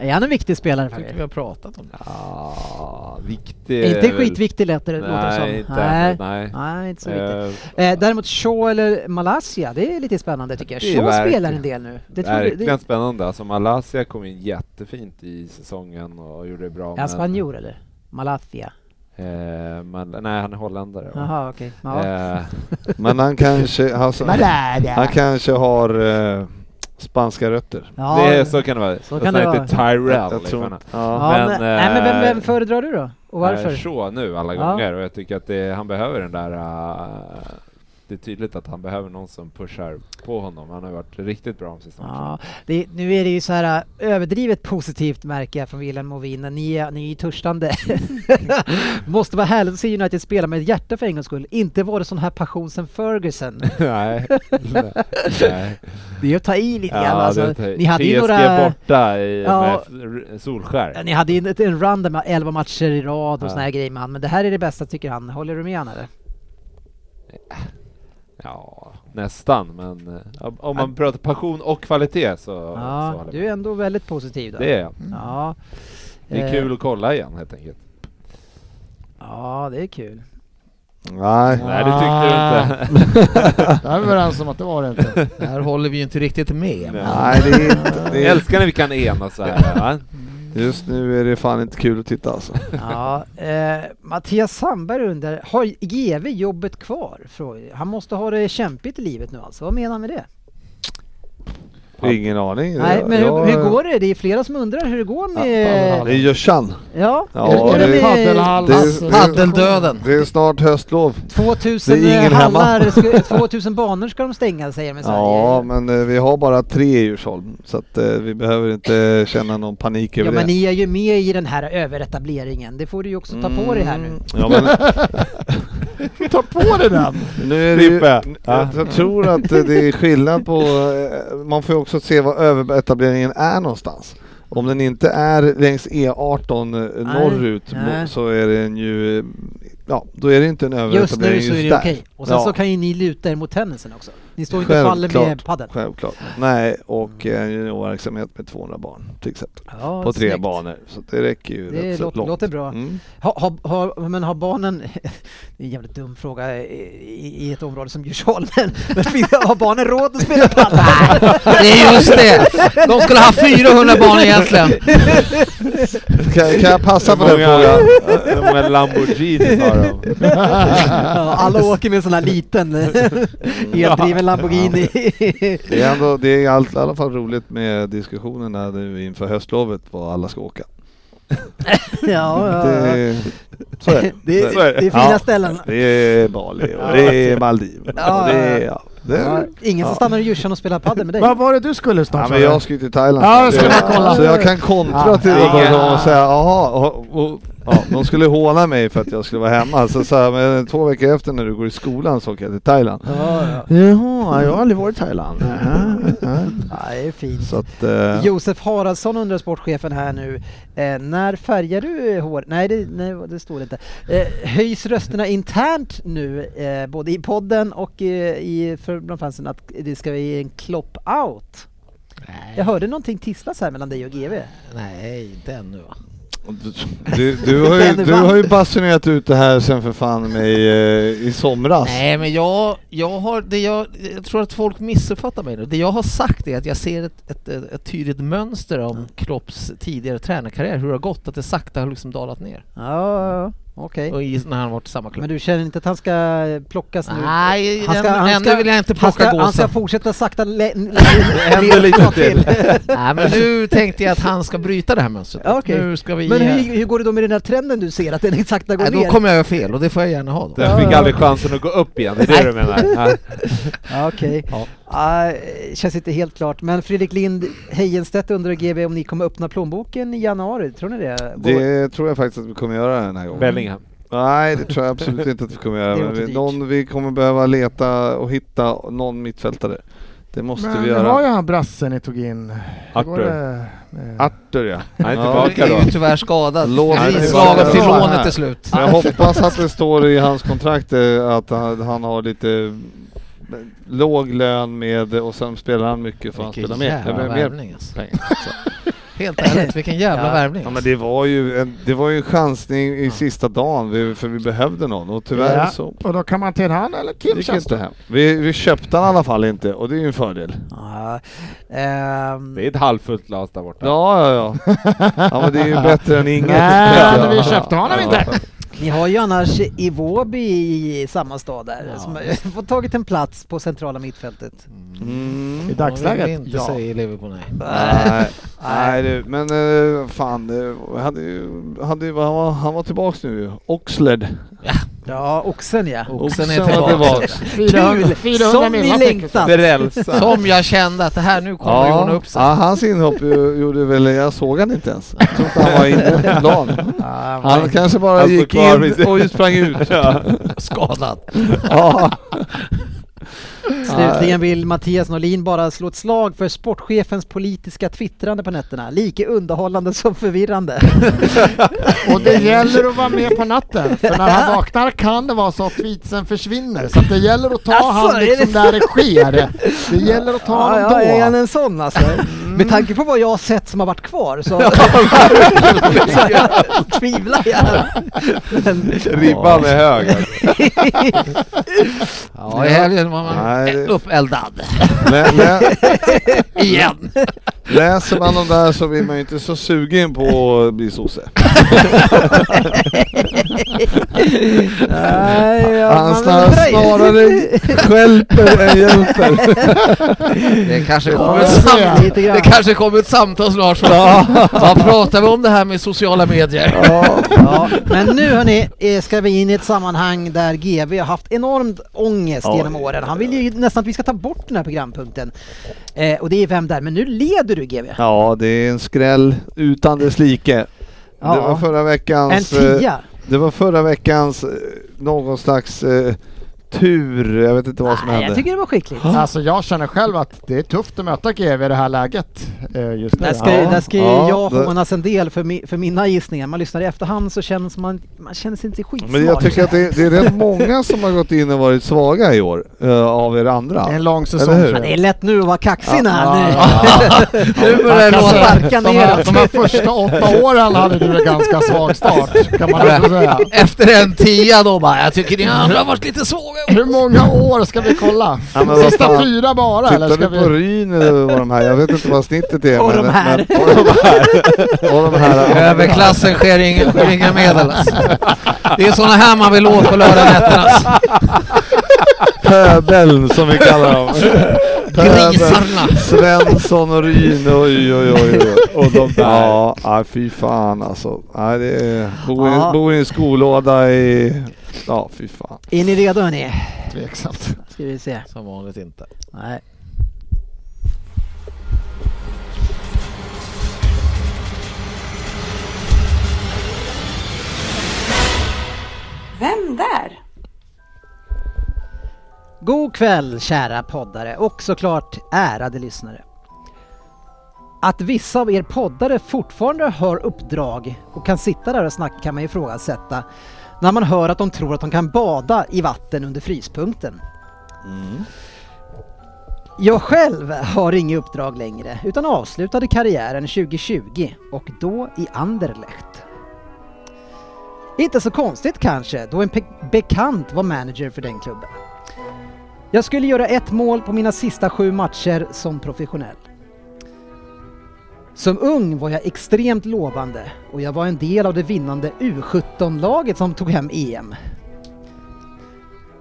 C: är han en viktig spelare?
F: Jag tycker
C: Fröberg?
F: vi har pratat om det.
D: Ah, viktig är
C: Inte
D: väl-
C: skitviktig lät det, låter det som.
D: Nej, inte.
C: Nej.
D: Nej.
C: Nej, inte så viktigt.
D: Eh,
C: Eh, däremot Shaw eller Malaysia, det är lite spännande tycker jag.
D: Det är
C: Shaw spelar
D: verkligen-
C: en del nu. Det tror
D: Verkligen
C: det,
D: spännande. Alltså Malaysia kom in jättefint i säsongen och gjorde det bra.
C: är han spanjor eller? Malathia?
D: Eh, men, nej, han är holländare. va?
C: Jaha, okej. Ja.
D: Eh,
G: Men han kanske, alltså, han kanske har eh, spanska rötter.
C: Ja,
D: det är, så kan det vara.
C: kan
D: Jag
C: det
D: heter Tyrell.
G: jag tror,
D: liksom.
G: inte-
C: ja,
G: ja.
C: men,
D: men,
C: nej, men vem,
D: eh,
C: vem föredrar du då? Och varför?
D: Är så nu alla
C: Ja.
D: gånger och jag tycker att det, han behöver den där... eh, det är tydligt att han behöver någon som pushar på honom. Han har ju varit riktigt bra om säsongen.
C: Ja, det, nu är det ju så här äh, överdrivet positivt märker jag från Wilhelm och Vinna. Ni, är- ni är ju törstande. [LAUGHS] Måste vara härligt att se United spela med ett hjärta för en gångs skull. Inte var det sån här passion sen Ferguson.
D: [LAUGHS] nej.
C: [LAUGHS]
D: nej.
C: Det är att ta i lite grann.
D: Ja,
C: alltså,
D: det är-
C: ni hade
D: PSG
C: ju några...
D: borta i,
C: Ja.
D: med Solskär.
C: Ni hade ju ett- en run där med 11 matcher i rad och
D: Ja.
C: såna här grejer med han, men det här är det bästa tycker han. Håller du med han eller?
D: Ja, nästan. Men eh, om- om man pratar passion och kvalitet så, så
C: Ja,
D: håller
C: du är
D: jag.
C: ändå väldigt positiv då.
D: Det är jag.
C: Ja.
D: Det är
C: Eh,
D: kul att kolla igen helt enkelt.
C: Ja, det är kul.
G: Nej.
D: Nej, det tyckte du
C: Ah.
D: [LAUGHS] inte.
E: Där är vi överens om att det var det inte.
F: Det här håller vi ju inte riktigt med. men-
G: Nej, det är inte... Det
D: Jag
G: är,
D: älskar när vi kan enas så här. Va?
G: just nu är det fan inte kul att titta alltså.
C: Ja, eh, Mattias Sandberg undrar, har GV jobbet kvar? Frågar- Han måste ha det kämpigt i livet nu alltså, vad menar han med det?
G: Ingen aning.
C: Nej, men
G: Jag-
C: hur, hur går det? Det är flera som undrar hur det går med...
G: Det är Joshan.
C: Ja,
G: Ja,
C: hur går
G: det-
C: med
E: Paddelhals.
G: det-
F: Paddeldöden.
G: Det är snart höstlov.
C: 2000
G: det är ingen hemma.
C: eh, hallar, ska, 2000 banor ska de stänga säger de i Sverige.
G: Ja, men eh, vi har bara tre i Djursholm så att eh, vi behöver inte känna någon panik över
C: Ja men
G: det.
C: ni är ju med i den här överetableringen, det får du ju också ta på dig här nu.
G: Mm, Ja, men
E: Ta på dig den!
G: nu är det ju,
D: Frippe.
G: jag, jag tror att eh, det är skillnad på... eh, Man får ju också se var överetableringen är någonstans. Om den inte är längs E18
C: Nej,
G: norrut mo-
C: nej.
G: så är den ju... eh, Ja, då är det inte en
C: Just nu
G: överetablering
C: så är det
G: där.
C: okej. Och sen
G: Ja.
C: så kan ju ni luta er mot tennisen också. Ni står inte och faller med padden.
G: Självklart. Nej, och eh, juniorverksamhet med 200 barn till exempel.
C: Ja,
G: På tre
C: snyggt.
G: banor. Så det räcker ju
C: Det
G: rätt så
C: låter-
G: långt.
C: låter bra. [LAUGHS]
G: Mm.
C: Ha, ha, ha, men har barnen, [LAUGHS] det är en jävligt dum fråga eh, i, i ett område som Djursholm, [LAUGHS] men men har barnen råd att spela padel?
G: [LAUGHS]
F: Det är just det! De skulle ha 400 barn egentligen.
G: Kan, kan jag passa på
D: Hur
G: den
D: många,
G: frågan?
D: [LAUGHS] hur många Lamborghinis har de?
C: Ja, alla åker med en sån här
G: [LAUGHS]
C: liten eldriven Lamborghini.
G: Det är, ändå, det är i all- i alla fall roligt med diskussionerna nu inför höstlovet var alla ska åka.
C: ja, [LAUGHS] ja, ja.
G: Det, så är det.
C: [LAUGHS] Det,
G: Så är
C: är, det är fina
G: Ja,
C: ställen.
G: Det är Bali och
C: Ja.
G: det är Maldiverna och det är... Ja, det
C: Ja,
G: är
C: ingen som stannar i Djursholm och spelar padel med dig.
E: Vad var det du skulle snart?
G: Ja,
E: sa
G: men
E: du?
G: jag ska ju till Thailand
E: Ja,
G: snart.
E: då ska man kolla.
G: Så jag kan kontra
E: Ja.
G: till dem och säga jaha, och, och, ja, de skulle håna mig för att jag skulle vara hemma. Så, så här, men två veckor efter när du går i skolan så åker jag till Thailand.
C: Ja, ja.
G: Jaha, jag har aldrig varit i Thailand.
C: Ja, det är fint.
G: Så att, eh,
C: Josef Haraldsson undrar sportchefen här nu. Eh, när färgar du hår? Nej det, nej, det står det inte. Eh, höjs rösterna internt nu, eh, både i podden och eh, i, för bland fansen, att det ska bli en klopp-out? Jag hörde någonting tisslas här mellan dig och GV.
F: Nej, inte ännu va?
G: du, du, har ju, du har ju basunerat ut det här sen för fan mig eh, i
C: Alltså.
G: somras.
F: Nej, men jag, jag, har, det jag, jag tror att folk missuppfattar mig nu. Det jag har sagt är att jag ser ett, ett, ett, ett tydligt mönster om Klopps tidigare tränarkarriär, hur det har gått, att det sakta har liksom dalat ner.
C: Ja, ja, okej.
F: Och i, när han varit i samma klubb.
C: Men du känner inte att han ska eh, plockas nu?
F: Nej,
C: han ska-
F: än-
C: han ska-
F: ännu vill jag inte
C: Han
F: plocka
C: ska, han ska
F: gåsen.
C: fortsätta sakta le- le- [LAUGHS]
G: händer lite
C: ta
G: till.
F: [LAUGHS] Nej, men nu tänkte jag att han ska bryta det här mönstret.
C: Ja, okej.
F: Nu ska vi...
C: Men hur, hur går det då med den här trenden du ser, att den [LAUGHS] exakta går
F: eh, Nej,
C: ner?
F: då kommer jag göra fel och det får jag gärna ha då.
D: Den fick aldrig chansen att gå upp igen, det är det du menar? Ja.
C: Ja, Okej.
F: Ja.
C: Ah, eh, känns inte helt klart. Men Fredrik Lind, Hejenstedt undrar GB om ni kommer öppna plånboken i januari, tror ni det?
G: Det tror jag faktiskt att vi kommer göra den här gången.
D: Bellingham.
G: Nej, det tror jag absolut inte att vi kommer göra.
C: Det
G: Men
C: låter
G: vi,
C: dyrt.
G: någon, vi kommer behöva leta och hitta någon mittfältare. Det måste
E: Men
G: vi
E: vi har ju
G: göra.
E: han brassen ni tog in. Hur går
D: Arthur.
E: det med-
G: Arthur ja.
D: Han är
G: Ja.
F: Han
D: tillbaka
F: är
D: då.
F: ju tyvärr skadad.
G: Låt
F: Han är
G: mig
F: slagen
G: vara
F: till
G: här.
F: lånet till slut.
G: Jag hoppas att det står i hans kontrakt eh, att han, han har lite eh, låg lön med och sen spelar han mycket för han
F: Vilken
G: spelar mer.
F: jävla
G: Eller mer
F: värvning alltså.
G: pengar. Så.
F: [LAUGHS] Helt ärligt, vilken jävla
C: Ja.
F: värvning.
G: Ja, men
F: alltså.
G: det var ju en, det var ju en chansning i sista dagen vi, för vi behövde någon och tyvärr
E: Ja,
G: så
E: Och då kan man till han eller Kim
G: gick
E: känns
G: inte
E: det.
G: hem. Vi, vi köpte han i alla fall inte och det är ju en fördel.
C: Ja, Ah, ehm,
D: Det är ett halvfullt las där borta.
G: Ja, ja, ja. Ja, men det är ju bättre än inget.
E: Nej,
G: Ja.
E: men vi köpte honom inte.
C: ni har ju annars Iwobi i samma stad där,
F: Ja.
C: som har fått tagit en plats på centrala mittfältet.
G: Mm.
E: I
F: Ja, vill
E: dagsläget?
F: inte
E: Ja.
F: säga i Liverpool, nej.
G: Nej, nej du, men eh, fan, eh, hade, ju- hade, ju- han, var, han var tillbaks nu ju. Oxled.
C: Ja, oxen ja.
F: Oxen är
G: var
F: tillbaka.
G: tillbaks.
E: 400,
C: Kul!
E: 400
C: Som
E: mil,
C: ni
E: vad fick vi?
C: längtat!
D: Frälsa.
F: Som jag kände att det här, nu kommer det ordna
G: Ja,
F: upp sig.
G: ja, hans inhopp ju- gjorde väl, jag såg han inte ens. Jag tror inte han var inne på plan.
C: Ah,
E: Ja,
G: Han kanske bara
D: Han stod
G: gick
D: kvar
G: in
D: vid-
G: och
D: [LAUGHS]
G: sprang ut.
F: [LAUGHS] Skadad.
G: Ja.
C: Slutligen vill Mattias Norlin bara slå ett slag för sportchefens politiska twittrande på nätterna. Lika underhållande som förvirrande.
E: Och det gäller att vara med på natten, för när han vaknar kan det vara så att tweetsen försvinner. Så att det gäller att ta
C: Alltså,
E: han liksom
C: är det-
E: där det sker. Det gäller att ta
C: Ja,
E: honom
C: ja, är han
E: då.
C: en sån alltså?
G: Mm.
C: Med tanke på vad jag har sett som har varit kvar
G: [LAUGHS]
C: så, så jag tvivlar jag. Men,
D: Ribban är hög.
F: Ja, i helgen var man
G: Nej,
F: [LAUGHS]
G: det-
F: uppeldad.
G: Lä, lä,
F: Igen.
G: läser man de där så blir man ju inte så sugen på att bli sosse.
C: nej, ja,
G: Han
C: man-
G: snar, snarare stjälper än hjälper.
F: Det kanske
E: Ja,
F: kommer
E: jag
F: ett,
E: ser.
F: sam-
C: Lite grann.
F: det kanske kommer ett samtal snart. från- [LAUGHS] Vad pratar vi om det här med sociala medier? [LAUGHS]
C: Ja, men nu hörni eh, ska vi in i ett sammanhang där GV har haft enormt ångest
G: Oj.
C: genom åren. Han vill ju nästan att vi ska ta bort den här programpunkten. Eh, och det är Vem där? Men nu leder du GV.
G: Ja, det är en skräll utan dess like. Det
C: Ja.
G: var förra
C: En
G: veckans... eh,
C: tia!
G: Det var förra veckans eh, någon slags eh, tur. Jag vet inte vad som
C: Nej,
G: hände.
C: jag tycker det var skickligt.
E: Alltså jag känner själv att det är tufft att möta GW i det här läget eh, just nu.
C: Där ska, ju-
E: Ja.
C: där ska ju
G: Ja,
C: jag
G: det-
C: hånas en del för, mi, för mina gissningar. Man lyssnar i efterhand så känns man, man känner sig inte skitsmart.
G: Men jag tycker att det, det är rätt många som har gått in och varit svaga i år, eh, av er andra.
E: Det är en lång säsong.
G: Eller hur?
E: tror
C: det är
E: jag.
C: lätt nu att vara kaxig när
E: Ja,
C: nu.
E: ja, ja.
C: Nu börjar det
E: Kanske
C: sparka
E: de här,
C: neråt.
E: de här första åtta åren hade du en ganska svag start, kan man ändå säga.
F: [LAUGHS] Efter en tia då bara, jag tycker ni andra har varit lite svaga.
E: Hur många år ska vi kolla?
G: Ja, men vad
E: Sista
G: fan.
E: fyra bara, eller ska
G: Tittar vi på
E: vi...
G: Ryn eller vad de här, jag vet inte vad snittet är.
C: Och de här.
G: Men, och de här.
C: [LAUGHS]
G: Och de här.
F: Överklassen sker inga, sker inga medel alltså. Det är såna här man vill åt på lördagnätterna. Alltså.
G: Pöbeln som vi kallar dem. Pöbeln,
F: Grisarna.
G: Svensson och Ryn och oj oj oj. oj. Och de där. Ja, ah, fy fan alltså. Ah, det är, bor, i,
C: Ja.
G: bor i en skolåda i... Ja, fy fan.
C: [LAUGHS] Är ni redo hörni?
E: Tveksamt.
C: Ska vi se.
F: Som vanligt inte.
C: Nej.
H: Vem där?
C: God kväll kära poddare och såklart ärade lyssnare. Att vissa av er poddare fortfarande har uppdrag och kan sitta där och snacka kan man ifrågasätta när man hör att de tror att de kan bada i vatten under fryspunkten. Jag själv har inget uppdrag längre utan avslutade karriären 2020 och då i Anderlecht. Inte så konstigt kanske då en pe- bekant var manager för den klubben. Jag skulle göra ett mål på mina sista sju matcher som professionell. Som ung var jag extremt lovande och jag var en del av det vinnande U17-laget som tog hem E EM.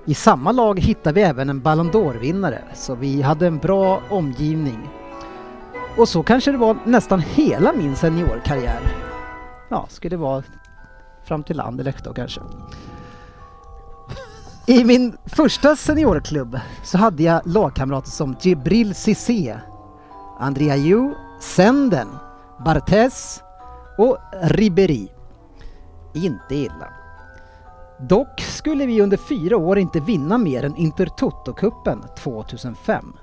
C: I samma lag hittade vi även en Ballon d'Or-vinnare, så vi hade en bra omgivning. Och så kanske det var nästan hela min seniorkarriär. Ja, skulle vara fram till Anderlecht då kanske. I min första seniorklubb så hade jag lagkamrater som Djibril Cissé, Andrea Yu, Senden, Barthez och Ribéry. Inte illa. Dock skulle vi under fyra år inte vinna mer än Intertoto-cupen 2005.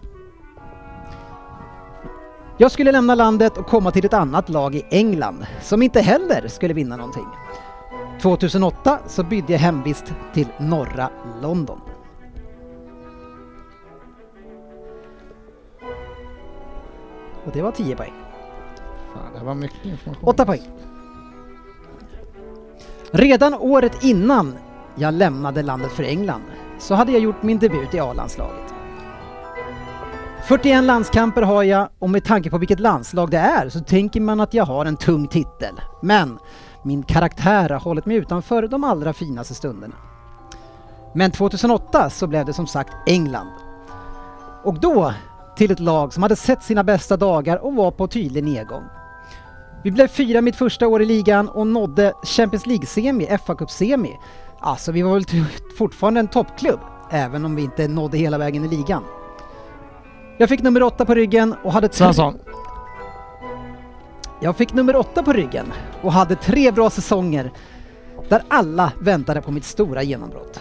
C: Jag skulle lämna landet och komma till ett annat lag i England som inte heller skulle vinna någonting. 2008 så bydde jag hemvist till norra London. Och det var 10 poäng.
E: Fan, det var mycket information.
C: 8 poäng. Redan året innan jag lämnade landet för England så hade jag gjort min debut i A-landslaget. 41 landskamper har jag och med tanke på vilket landslag det är så tänker man att jag har en tung titel. Men min karaktär har hållit mig utanför de allra finaste stunderna. Men 2008 så blev det som sagt England. Och då till ett lag som hade sett sina bästa dagar och var på tydlig nedgång. Vi blev fyra mitt första år i ligan och nådde Champions League-semi, FA-cup-semi. Alltså vi var väl ty- fortfarande en toppklubb, även om vi inte nådde hela vägen i ligan. Jag fick nummer åtta på ryggen och hade... tre-
E: Svensson.
C: jag fick nummer åtta på ryggen och hade tre bra säsonger där alla väntade på mitt stora genombrott.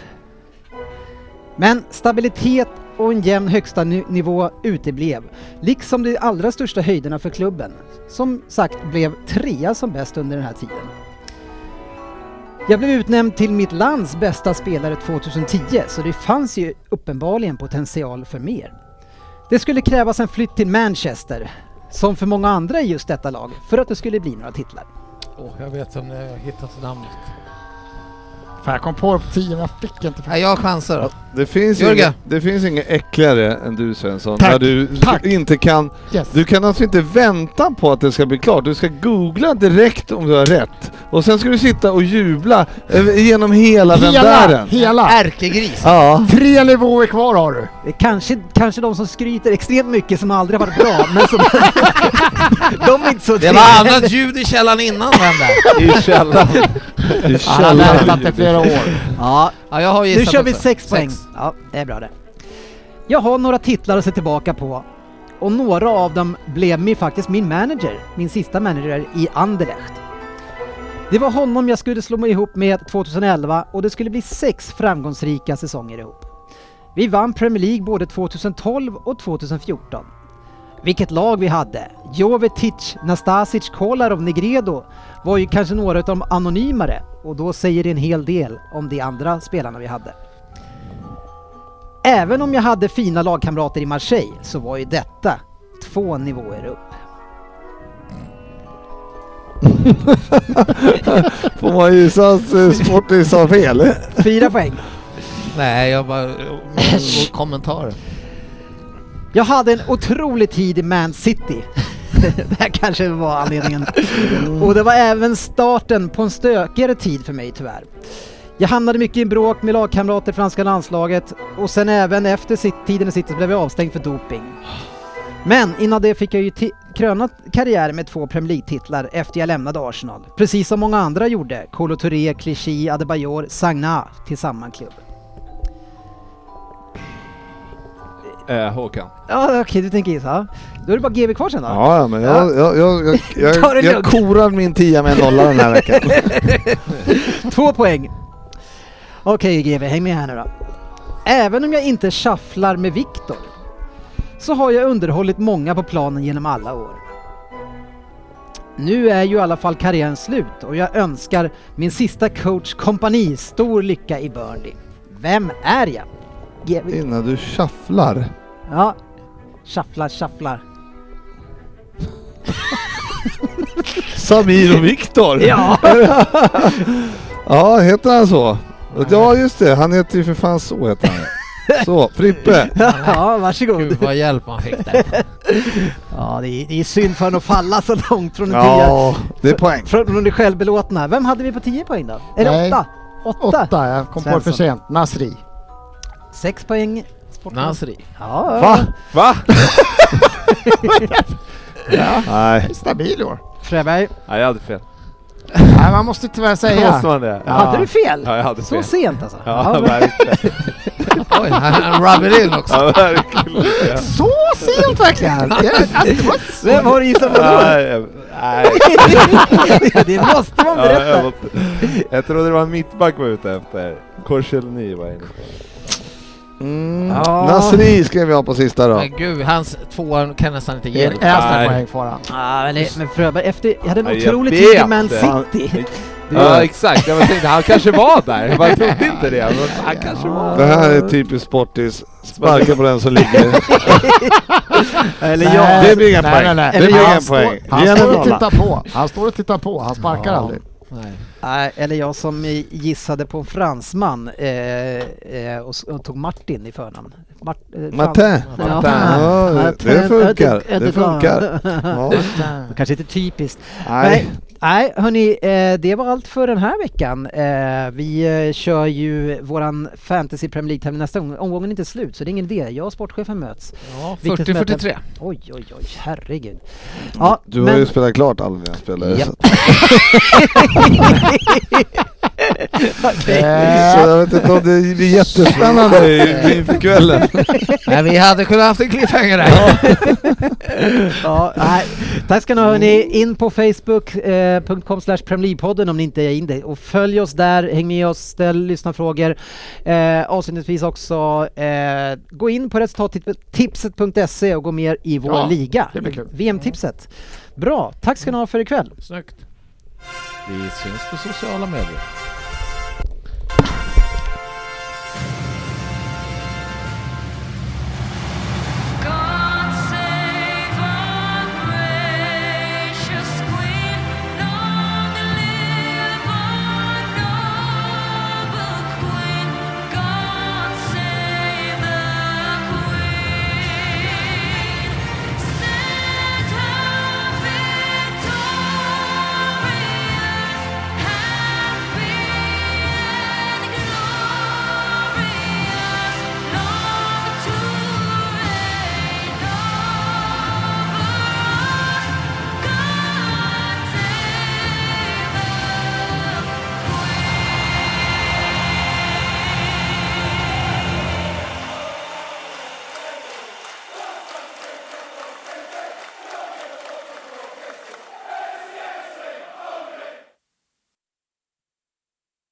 C: Men stabilitet och en jämn högsta ni- nivå uteblev, liksom de allra största höjderna för klubben. Som sagt blev trea som bäst under den här tiden. Jag blev utnämnd till mitt lands bästa spelare 2010, så det fanns ju uppenbarligen potential för mer. Det skulle krävas en flytt till Manchester, som för många andra i just detta lag, för att det skulle bli några titlar.
F: Åh, jag vet om ni har hittat namnet.
E: Fan, jag kom på det på tio, men jag fick inte.
F: Nej, jag chansar då.
G: Det finns,
F: Jörgen.
G: inget, det finns inget äckligare än du Svensson.
E: Tack.
G: När du
E: Tack.
G: inte kan...
E: Yes.
G: Du kan alltså inte vänta på att det ska bli klart. Du ska googla direkt om du har rätt. Och sen ska du sitta och jubla över- genom hela, hela.
E: Hela,
G: vendären.
E: hela.
C: Äh.
F: Ärkegris.
E: [LAUGHS]
G: Ja.
E: Tre nivåer kvar har du.
C: Det är Kanske, kanske de som skryter extremt mycket som aldrig har varit bra, men
F: [LAUGHS]
C: som... de är inte så
F: Det var annat ljud i källaren innan den där.
G: I källaren. I
E: Han har väntat i
G: källaren.
E: flera år.
C: Ja,
F: Ja, jag har
C: nu
F: gissat
C: kör vi
F: också.
C: sex poäng. Ja, det är bra det. Jag har några titlar att se tillbaka på och några av dem blev min, faktiskt min manager, min sista manager i Anderlecht. Det var honom jag skulle slå mig ihop med 2011 och det skulle bli sex framgångsrika säsonger ihop. Vi vann Premier League både 2012 och 2014. Vilket lag vi hade! Jovetic, Nastasic, Kolarov, Negredo var ju kanske några av de anonymare och då säger det en hel del om de andra spelarna vi hade. Även om jag hade fina lagkamrater i Marseille så var ju detta två nivåer upp.
G: Får man gissa att eh, Sportis har fel?
C: Fyra [LAUGHS] poäng.
F: Nej, jag bara... och Kommentarer.
C: Jag hade en otrolig tid i Man City. [LAUGHS] det här kanske var anledningen. Och det var även starten på en stökigare tid för mig tyvärr. Jag hamnade mycket i bråk med lagkamrater i franska landslaget och sen även efter sit- tiden i City så blev jag avstängd för doping. Men innan det fick jag ju ti- krönat karriär med två Premier League-titlar efter jag lämnade Arsenal. Precis som många andra gjorde, Kolo Touré, Clichy, Adebayor, Sagna till samma klubb.
D: Eh, Håkan.
C: Ja, okej, du tänker gissa. Då är det bara GB kvar sen då.
G: Ja, ja, men jag, jag, jag,
C: [LAUGHS]
G: jag,
C: Ta det
G: jag, jag
C: lugnt.
G: korar min tia med en
C: [LAUGHS]
G: nolla den här veckan.
C: Två poäng. Okej GB, häng med här nu då. Även om jag inte shufflar med Viktor så har jag underhållit många på planen genom alla år. Nu är ju i alla fall karriären slut och jag önskar min sista coach kompani stor lycka i Burnley. Vem är jag? GB.
G: Innan du shufflar.
C: Ja, shufflar, shufflar.
G: Samir och Viktor.
C: Ja.
G: [LAUGHS] ja, heter han så? Ja, just det. Han heter ju för fan så heter han. Så, Frippe.
C: [LAUGHS] ja, varsågod.
F: Gud vad hjälp man fick där.
C: Ja, det är, det är synd för honom att falla så långt från en tia.
G: Ja, det är poäng.
C: Från från det självbelåtna. Vem hade vi på 10 poäng då? Är det
E: Nej.
C: 8? 8?
E: Åtta, jag kom på det för
C: Svensson.
E: sent. Nasri.
C: 6 poäng. Sportman.
F: Nasri.
C: Ja,
G: Va?
D: Va?
G: Nej.
E: Stabil år.
C: Fröberg.
D: Nej, jag hade fel.
E: Nej, man måste tyvärr säga.
D: Måste man det? Ja,
C: Hade du fel?
D: jag hade
C: Så
D: fel.
C: sent alltså?
D: Ja,
C: men-
D: verkligen.
F: Oj, han, han rubbar in också.
D: Ja, verkligen.
E: Så sent verkligen! Det är- alltså, det var så-
C: Vem har du gissat på då?
D: Nej, jag- nej.
C: [LAUGHS] det måste man
D: Ja, jag,
C: [LAUGHS] berätta.
D: måste, jag trodde det var en mittback var ute efter. Korselny var jag inne på.
G: Mm.
C: Ja.
G: Nasri skrev jag på sista då.
F: Men gud, hans tvåa kan nästan inte
E: Det är
F: hjälpa.
E: nästa
D: Nej.
E: poäng får han.
C: Ja, men, det- men Fröberg, efter, jag hade en
D: Ja, jag
C: otrolig
D: vet
C: tid i Man
D: det.
C: City.
G: Det
D: Ja,
G: gör-
D: exakt. Jag tänkte, han kanske var där. Jag bara trodde inte det. Men han kanske var
G: Det här är typiskt Sportis. Sparka på den
C: [LAUGHS]
G: som ligger.
C: Eller
E: jag.
G: Det blir inga
E: Nej,
G: poäng.
E: nej, nej.
G: Det
C: Eller
G: blir
C: jag
G: inga
E: står-
G: poäng. Ge
E: Han
G: en
E: står och
G: nolla.
E: tittar på. Han står och tittar på. Han sparkar aldrig.
F: Nej.
C: Nej, eller jag som gissade på en fransman eh, eh, och, s- och tog Martin i förnamn. Mart, eh, frans-
G: Matin.
C: Ja.
D: Martin.
G: Ja, det- det funkar. Det funkar. Ja.
C: Kanske inte typiskt.
G: Nej.
C: Nej, hörni, eh, det var allt för den här veckan. Eh, vi eh, kör ju våran Fantasy Premier League-tävling nästa gång. Omgången är inte slut, så det är ingen idé. Jag och sportchefen möts.
F: Ja,
C: Viktigt möte.
F: 40-43.
C: Oj, oj, oj, herregud. Ja,
G: Du har
C: men...
G: ju spelat klart alla dina spelare.
C: Japp.
G: Så,
E: Eh,
G: så jag vet inte om det blir [LAUGHS] jättespännande i- inför kvällen.
F: Nej, vi hade kunnat haft en cliffhanger där.
C: ja, nej. Tack ska ni ha hörni. In på facebook.com slash League-podden om ni inte är in det. Och följ oss där, häng med oss, ställ lyssnarfrågor. Eh, avslutningsvis också, eh, gå in på resultattipset.se och gå med i vår
E: Ja,
C: liga.
E: det blir kul.
C: VM-tipset. Bra, tack ska ni ha för ikväll.
F: Snyggt. Vi syns på sociala medier.